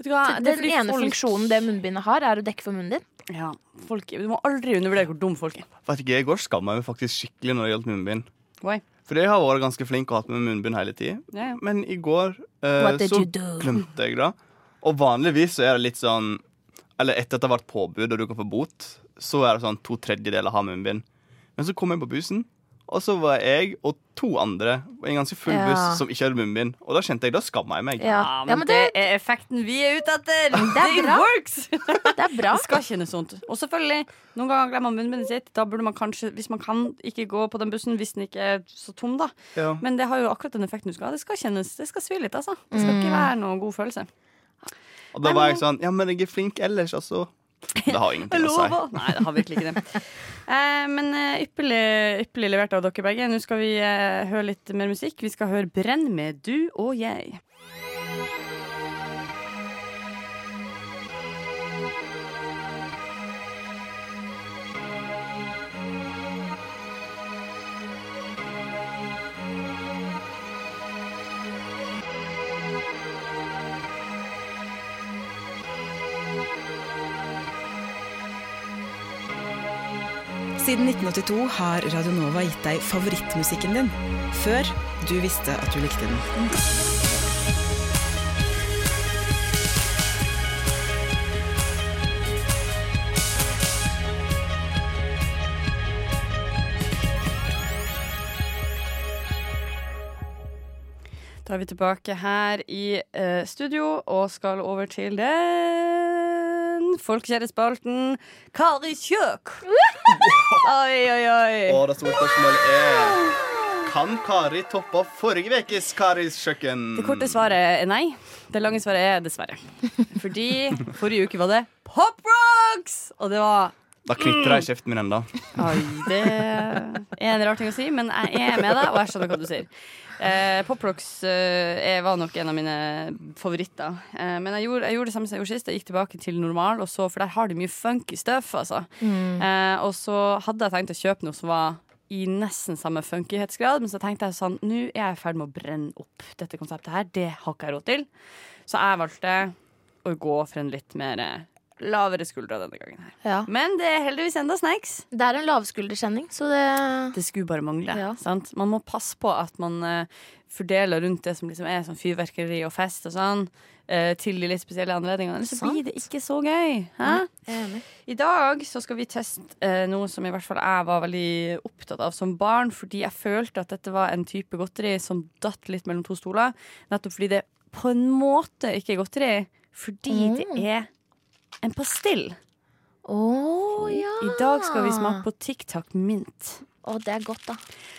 [SPEAKER 3] Vet du hva? Det er
[SPEAKER 4] Den
[SPEAKER 3] fordi
[SPEAKER 4] ene
[SPEAKER 3] folk-
[SPEAKER 4] funksjonen det munnbindet har, er å dekke for munnen din.
[SPEAKER 3] Ja, folk, Du må aldri undervurdere hvor dumme folk er.
[SPEAKER 5] Vet ikke, I går skamma jeg meg faktisk skikkelig når det gjaldt munnbind.
[SPEAKER 3] Why?
[SPEAKER 5] For jeg har vært ganske flink og hatt med munnbind hele tida.
[SPEAKER 3] Ja, ja.
[SPEAKER 5] Men i går eh,
[SPEAKER 4] What did
[SPEAKER 5] så
[SPEAKER 4] you do?
[SPEAKER 5] glemte jeg det. Og vanligvis så er det litt sånn Eller etter at det har vært påbud og du kan få bot, så er det sånn to tredjedeler har munnbind. Men så kom jeg på bussen, og så var jeg og to andre i en ganske full
[SPEAKER 4] Ja.
[SPEAKER 5] buss som ikke hadde munnbind. Og da kjente jeg, da skamma jeg meg.
[SPEAKER 4] Ja, ja men det,
[SPEAKER 3] er effekten vi er ute etter.
[SPEAKER 4] Det er bra.
[SPEAKER 3] works.
[SPEAKER 4] det er
[SPEAKER 3] [LAUGHS]
[SPEAKER 4] bra.
[SPEAKER 3] Det skal kjennes vondt. Og selvfølgelig, noen ganger glemmer man munnbindet sitt. Da burde man kanskje, hvis man kan, ikke gå på den bussen hvis den ikke er så tom, da.
[SPEAKER 5] Ja.
[SPEAKER 3] Men det har jo akkurat den effekten du skal ha. Det skal kjennes, det skal svi litt, altså. Det skal ikke være noen god følelse.
[SPEAKER 5] Og da var jeg sånn Ja, men jeg er flink ellers, altså. Det har ingenting å si.
[SPEAKER 3] Altså, Nei, det har virkelig ikke det. Eh, men eh, ypperlig, ypperlig levert av dere begge. Nå skal vi eh, høre litt mer musikk. Vi skal høre 'Brenn med du og jeg'.
[SPEAKER 8] Siden 1982 har Radio Nova gitt deg favorittmusikken din, før du visste at du likte den.
[SPEAKER 3] Da er vi tilbake her i eh, studio og skal over til den folkekjære spalten Kari Kjøk. Oi, oi, oi.
[SPEAKER 5] Og det store spørsmålet er Kan Kari toppe forrige ukes Karis kjøkken?
[SPEAKER 3] Det korte svaret er nei. Det lange svaret er dessverre. Fordi forrige uke var det Pop Rocks! Og det var
[SPEAKER 5] Da knitrer
[SPEAKER 3] Mm.
[SPEAKER 5] jeg i kjeften min ennå.
[SPEAKER 3] Oi, det er en rar ting å si, men jeg er med deg, og jeg skjønner hva du sier. Eh, Pop Rocks eh, er- var nok en av mine favoritter. Eh, men jeg gjorde, jeg gjorde det samme som jeg gjorde sist. Jeg gikk tilbake til normal, og så, for der har de mye funky stuff. Altså. Eh, og så hadde jeg tenkt å kjøpe noe som var i nesten samme funkyhetsgrad, men så tenkte jeg sånn Nå er jeg i ferd med å brenne opp dette konseptet her. Det har ikke jeg råd til. Så jeg valgte å gå for en litt mer eh, lavere skuldra denne gangen her.
[SPEAKER 4] Ja.
[SPEAKER 3] Men det er heldigvis enda snacks.
[SPEAKER 4] Det er en lavskulderkjenning, så det
[SPEAKER 3] Det skulle bare mangle.
[SPEAKER 4] Ja.
[SPEAKER 3] Sant? Man må passe på at man eh, fordeler rundt det som liksom er sånn fyrverkeri og fest og sånn, eh, til de litt spesielle anledningene. Ellers så blir det ikke så gøy. Hæ? I dag så skal vi teste eh, noe som i hvert fall jeg var veldig opptatt av som barn, fordi jeg følte at dette var en type godteri som datt litt mellom to stoler. Nettopp fordi det på en måte ikke er godteri, fordi det er en pastill.
[SPEAKER 4] Å ja.
[SPEAKER 3] I dag skal
[SPEAKER 4] Ah.
[SPEAKER 3] vi smake på TikTok Mint.
[SPEAKER 4] Å, det er godt, da.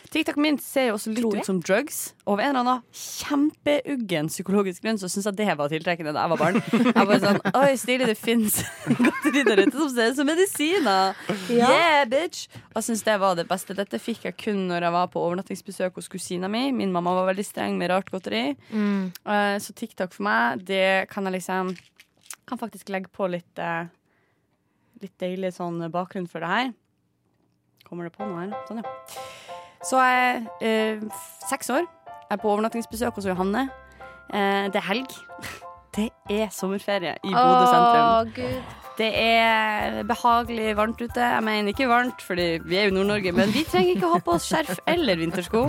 [SPEAKER 3] TikTok Mint ser jo også litt ut som drugs. Og av en eller annen kjempeuggen psykologisk grunn så syns jeg det var tiltrekkende da jeg var barn. Jeg var bare sånn, Oi, stilig, det fins [LAUGHS] godteri der ute som ser ut som medisiner! Yeah, bitch! Og jeg syns det var det beste. Dette fikk jeg kun når jeg var på overnattingsbesøk hos kusina mi. Min mamma var veldig streng med rart godteri. Eh, Så TikTok for meg, det kan jeg liksom Kan faktisk legge på litt eh, Litt deilig sånn bakgrunn for det her. Kommer det på noe her? Sånn, ja. Så jeg er eh, f- seks år. Jeg er på overnattingsbesøk hos Johanne. Eh, det er helg. [LAUGHS] Det er sommerferie i Bodø sentrum.
[SPEAKER 4] Å, Gud.
[SPEAKER 3] Det er behagelig varmt ute. Jeg mener ikke varmt, fordi vi er jo i Nord-Norge, men vi trenger ikke å ha på oss skjerf eller vintersko.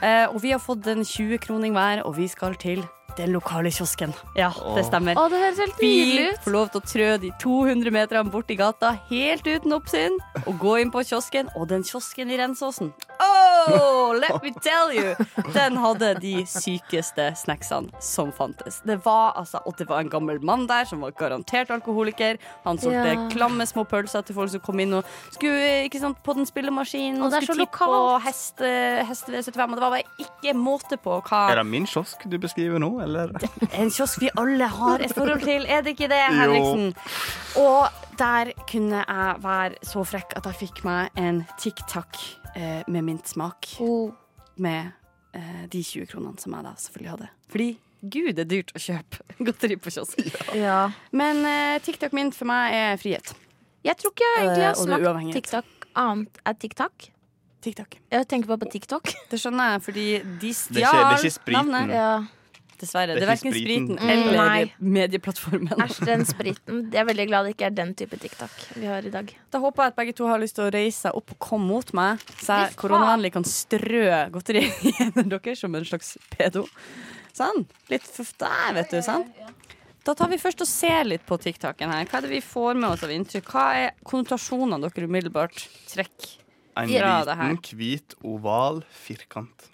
[SPEAKER 3] Eh, og vi har fått en 20-kroning hver, og vi skal til den lokale kiosken. Ja, det stemmer.
[SPEAKER 4] Å, det høres helt
[SPEAKER 3] Vi
[SPEAKER 4] nydelig ut.
[SPEAKER 3] får lov til å trø de 200 meterne bort i gata helt uten oppsyn, og gå inn på kiosken, og den kiosken i Rensåsen Oh, let me tell you! Den hadde de sykeste snacksene som fantes. Det var altså, Og det var en gammel mann der som var garantert alkoholiker. Han solgte
[SPEAKER 4] Ja.
[SPEAKER 3] klamme små pølser til folk som kom inn og skulle ikke sant, på den spillemaskinen
[SPEAKER 4] Og
[SPEAKER 3] og,
[SPEAKER 4] det er så
[SPEAKER 3] skulle tippe
[SPEAKER 4] lokalt.
[SPEAKER 3] og heste, heste V75. Og det var bare ikke måte på hva
[SPEAKER 5] Er det min kiosk du beskriver nå, eller?
[SPEAKER 3] en kiosk vi alle har et forhold til, er det ikke det, Henriksen? Og der kunne jeg være så frekk at jeg fikk meg en TikTok eh, med mintsmak.
[SPEAKER 4] Oh.
[SPEAKER 3] Med eh, de 20 kronene som jeg da selvfølgelig hadde. Fordi gud, det er dyrt å kjøpe [LAUGHS] godteri på kiosk.
[SPEAKER 4] Ja.
[SPEAKER 3] Men eh, TikTok mint for meg er frihet.
[SPEAKER 4] Jeg tror ikke jeg egentlig
[SPEAKER 3] Eh, og det
[SPEAKER 4] har
[SPEAKER 3] er
[SPEAKER 4] smakt
[SPEAKER 3] uavhengighet.
[SPEAKER 4] TikTok annet enn TikTok.
[SPEAKER 3] TikTok.
[SPEAKER 4] Jeg tenker bare på TikTok.
[SPEAKER 3] Det skjønner jeg, fordi de
[SPEAKER 5] er ikke- det er
[SPEAKER 3] stjal
[SPEAKER 5] ikke spriten.
[SPEAKER 3] navnet.
[SPEAKER 4] Ja.
[SPEAKER 3] Dessverre.
[SPEAKER 5] Det er
[SPEAKER 3] Det er
[SPEAKER 5] ikke
[SPEAKER 3] verken
[SPEAKER 5] spriten.
[SPEAKER 3] spriten
[SPEAKER 4] Mm, nei.
[SPEAKER 3] eller medieplattformen.
[SPEAKER 4] Æsj, den spriten. Jeg er veldig glad det ikke er den type TikTok vi har i dag.
[SPEAKER 3] Da håper jeg at begge to har lyst til å reise seg opp og komme mot meg, så jeg
[SPEAKER 4] Fy faen.
[SPEAKER 3] koronavennlig kan strø godteri [LAUGHS] i hendene deres som en slags pedo. Sånn. Litt f- der, vet du. sant? Da tar vi først og ser litt på TikTok-en her. Hva er det vi får med oss av inntrykk? Hva er konnotasjonene dere umiddelbart trekker?
[SPEAKER 5] En
[SPEAKER 3] Ja, det her.
[SPEAKER 5] liten, hvit, oval firkant.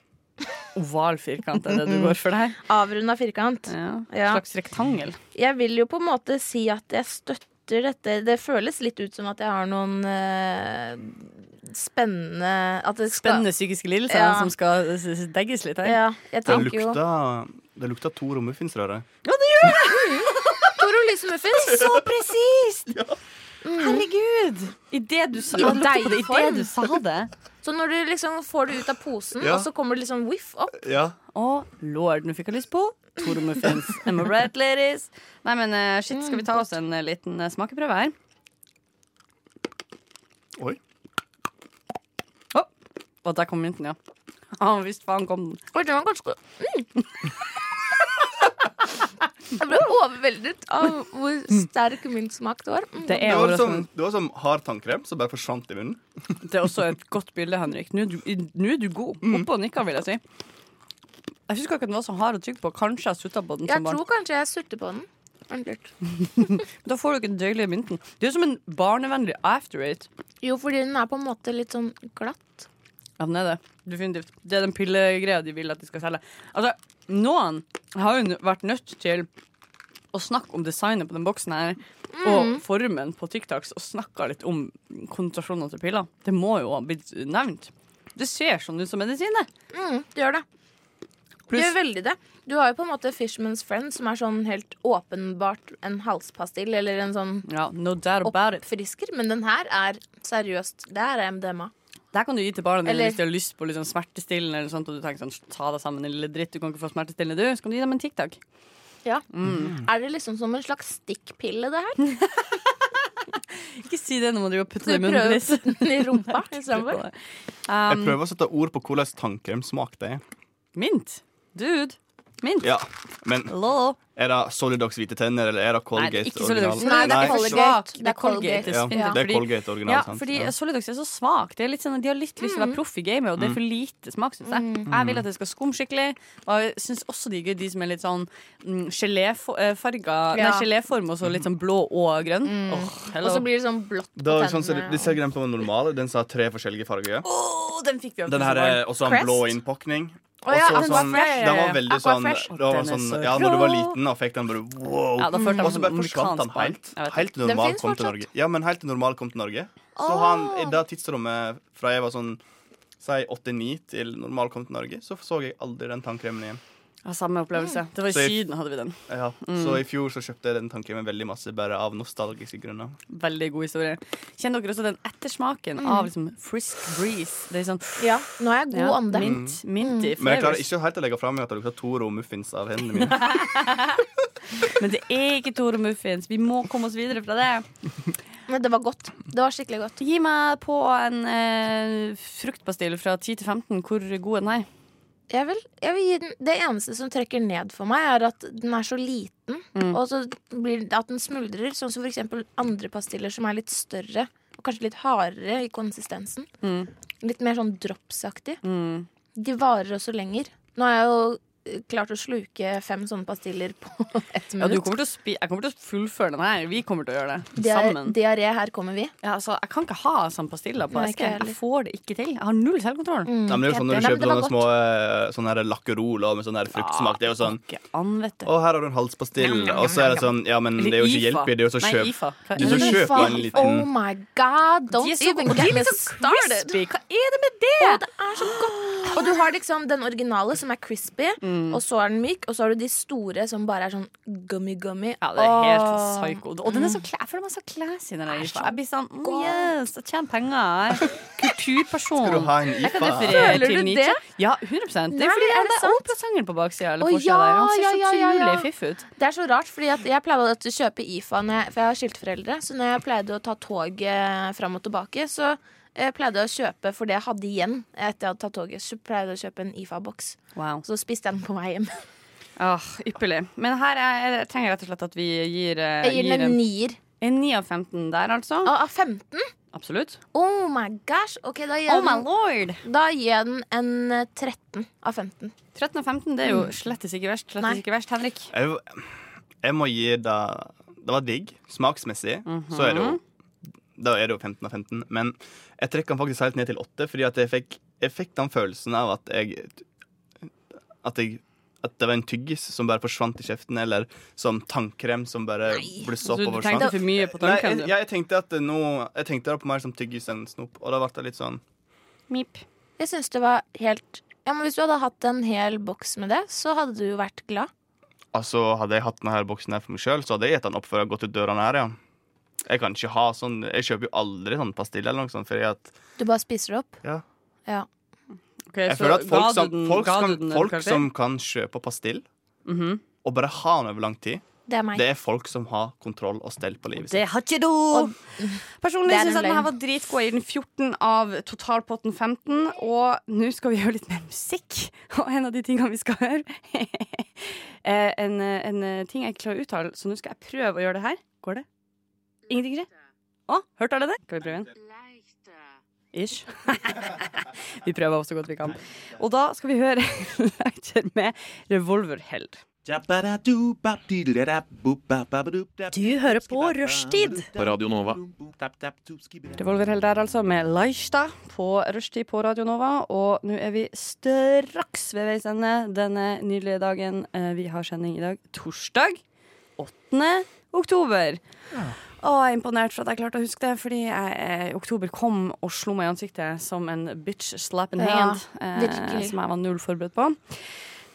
[SPEAKER 3] Oval firkant er det du går for der?
[SPEAKER 4] Avrunda firkant.
[SPEAKER 3] Ja.
[SPEAKER 4] Mm. Ja.
[SPEAKER 3] Slags rektangel.
[SPEAKER 4] Jeg vil jo på en måte si at jeg støtter dette. Det føles litt ut som at jeg har noen eh, spennende At det skal
[SPEAKER 3] Spennende psykiske lidelser
[SPEAKER 4] Ja.
[SPEAKER 3] som skal s- s- degges litt her.
[SPEAKER 4] Ja, jeg
[SPEAKER 5] Det
[SPEAKER 4] tenker jo
[SPEAKER 5] lukta, det lukta to rommefinsrøre.
[SPEAKER 4] Toro Lise [LAUGHS] Muffins!
[SPEAKER 3] Så presist! Herregud! Idet du, sa-
[SPEAKER 4] I
[SPEAKER 3] Jeg lukter på det, i
[SPEAKER 4] deigform.
[SPEAKER 3] det du sa det.
[SPEAKER 4] Så når du liksom får det ut av posen,
[SPEAKER 5] Ja.
[SPEAKER 4] og så kommer det liksom whiff opp
[SPEAKER 5] Ja.
[SPEAKER 3] Å, lord, nå fikk jeg lyst på Toro muffins. Am I right, ladies? Nei, men eh, shit, skal vi ta oss en eh, liten eh, smakeprøve her?
[SPEAKER 5] Oi.
[SPEAKER 3] Å, og der kom mynten, ja.
[SPEAKER 4] mm.
[SPEAKER 3] Ja, visst faen kom den.
[SPEAKER 4] Oi, den var ganske [LAUGHS] Jeg ble overveldet av hvor sterk min smak det var. Mm.
[SPEAKER 3] Det
[SPEAKER 5] Det sånn-
[SPEAKER 3] er
[SPEAKER 5] var
[SPEAKER 3] overraskende.
[SPEAKER 5] som, det var som hard tannkrem som bare forsvant i munnen.
[SPEAKER 3] Det er også et godt bilde, Henrik. Nå er du, nå er du god. Oppe og nikka, vil jeg si. Jeg husker ikke at den var så hard å tygge på. Kanskje jeg sutta på den
[SPEAKER 4] Jeg
[SPEAKER 3] som barn.
[SPEAKER 4] tror kanskje jeg surter på den. Ordentlig.
[SPEAKER 3] Da får du ikke den deilige mynten. Det er som en barnevennlig after eight.
[SPEAKER 4] Jo, fordi den er på en måte litt sånn glatt.
[SPEAKER 3] Ja, den er det. Definitivt. Det er den pillegreia de vil at de skal selge. Altså, noen har jo n- vært nødt til å snakke om designet på den boksen her, og formen på TikToks, og snakka litt om konsentrasjoner til piller. Det må jo ha blitt nevnt. Det ser sånn ut som medisiner.
[SPEAKER 4] Mm, det gjør det. Det gjør
[SPEAKER 3] Pluss
[SPEAKER 4] veldig det. Du har jo på en måte Fishman's Friend, som er sånn helt åpenbart en halspastill eller en sånn
[SPEAKER 3] ja, no doubt about it.
[SPEAKER 4] oppfrisker. Men den her er seriøst. Det er MDMA.
[SPEAKER 3] Der kan du gi til barna dine
[SPEAKER 4] Eller-
[SPEAKER 3] hvis de har lyst på litt sånn smertestillende, eller sånt, og du tenker sånn, ta deg sammen, din lille dritt, du kan ikke få smertestillende, du. Så kan du gi dem en TikTok.
[SPEAKER 4] Ja.
[SPEAKER 3] Mm.
[SPEAKER 4] Er det liksom som en slags stikkpille, det
[SPEAKER 3] [LAUGHS]
[SPEAKER 4] her?
[SPEAKER 3] Ikke si det når man driver og putter
[SPEAKER 4] Du
[SPEAKER 3] det i munnen.
[SPEAKER 4] prøver å
[SPEAKER 3] Liss.
[SPEAKER 4] putte den i rumpa istedenfor?
[SPEAKER 3] [LAUGHS] Um.
[SPEAKER 5] Jeg prøver å sette ord på hvordan tannkrem smakte det er.
[SPEAKER 3] Mint. Dude. Mint.
[SPEAKER 5] Ja, men
[SPEAKER 3] Lol.
[SPEAKER 5] er det Solidox hvite tenner, eller er det
[SPEAKER 3] Nei, det
[SPEAKER 5] Colgate
[SPEAKER 3] er ikke Solidox.
[SPEAKER 5] original?
[SPEAKER 4] Nei, det er
[SPEAKER 5] Nei.
[SPEAKER 4] Colgate.
[SPEAKER 3] Det er Colgate.
[SPEAKER 5] Ja,
[SPEAKER 3] definitivt.
[SPEAKER 5] det er
[SPEAKER 3] Fordi-
[SPEAKER 5] Colgate original,
[SPEAKER 3] Ja,
[SPEAKER 5] sant?
[SPEAKER 3] fordi
[SPEAKER 5] Ja.
[SPEAKER 3] Solidox er så svak. Det er litt sånn, at de har litt lyst til å være proff i gamet,
[SPEAKER 5] Mm.
[SPEAKER 3] og det er for lite smak, synes jeg. Jeg vil at det skal skumme skikkelig, og jeg syns også de er gøy, de som er litt sånn mm, geléfarga Nei,
[SPEAKER 4] Ja.
[SPEAKER 3] geléform, og så litt sånn blå og grønn. Åh, hello.
[SPEAKER 4] Og så blir det sånn blått på
[SPEAKER 5] Da, sånn, så
[SPEAKER 4] tennene.
[SPEAKER 5] de ser den på den normale. Den sa tre forskjellige farger.
[SPEAKER 3] Åh, den fikk vi av
[SPEAKER 5] Den her
[SPEAKER 3] tusen barn.
[SPEAKER 5] er også
[SPEAKER 4] Crest?
[SPEAKER 5] en blå innpakning.
[SPEAKER 4] Å ja,
[SPEAKER 5] Også
[SPEAKER 4] den var
[SPEAKER 5] sånn,
[SPEAKER 4] fresh.
[SPEAKER 5] den var veldig
[SPEAKER 4] Aqua
[SPEAKER 5] sånn,
[SPEAKER 4] fresh.
[SPEAKER 5] den var
[SPEAKER 3] Den er
[SPEAKER 5] sånn
[SPEAKER 3] så
[SPEAKER 5] Ja, når du var
[SPEAKER 3] rå.
[SPEAKER 5] liten og fikk den bare wow.
[SPEAKER 3] Ja, da følte jeg
[SPEAKER 5] Og så
[SPEAKER 3] meg
[SPEAKER 5] bare
[SPEAKER 3] som
[SPEAKER 5] forsvant den
[SPEAKER 3] amerikansk barn.
[SPEAKER 5] helt.
[SPEAKER 3] Jeg vet
[SPEAKER 5] Helt til
[SPEAKER 4] Den
[SPEAKER 5] normal
[SPEAKER 4] finnes
[SPEAKER 5] kom til
[SPEAKER 4] fortsatt.
[SPEAKER 5] Norge. Ja, men helt til normal kom til Norge. Så han, i det tidsrommet fra jeg var sånn Si 89 til normal kom til Norge, så så jeg aldri den tannkremen igjen.
[SPEAKER 3] Ja, samme opplevelse. Det var i
[SPEAKER 5] Så i-
[SPEAKER 3] Syden hadde vi den.
[SPEAKER 5] Ja. Så
[SPEAKER 4] Mm.
[SPEAKER 5] i fjor så kjøpte jeg den tannkremen veldig masse, bare av nostalgiske grunner.
[SPEAKER 3] Veldig god historie. Kjenner dere også den ettersmaken av liksom Frisk Breeze? Det er sånn
[SPEAKER 4] Ja, nå er jeg god Mm.
[SPEAKER 3] ja,
[SPEAKER 4] ånde.
[SPEAKER 3] Mint, minty
[SPEAKER 5] Mm. Men jeg klarer
[SPEAKER 3] flavors.
[SPEAKER 5] ikke helt å legge fra meg at det lukter Toro muffins av hendene mine.
[SPEAKER 3] Men det er ikke Tore Muffins. Vi må komme oss videre fra det.
[SPEAKER 4] Men det var godt. Det var skikkelig godt.
[SPEAKER 3] Gi meg på en eh, fruktpastill fra 10 til 15. Hvor god er den her?
[SPEAKER 4] Jeg vil, jeg vil gi den, det eneste som trekker ned for meg, er at den er så liten.
[SPEAKER 3] Mm.
[SPEAKER 4] Og så blir det at den smuldrer, sånn som for eksempel andre pastiller som er litt større. Og kanskje litt hardere i konsistensen.
[SPEAKER 3] Mm.
[SPEAKER 4] Litt mer sånn dropsaktig. De varer også lenger. Nå har jeg jo eh, klart å sluke fem sånne pastiller på [LAUGHS] ett
[SPEAKER 3] Ja, du
[SPEAKER 4] minutt.
[SPEAKER 3] kommer til å spi jeg kommer til å fullføre den her. Vi kommer til å gjøre det
[SPEAKER 4] Diar-
[SPEAKER 3] sammen.
[SPEAKER 4] Diaré, her kommer vi.
[SPEAKER 3] Ja, altså, jeg kan ikke ha sånn pastiller på
[SPEAKER 4] Nei,
[SPEAKER 3] eske.
[SPEAKER 4] ikke heller. Mm.
[SPEAKER 3] Jeg får det ikke til. Jeg har null selvkontroll.
[SPEAKER 5] Nei, men det er jo sånn
[SPEAKER 4] Nei,
[SPEAKER 5] Når du
[SPEAKER 4] men
[SPEAKER 5] kjøper
[SPEAKER 4] det var
[SPEAKER 5] sånne
[SPEAKER 4] godt.
[SPEAKER 5] små eh, sånne her lakkeroler med sånn her fruktsmak, det er jo sånn
[SPEAKER 3] Ikke an, vet du.
[SPEAKER 5] Å, her har du en halspastill, og så er det sånn Ja, men det er jo ikke
[SPEAKER 3] Eller IFA.
[SPEAKER 5] hjelp i, det er jo så
[SPEAKER 3] Nei,
[SPEAKER 5] kjøp.
[SPEAKER 3] IFA. Hva-
[SPEAKER 5] Du så
[SPEAKER 3] Eller-
[SPEAKER 5] kjøper en
[SPEAKER 4] Oh
[SPEAKER 5] liten
[SPEAKER 4] my god, don't
[SPEAKER 3] De er så
[SPEAKER 4] even
[SPEAKER 3] gode. Og de er
[SPEAKER 4] get me
[SPEAKER 3] litt sånn
[SPEAKER 4] started!
[SPEAKER 3] crispy. Hva er det med det?
[SPEAKER 4] er så godt. Og du har liksom den originale som er crispy, og så er den myk, og så har du de store som bare er sånn gummy-gummy.
[SPEAKER 3] Ja, det er helt psycho. Og den er så kla- jeg føler meg så classy. Den der. IFA. Jeg blir sånn oh, Yes, jeg tjener penger. Jeg er Kulturperson.
[SPEAKER 5] Skal du ha en
[SPEAKER 3] Jeg kan
[SPEAKER 5] IFA?
[SPEAKER 3] referere
[SPEAKER 4] Føler
[SPEAKER 3] til
[SPEAKER 4] du
[SPEAKER 3] Nietzsche.
[SPEAKER 4] det?
[SPEAKER 3] Ja, 100 Det
[SPEAKER 4] Nei,
[SPEAKER 3] er fordi
[SPEAKER 4] er
[SPEAKER 3] han
[SPEAKER 4] det
[SPEAKER 3] er
[SPEAKER 4] sant?
[SPEAKER 3] opprasangel på baksida. Eller
[SPEAKER 4] Å,
[SPEAKER 3] forsida der. Han ser
[SPEAKER 4] ja,
[SPEAKER 3] så
[SPEAKER 4] ja, ja, ja.
[SPEAKER 3] utrolig fiff ut.
[SPEAKER 4] Det er så rart, fordi at jeg pleide alltid å kjøpe IFA, når jeg, for jeg har skiltforeldre. Så når jeg pleide å ta toget fram og tilbake, så eh, pleide jeg å kjøpe for det jeg hadde igjen etter jeg hadde tatt toget. Så pleide jeg å kjøpe en IFA-boks.
[SPEAKER 3] Wow.
[SPEAKER 4] Så spiste jeg den på vei hjem.
[SPEAKER 3] Ah, ypperlig. Men her er, jeg trenger rett og slett at vi gir, eh,
[SPEAKER 4] Jeg gir den en
[SPEAKER 3] en,
[SPEAKER 4] nier.
[SPEAKER 3] en 9 av 15 der, altså.
[SPEAKER 4] Av av 15?
[SPEAKER 3] Absolutt.
[SPEAKER 4] Oh my gosh! Ok, da gir
[SPEAKER 3] Oh
[SPEAKER 4] jeg
[SPEAKER 3] my
[SPEAKER 4] den,
[SPEAKER 3] lord!
[SPEAKER 4] da gir jeg den en eh, 13 av 15.
[SPEAKER 3] 13 av 15 det er jo slettes ikke verst. Slettes
[SPEAKER 4] Mm. Nei.
[SPEAKER 3] ikke verst, Henrik.
[SPEAKER 5] Jeg, jeg må gi det Det var digg. Smaksmessig så er det
[SPEAKER 3] Mhm.
[SPEAKER 5] jo Da er det jo 15 av 15. Men jeg trekker den faktisk helt ned til 8, fordi at jeg fikk, jeg fikk den følelsen av at jeg At jeg at det var en tyggis som bare forsvant i kjeften, eller som tannkrem som bare blussa
[SPEAKER 3] Så
[SPEAKER 5] opp
[SPEAKER 3] Altså, du
[SPEAKER 5] og forsvant.
[SPEAKER 3] tenkte for mye på
[SPEAKER 5] Nei, jeg,
[SPEAKER 3] tanken, du.
[SPEAKER 5] jeg, tenkte at det nå Jeg tenkte det på mer som tyggis enn snop, og da ble det litt sånn
[SPEAKER 3] Mip.
[SPEAKER 4] Jeg syns det var helt ja, men Hvis du hadde hatt en hel boks med det, så hadde du jo vært glad.
[SPEAKER 5] Altså, hadde jeg hatt denne boksen her for meg sjøl, så hadde jeg gitt den opp før jeg hadde gått ut dørene her, ja. Jeg kan ikke ha sånn Jeg kjøper jo aldri sånn pastille eller noe sånt, fordi at
[SPEAKER 4] Du bare spiser det opp.
[SPEAKER 5] Ja.
[SPEAKER 4] Ja.
[SPEAKER 3] Okay,
[SPEAKER 5] Jeg
[SPEAKER 3] så
[SPEAKER 5] føler at folk
[SPEAKER 3] ga du
[SPEAKER 5] som,
[SPEAKER 3] den-
[SPEAKER 5] folk,
[SPEAKER 3] ga du
[SPEAKER 5] som,
[SPEAKER 3] den en
[SPEAKER 5] folk
[SPEAKER 3] karakter?
[SPEAKER 5] som kan kjøpe pastill
[SPEAKER 3] Mhm.
[SPEAKER 5] og bare ha den over lang tid,
[SPEAKER 4] Det er meg.
[SPEAKER 5] det er folk som har kontroll og stell på livet sitt.
[SPEAKER 3] Det har ikke du! Personlig
[SPEAKER 4] Det er
[SPEAKER 3] syns jeg
[SPEAKER 4] en
[SPEAKER 3] den her
[SPEAKER 4] løgn.
[SPEAKER 3] var dritgod. Jeg gir den 14 av totalpotten 15. [LAUGHS] Og nå skal vi høre litt mer musikk. Og en av de tingene vi skal høre, eh, en, eh, en eh, ting jeg ikke klarer å uttale, så nå skal jeg prøve å gjøre det her. Går det? Ingenting skjer? Å, hørte alle det? Skal vi prøve igjen? Ish. [LAUGHS] vi prøver så godt vi kan. Og da skal vi høre [LAUGHS] Leiter med Revolverheld.
[SPEAKER 1] Du hører på Rushtid
[SPEAKER 9] På Radio Nova.
[SPEAKER 3] Revolverheld der altså, med Leichta på rushtid på Radio Nova. Og nå er vi straks ved veis ende denne nydelige dagen. Eh, Vi har sending i dag torsdag 8. oktober. Å, jeg er imponert for at jeg klarte å huske det, fordi jeg eh, i oktober kom og slo meg i ansiktet som en bitch slap in
[SPEAKER 4] Ja,
[SPEAKER 3] hand, eh,
[SPEAKER 4] virkelig.
[SPEAKER 3] som jeg var null forberedt på.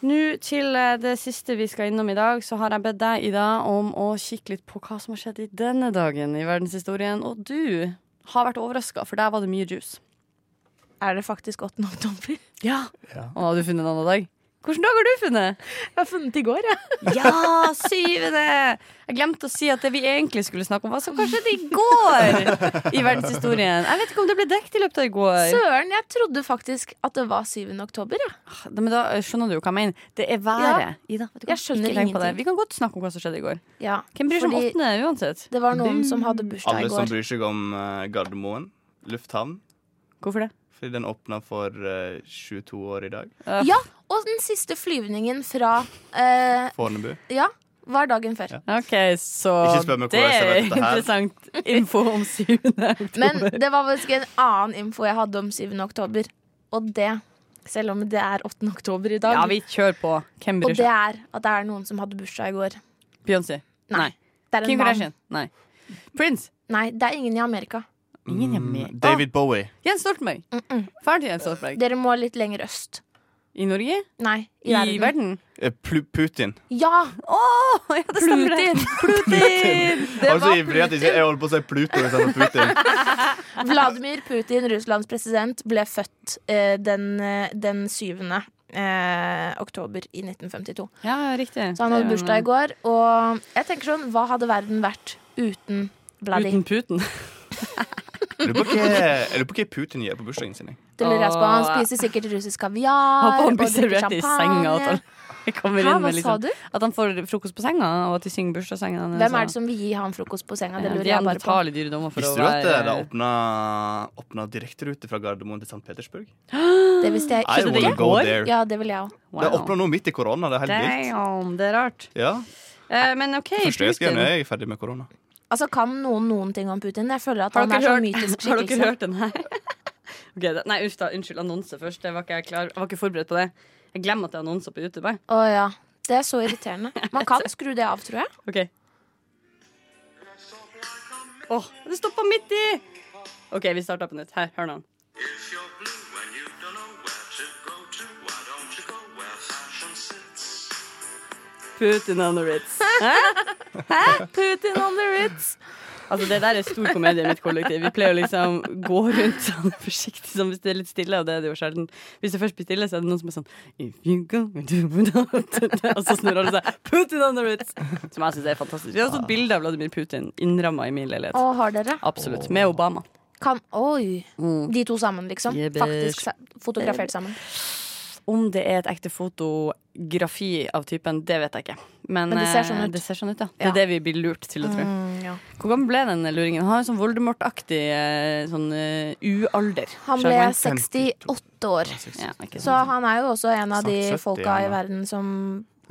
[SPEAKER 3] Nå til eh, det siste vi skal innom i dag, så har jeg bedt deg, Ida, om å kikke litt på hva som har skjedd i denne dagen i verdenshistorien. Og du har vært overraska, for der var det mye juice.
[SPEAKER 4] Er det faktisk 8. oktober? [LAUGHS]
[SPEAKER 3] Ja. Og har du funnet en annen dag? Hvilken dag har du funnet?
[SPEAKER 4] Jeg har funnet i går, jeg.
[SPEAKER 3] Ja, syvende! Jeg glemte å si at det vi egentlig skulle snakke om, var som kanskje det i går i verdenshistorien. Jeg vet ikke om det ble dekket i løpet av i går.
[SPEAKER 4] Søren, jeg trodde faktisk at det var 7. oktober. Ja.
[SPEAKER 3] Ah, Men da eh, skjønner du jo hva jeg mener. Det er været. Ida, vet du hva?
[SPEAKER 4] Jeg skjønner
[SPEAKER 3] Ikke tenk på det.
[SPEAKER 4] ingenting.
[SPEAKER 3] Vi kan godt snakke om hva som skjedde i går.
[SPEAKER 4] Ja,
[SPEAKER 3] Hvem bryr seg om
[SPEAKER 4] fordi
[SPEAKER 3] åttende uansett?
[SPEAKER 4] Det var noen som hadde bursdag i
[SPEAKER 5] Alle som
[SPEAKER 4] går.
[SPEAKER 5] bryr seg om eh, Gardermoen lufthavn,
[SPEAKER 3] Hvorfor det?
[SPEAKER 5] fordi den åpna for eh, 22 år i dag.
[SPEAKER 4] Ja, og den siste flyvningen fra eh,
[SPEAKER 5] Fornebu.
[SPEAKER 4] Ja, var dagen før.
[SPEAKER 3] Ok, så
[SPEAKER 5] Ikke spør meg
[SPEAKER 3] det
[SPEAKER 5] hvordan jeg
[SPEAKER 3] er
[SPEAKER 5] vet dette her.
[SPEAKER 3] interessant info om syvende
[SPEAKER 4] Men
[SPEAKER 3] oktober.
[SPEAKER 4] det var faktisk en annen info jeg hadde om 7. oktober. Og det, selv om det er 8. oktober i dag.
[SPEAKER 3] Ja, vi kjører på. Hvem
[SPEAKER 4] og
[SPEAKER 3] bryr
[SPEAKER 4] det
[SPEAKER 3] seg?
[SPEAKER 4] er at det er noen som hadde bursdag i går.
[SPEAKER 3] Beyoncé. Nei.
[SPEAKER 4] Det er en
[SPEAKER 3] Kim
[SPEAKER 4] mann.
[SPEAKER 3] Kardashian. Nei. Prince.
[SPEAKER 4] Nei, det er ingen i Amerika.
[SPEAKER 3] Ingen er med.
[SPEAKER 5] Mm, David Bowie.
[SPEAKER 3] Å, Jens Stoltenberg. Faren til Jens Stoltenberg.
[SPEAKER 4] Dere må litt lenger øst.
[SPEAKER 3] I Norge?
[SPEAKER 4] Nei,
[SPEAKER 3] I
[SPEAKER 4] i, verden.
[SPEAKER 3] verden?
[SPEAKER 5] Eh, Plu- Putin.
[SPEAKER 4] Ja!
[SPEAKER 3] Å, ja, [LAUGHS] det stemmer det. [LAUGHS] Plutin!
[SPEAKER 5] Jeg var så ivrig at jeg, jeg holdt på å si Pluto istedenfor Putin.
[SPEAKER 4] Vladimir Putin, Russlands president, ble født eh, den, eh, den 7. Eh, oktober i 1952.
[SPEAKER 3] Ja, riktig.
[SPEAKER 4] Så han hadde bursdag i går. Og jeg tenker sånn, hva hadde verden vært uten Vladi?
[SPEAKER 3] Uten Putin.
[SPEAKER 5] Jeg lurer på hva- jeg lurer på hva Putin gjør på bursdagen sin. jeg.
[SPEAKER 4] Det lurer jeg på. Han
[SPEAKER 3] Åh.
[SPEAKER 4] spiser sikkert russisk kaviar.
[SPEAKER 3] Håper han blir
[SPEAKER 4] og drikker
[SPEAKER 3] servert i senga. At
[SPEAKER 4] champagne.
[SPEAKER 3] han [LAUGHS] kommer
[SPEAKER 4] Hæ,
[SPEAKER 3] inn
[SPEAKER 4] hva
[SPEAKER 3] med
[SPEAKER 4] sa
[SPEAKER 3] liksom
[SPEAKER 4] du?
[SPEAKER 3] At han får frokost på senga, og at de synger bursdagssangen hans.
[SPEAKER 4] Hvem er det som vil gi han frokost på senga? Det lurer jeg bare på.
[SPEAKER 3] dyre dommer for å
[SPEAKER 5] Visste du at
[SPEAKER 3] være
[SPEAKER 5] eh, det åpna, åpna direkterute fra Gardermoen til St. Petersburg?
[SPEAKER 4] Det visste jeg
[SPEAKER 5] I
[SPEAKER 4] ikke.
[SPEAKER 5] wanna
[SPEAKER 3] det
[SPEAKER 5] go
[SPEAKER 3] går?
[SPEAKER 5] there.
[SPEAKER 4] Ja, det vil jeg òg.
[SPEAKER 5] Det åpna nå midt i korona. Det er helt vilt.
[SPEAKER 3] Damn, det er rart.
[SPEAKER 5] Ja,
[SPEAKER 3] Eh, men OK,
[SPEAKER 5] Første jeg skrev
[SPEAKER 3] Putin.
[SPEAKER 5] ned, jeg er ferdig med korona.
[SPEAKER 4] Altså, kan noen noen ting om Putin? Jeg føler at
[SPEAKER 3] Har
[SPEAKER 4] han
[SPEAKER 3] dere,
[SPEAKER 4] er så mytisk
[SPEAKER 3] hørt, [LAUGHS] har dere
[SPEAKER 4] skikkelse.
[SPEAKER 3] hørt den her? Ok, det, nei, uff da, unnskyld. Annonse først. Det var ikke jeg, klar, jeg var ikke forberedt på det. Jeg glemmer at det er annonser på YouTube. jeg.
[SPEAKER 4] Å ja. Det er så irriterende. Man kan skru det av,
[SPEAKER 3] [LAUGHS]
[SPEAKER 4] tror jeg.
[SPEAKER 3] Ok Åh, det stoppa midt i! OK, vi starter på nytt. Her, hør nå. Putin on the Ritz. Hæ? Hæ? Putin on the Ritz. Altså, det der er stor komedie i mitt kollektiv. Vi pleier å liksom gå rundt sånn forsiktig som hvis det er litt stille, og det er det jo sjelden. Hvis det først blir stille, så er det noen som er sånn If you go into the-" Og så snur alle seg. Putin on the Ritz! Som jeg syns er fantastisk. Vi har også et bilde av Vladimir Putin innramma i min leilighet.
[SPEAKER 4] Å, har dere?
[SPEAKER 3] Absolutt. Med Obama.
[SPEAKER 4] Kan Oi! De to sammen, liksom.
[SPEAKER 3] Yeah, bitch.
[SPEAKER 4] Faktisk sa- fotografert sammen.
[SPEAKER 3] Om det er et ekte fotografi av typen, det vet jeg ikke. Men,
[SPEAKER 4] Men det ser sånn
[SPEAKER 3] eh,
[SPEAKER 4] ut.
[SPEAKER 3] Det ser sånn ut, ja. Det
[SPEAKER 4] Ja. Mm.
[SPEAKER 3] er det vi blir lurt til å tro. Hvor gammel ble den luringen? Han har en sånn Voldemort-aktig eh, sånn eh, ualder.
[SPEAKER 4] Han ble
[SPEAKER 3] Skjønner du?
[SPEAKER 4] 68 år.
[SPEAKER 3] ja, ikke
[SPEAKER 4] Så
[SPEAKER 3] sant.
[SPEAKER 4] han er jo også en av de
[SPEAKER 5] Snart 70,
[SPEAKER 4] folka i
[SPEAKER 5] han, da.
[SPEAKER 4] verden som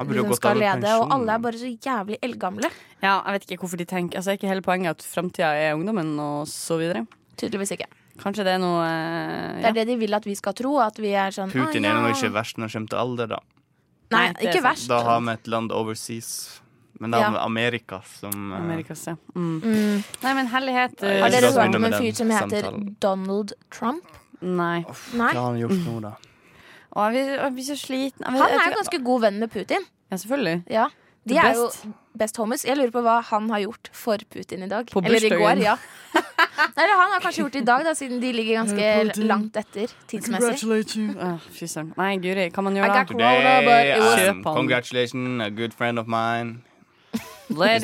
[SPEAKER 5] Han burde jo
[SPEAKER 4] liksom
[SPEAKER 5] gått
[SPEAKER 4] skal
[SPEAKER 5] av med
[SPEAKER 4] lede, og
[SPEAKER 5] pensjon.
[SPEAKER 4] alle er bare så jævlig eldgamle.
[SPEAKER 3] ja, jeg vet ikke hvorfor de tenker Altså, er ikke hele poenget at framtida er ungdommen, og så videre?
[SPEAKER 4] Tydeligvis ikke.
[SPEAKER 3] Kanskje det er noe
[SPEAKER 4] Det
[SPEAKER 3] eh,
[SPEAKER 4] er det de vil at vi skal tro. At vi er sånn
[SPEAKER 5] Putin
[SPEAKER 4] «Å, ja».
[SPEAKER 5] er nå ikke verst når det kommer til alder, da.
[SPEAKER 4] Nei,
[SPEAKER 3] Nei, det er
[SPEAKER 4] ikke
[SPEAKER 3] sant.
[SPEAKER 4] verst.
[SPEAKER 5] Da har vi et land overseas. Men det er
[SPEAKER 4] Ja.
[SPEAKER 5] Amerika som
[SPEAKER 3] ja.
[SPEAKER 5] eh,
[SPEAKER 3] Amerikas, ja. Mm.
[SPEAKER 4] Mm.
[SPEAKER 3] Nei, men herlighet. eh,
[SPEAKER 5] Nei,
[SPEAKER 4] Har dere
[SPEAKER 5] Jeg skal
[SPEAKER 4] hørt
[SPEAKER 5] begynne
[SPEAKER 4] om en
[SPEAKER 5] med
[SPEAKER 4] fyr
[SPEAKER 5] den
[SPEAKER 4] som heter
[SPEAKER 5] samtalen.
[SPEAKER 4] Donald Trump?
[SPEAKER 3] Nei.
[SPEAKER 4] Nei.
[SPEAKER 5] Hva har han gjort nå, da?
[SPEAKER 3] Å, jeg blir- jeg blir så sliten. Jeg-
[SPEAKER 4] Han
[SPEAKER 3] jeg
[SPEAKER 4] er
[SPEAKER 3] tror-
[SPEAKER 4] jo ganske god venn med Putin.
[SPEAKER 3] Ja, selvfølgelig.
[SPEAKER 4] Ja. De
[SPEAKER 3] The
[SPEAKER 4] er jo
[SPEAKER 3] best.
[SPEAKER 4] best homies. Jeg lurer på hva han har gjort for Putin i dag.
[SPEAKER 3] På
[SPEAKER 4] Eller i
[SPEAKER 3] bursdagen.
[SPEAKER 4] går, ja. [LAUGHS] Eller han har kanskje gjort det i dag, da, siden de ligger
[SPEAKER 3] Eh,
[SPEAKER 4] ganske langt etter tidsmessig.
[SPEAKER 3] Åh, Fy søren. Nei, guri, hva man
[SPEAKER 4] I
[SPEAKER 3] gjør
[SPEAKER 4] got
[SPEAKER 3] da?
[SPEAKER 4] corona, but
[SPEAKER 5] Today,
[SPEAKER 4] it was
[SPEAKER 5] um,
[SPEAKER 3] Kjøp han.
[SPEAKER 5] congratulations, a good friend of mine. His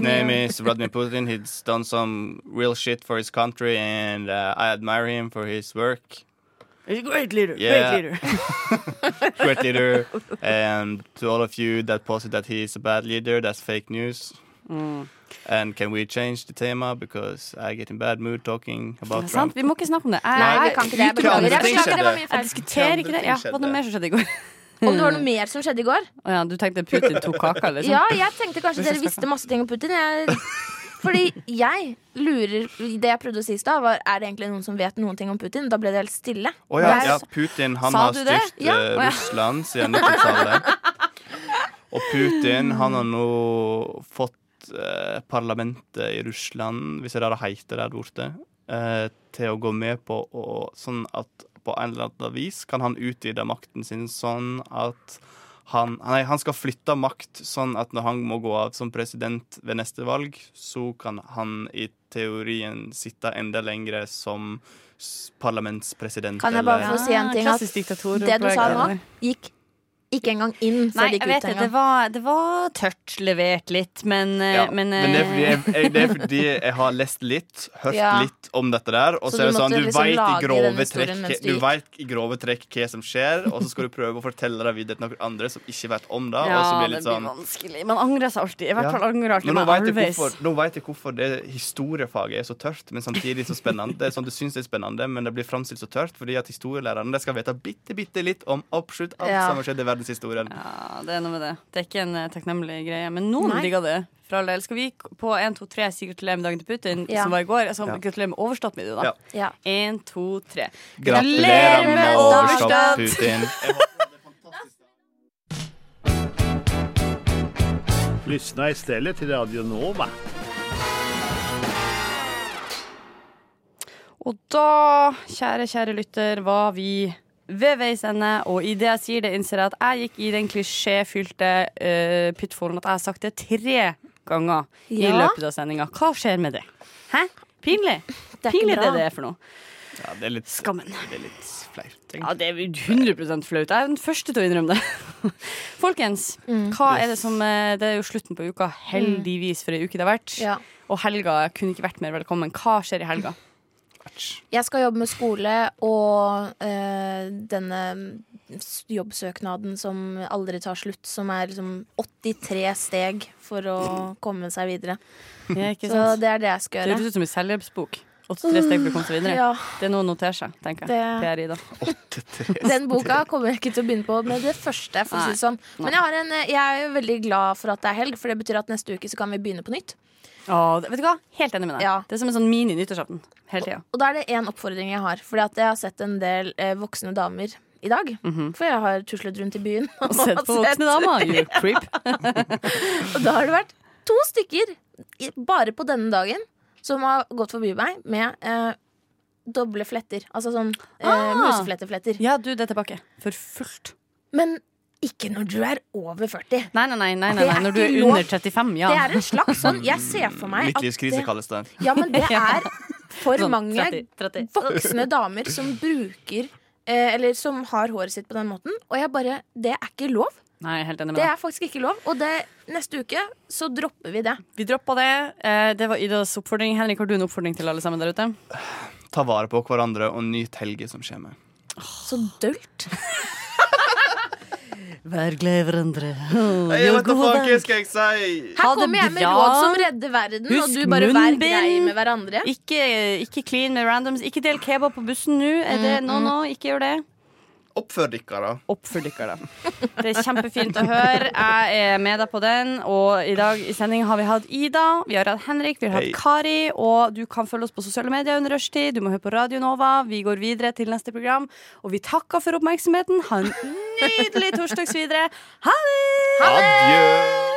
[SPEAKER 5] name
[SPEAKER 3] Vladimir.
[SPEAKER 5] is Vladimir Putin. He's done some real shit for his country, and uh, I admire him for his work.
[SPEAKER 3] Great leader.
[SPEAKER 5] Yeah.
[SPEAKER 3] Great leader.
[SPEAKER 5] Great leader. And to all of you that posted that he's a bad leader, that's fake news. And can we change the tema because I get in bad mood talking
[SPEAKER 3] Det
[SPEAKER 5] about
[SPEAKER 3] er sant,
[SPEAKER 5] Trump.
[SPEAKER 3] vi må ikke snakke om det.
[SPEAKER 4] Nei,
[SPEAKER 3] Jeg,
[SPEAKER 4] vi kan ikke det. Jeg
[SPEAKER 5] Hvilke andre
[SPEAKER 4] Beklager. Jeg
[SPEAKER 5] ting
[SPEAKER 4] beklager, det var
[SPEAKER 5] skjedde?
[SPEAKER 4] mye
[SPEAKER 3] jeg
[SPEAKER 4] feil.
[SPEAKER 3] diskuterer ikke det. Ja,
[SPEAKER 5] Skjedde.
[SPEAKER 3] hva er det mer som skjedde i går?
[SPEAKER 4] Om det var
[SPEAKER 3] mm.
[SPEAKER 4] noe mer som skjedde i går?
[SPEAKER 3] Å ja, du tenkte Putin tok kaka, liksom?
[SPEAKER 4] Ja, jeg tenkte kanskje dere visste masse ting om Putin. Jeg,
[SPEAKER 3] [LAUGHS]
[SPEAKER 4] fordi jeg lurer Det jeg prøvde å si i stad, var er det egentlig noen som vet noen ting om Putin. Da ble det helt stille.
[SPEAKER 5] Å ja,
[SPEAKER 4] Jeg-
[SPEAKER 5] ja, Putin han
[SPEAKER 3] Sa
[SPEAKER 5] har
[SPEAKER 3] du det?
[SPEAKER 5] styrt
[SPEAKER 4] Ja.
[SPEAKER 5] eh,
[SPEAKER 3] Å ja.
[SPEAKER 5] Russland siden 90-tallet. Og Putin han har nå fått eh, parlamentet i Russland, hvis det er det det heter der borte, eh, til å gå med på å, sånn at på en eller annen vis kan han utvide makten sin sånn at han, nei, han skal flytte makt sånn at når han må gå av som president ved neste valg, så kan han i teorien sitte enda lengre som s- parlamentspresident.
[SPEAKER 4] Kan jeg bare
[SPEAKER 5] eller-
[SPEAKER 4] få si en ting? At
[SPEAKER 3] Klassisk diktator.
[SPEAKER 4] det du sa nå,
[SPEAKER 3] opplegg.
[SPEAKER 4] gikk ikke engang inn
[SPEAKER 3] Nei,
[SPEAKER 4] før det
[SPEAKER 3] jeg
[SPEAKER 4] gikk
[SPEAKER 3] vet
[SPEAKER 4] ut
[SPEAKER 3] det. Det
[SPEAKER 4] engang.
[SPEAKER 3] var, det var tørt levert litt, men, eh,
[SPEAKER 5] Ja,
[SPEAKER 3] men,
[SPEAKER 5] det, er fordi
[SPEAKER 3] eh,
[SPEAKER 5] jeg, [LAUGHS] jeg, det er fordi jeg har lest litt, hørt
[SPEAKER 4] Ja.
[SPEAKER 5] litt om dette der. Og
[SPEAKER 4] Så
[SPEAKER 5] så,
[SPEAKER 4] du
[SPEAKER 5] er det
[SPEAKER 4] måtte
[SPEAKER 5] sånn, du
[SPEAKER 4] liksom
[SPEAKER 5] vet i
[SPEAKER 4] lage den
[SPEAKER 5] grove
[SPEAKER 4] historien
[SPEAKER 5] trekk,
[SPEAKER 4] mens
[SPEAKER 5] du
[SPEAKER 4] du gikk.
[SPEAKER 5] vet i grove trekk hva som skjer, og så skal du prøve å fortelle det videre til noen andre som ikke vet om det. og så
[SPEAKER 3] Ja,
[SPEAKER 5] blir det
[SPEAKER 3] det
[SPEAKER 5] litt
[SPEAKER 3] blir
[SPEAKER 5] sånn
[SPEAKER 3] vanskelig. Man angrer seg alltid. I hvert
[SPEAKER 5] Ja.
[SPEAKER 3] fall angrer alltid
[SPEAKER 5] men nå
[SPEAKER 3] meg
[SPEAKER 5] vet, jeg
[SPEAKER 3] always.
[SPEAKER 5] hvorfor, nå vet jeg hvorfor det historiefaget er så tørt, men samtidig så spennende. Det er sånn Du syns det er spennende, men det blir framstilt så tørt fordi at historielærerne de skal vite bitte, bitte litt om absolutt alt
[SPEAKER 4] Ja.
[SPEAKER 5] som har skjedd i verdenshistorien.
[SPEAKER 3] Ja, det er noe med det. Det er ikke en eh, takknemlig greie. Men noen
[SPEAKER 4] Nei.
[SPEAKER 3] digger det. For all del. Skal vi k- på 1, 2, 3 si gratulerer med dagen til Putin,
[SPEAKER 4] Ja.
[SPEAKER 3] som var i går? Altså,
[SPEAKER 5] Ja.
[SPEAKER 3] Gratulerer med overstått video, da.
[SPEAKER 5] Ja.
[SPEAKER 4] Ja.
[SPEAKER 3] 1, 2, 3.
[SPEAKER 5] Gratulerer med overstått, Putin.
[SPEAKER 9] Lyssna istället till Radio Nova.
[SPEAKER 3] Og da, kjære, kjære lytter, var vi ved veis ende, og idet jeg sier det, innser jeg at jeg gikk i den klisjéfylte uh, pyttfolden at jeg har sagt det tre ganger i
[SPEAKER 4] Ja.
[SPEAKER 3] løpet av sendinga. Hva skjer med det? Hæ? Pinlig.
[SPEAKER 4] Det er ikke
[SPEAKER 3] Pinlig det
[SPEAKER 4] bra.
[SPEAKER 3] det er for noe.
[SPEAKER 5] Ja, det er litt,
[SPEAKER 3] Skammen.
[SPEAKER 5] det er litt flaut. tenker jeg.
[SPEAKER 3] Ja, det er 100 flaut. Jeg er den første til å innrømme det. [LAUGHS] Folkens,
[SPEAKER 4] Mm.
[SPEAKER 3] hva er det som eh, Det er jo slutten på uka, heldigvis, for ei uke det har vært.
[SPEAKER 4] Ja.
[SPEAKER 3] Og helga kunne ikke vært mer velkommen. Hva skjer i
[SPEAKER 4] [LAUGHS]
[SPEAKER 3] helga?
[SPEAKER 4] Jeg skal jobbe med skole og eh, denne s- jobbsøknaden som aldri tar slutt, som er liksom 83 steg for å komme seg videre.
[SPEAKER 3] Ja, ikke
[SPEAKER 4] Så
[SPEAKER 3] sant?
[SPEAKER 4] det er sånn det jeg skal
[SPEAKER 3] Det
[SPEAKER 4] gjøre.
[SPEAKER 3] høres ut som en selvhjelpsbok. 83 steg for å komme seg videre.
[SPEAKER 4] Ja.
[SPEAKER 3] Det er noe å notere seg, tenker jeg.
[SPEAKER 4] Det-
[SPEAKER 3] PR Ida.
[SPEAKER 5] [LAUGHS]
[SPEAKER 4] Den
[SPEAKER 3] [LAUGHS]
[SPEAKER 4] boka kommer jeg ikke til å begynne på med det første. For å si det sånn. Men jeg, har en, jeg er jo veldig glad for at det er helg, for det betyr at neste uke så kan vi begynne på nytt.
[SPEAKER 3] Å, det- vet du hva? Helt enig med deg.
[SPEAKER 4] Ja.
[SPEAKER 3] Det er som en sånn mini-nyttårsaften hele tida.
[SPEAKER 4] Og da er det én oppfordring jeg har, fordi at jeg har sett en del eh, voksne damer i dag. For jeg har tuslet rundt i byen. [LAUGHS]
[SPEAKER 3] Og Mhm. [LAUGHS] sett på voksne damer, you creep.
[SPEAKER 4] Og da har det vært to stykker i- bare på denne dagen som har gått forbi meg med eh, doble fletter. Altså sånn eh,
[SPEAKER 3] Ah.
[SPEAKER 4] musefletterfletter.
[SPEAKER 3] Ja, du, det er tilbake. For fullt.
[SPEAKER 4] Men ikke når du er over 40.
[SPEAKER 3] Nei, nei, nei. nei, nei,
[SPEAKER 4] Det er
[SPEAKER 3] nei. Når du
[SPEAKER 4] ikke
[SPEAKER 3] er
[SPEAKER 4] lov.
[SPEAKER 3] under 35, ja.
[SPEAKER 4] Det er en slags sånn Jeg ser for meg at
[SPEAKER 5] Midtlivskrise
[SPEAKER 4] det,
[SPEAKER 5] kalles det.
[SPEAKER 4] ja, men det
[SPEAKER 3] [LAUGHS] Ja.
[SPEAKER 4] er for
[SPEAKER 3] Sånn,
[SPEAKER 4] mange
[SPEAKER 3] 30, 30.
[SPEAKER 4] voksne damer som bruker eh, Eller som har håret sitt på den måten. Og jeg bare Det er ikke lov.
[SPEAKER 3] Nei, jeg er helt enig med
[SPEAKER 4] Det
[SPEAKER 3] deg.
[SPEAKER 4] er faktisk ikke lov. Og det, neste uke så dropper vi det.
[SPEAKER 3] Vi droppa det. Eh, Det var Idas oppfordring. Henrik, har du en oppfordring til alle sammen der ute?
[SPEAKER 5] Ta vare på hverandre og nyt helga som kommer.
[SPEAKER 4] Så dølt.
[SPEAKER 3] Vær glad i hverandre.
[SPEAKER 5] Jeg vet da faen hva skal jeg si!
[SPEAKER 4] Her
[SPEAKER 3] Ha det
[SPEAKER 4] kommer jeg med
[SPEAKER 3] bra.
[SPEAKER 4] råd som redder verden, og
[SPEAKER 3] Husk
[SPEAKER 4] du bare vær
[SPEAKER 3] munnbind.
[SPEAKER 4] grei med hverandre.
[SPEAKER 3] Ikke, ikke clean med randoms. Ikke del kebab på bussen nå. Er
[SPEAKER 4] Mm,
[SPEAKER 3] det no, no? Ikke gjør det.
[SPEAKER 5] Oppfør dere, da.
[SPEAKER 3] Oppfør dere, da. Det er kjempefint å høre. Jeg er med deg på den. Og i dag i sending har vi hatt Ida, vi har hatt Henrik, vi har hatt
[SPEAKER 5] Hei.
[SPEAKER 3] Kari. Og du kan følge oss på sosiale medier under rushtid. Du må høre på Radio Nova. Vi går videre til neste program. Og vi takker for oppmerksomheten. Ha en nydelig torsdags videre. Ha det!
[SPEAKER 5] Adjø!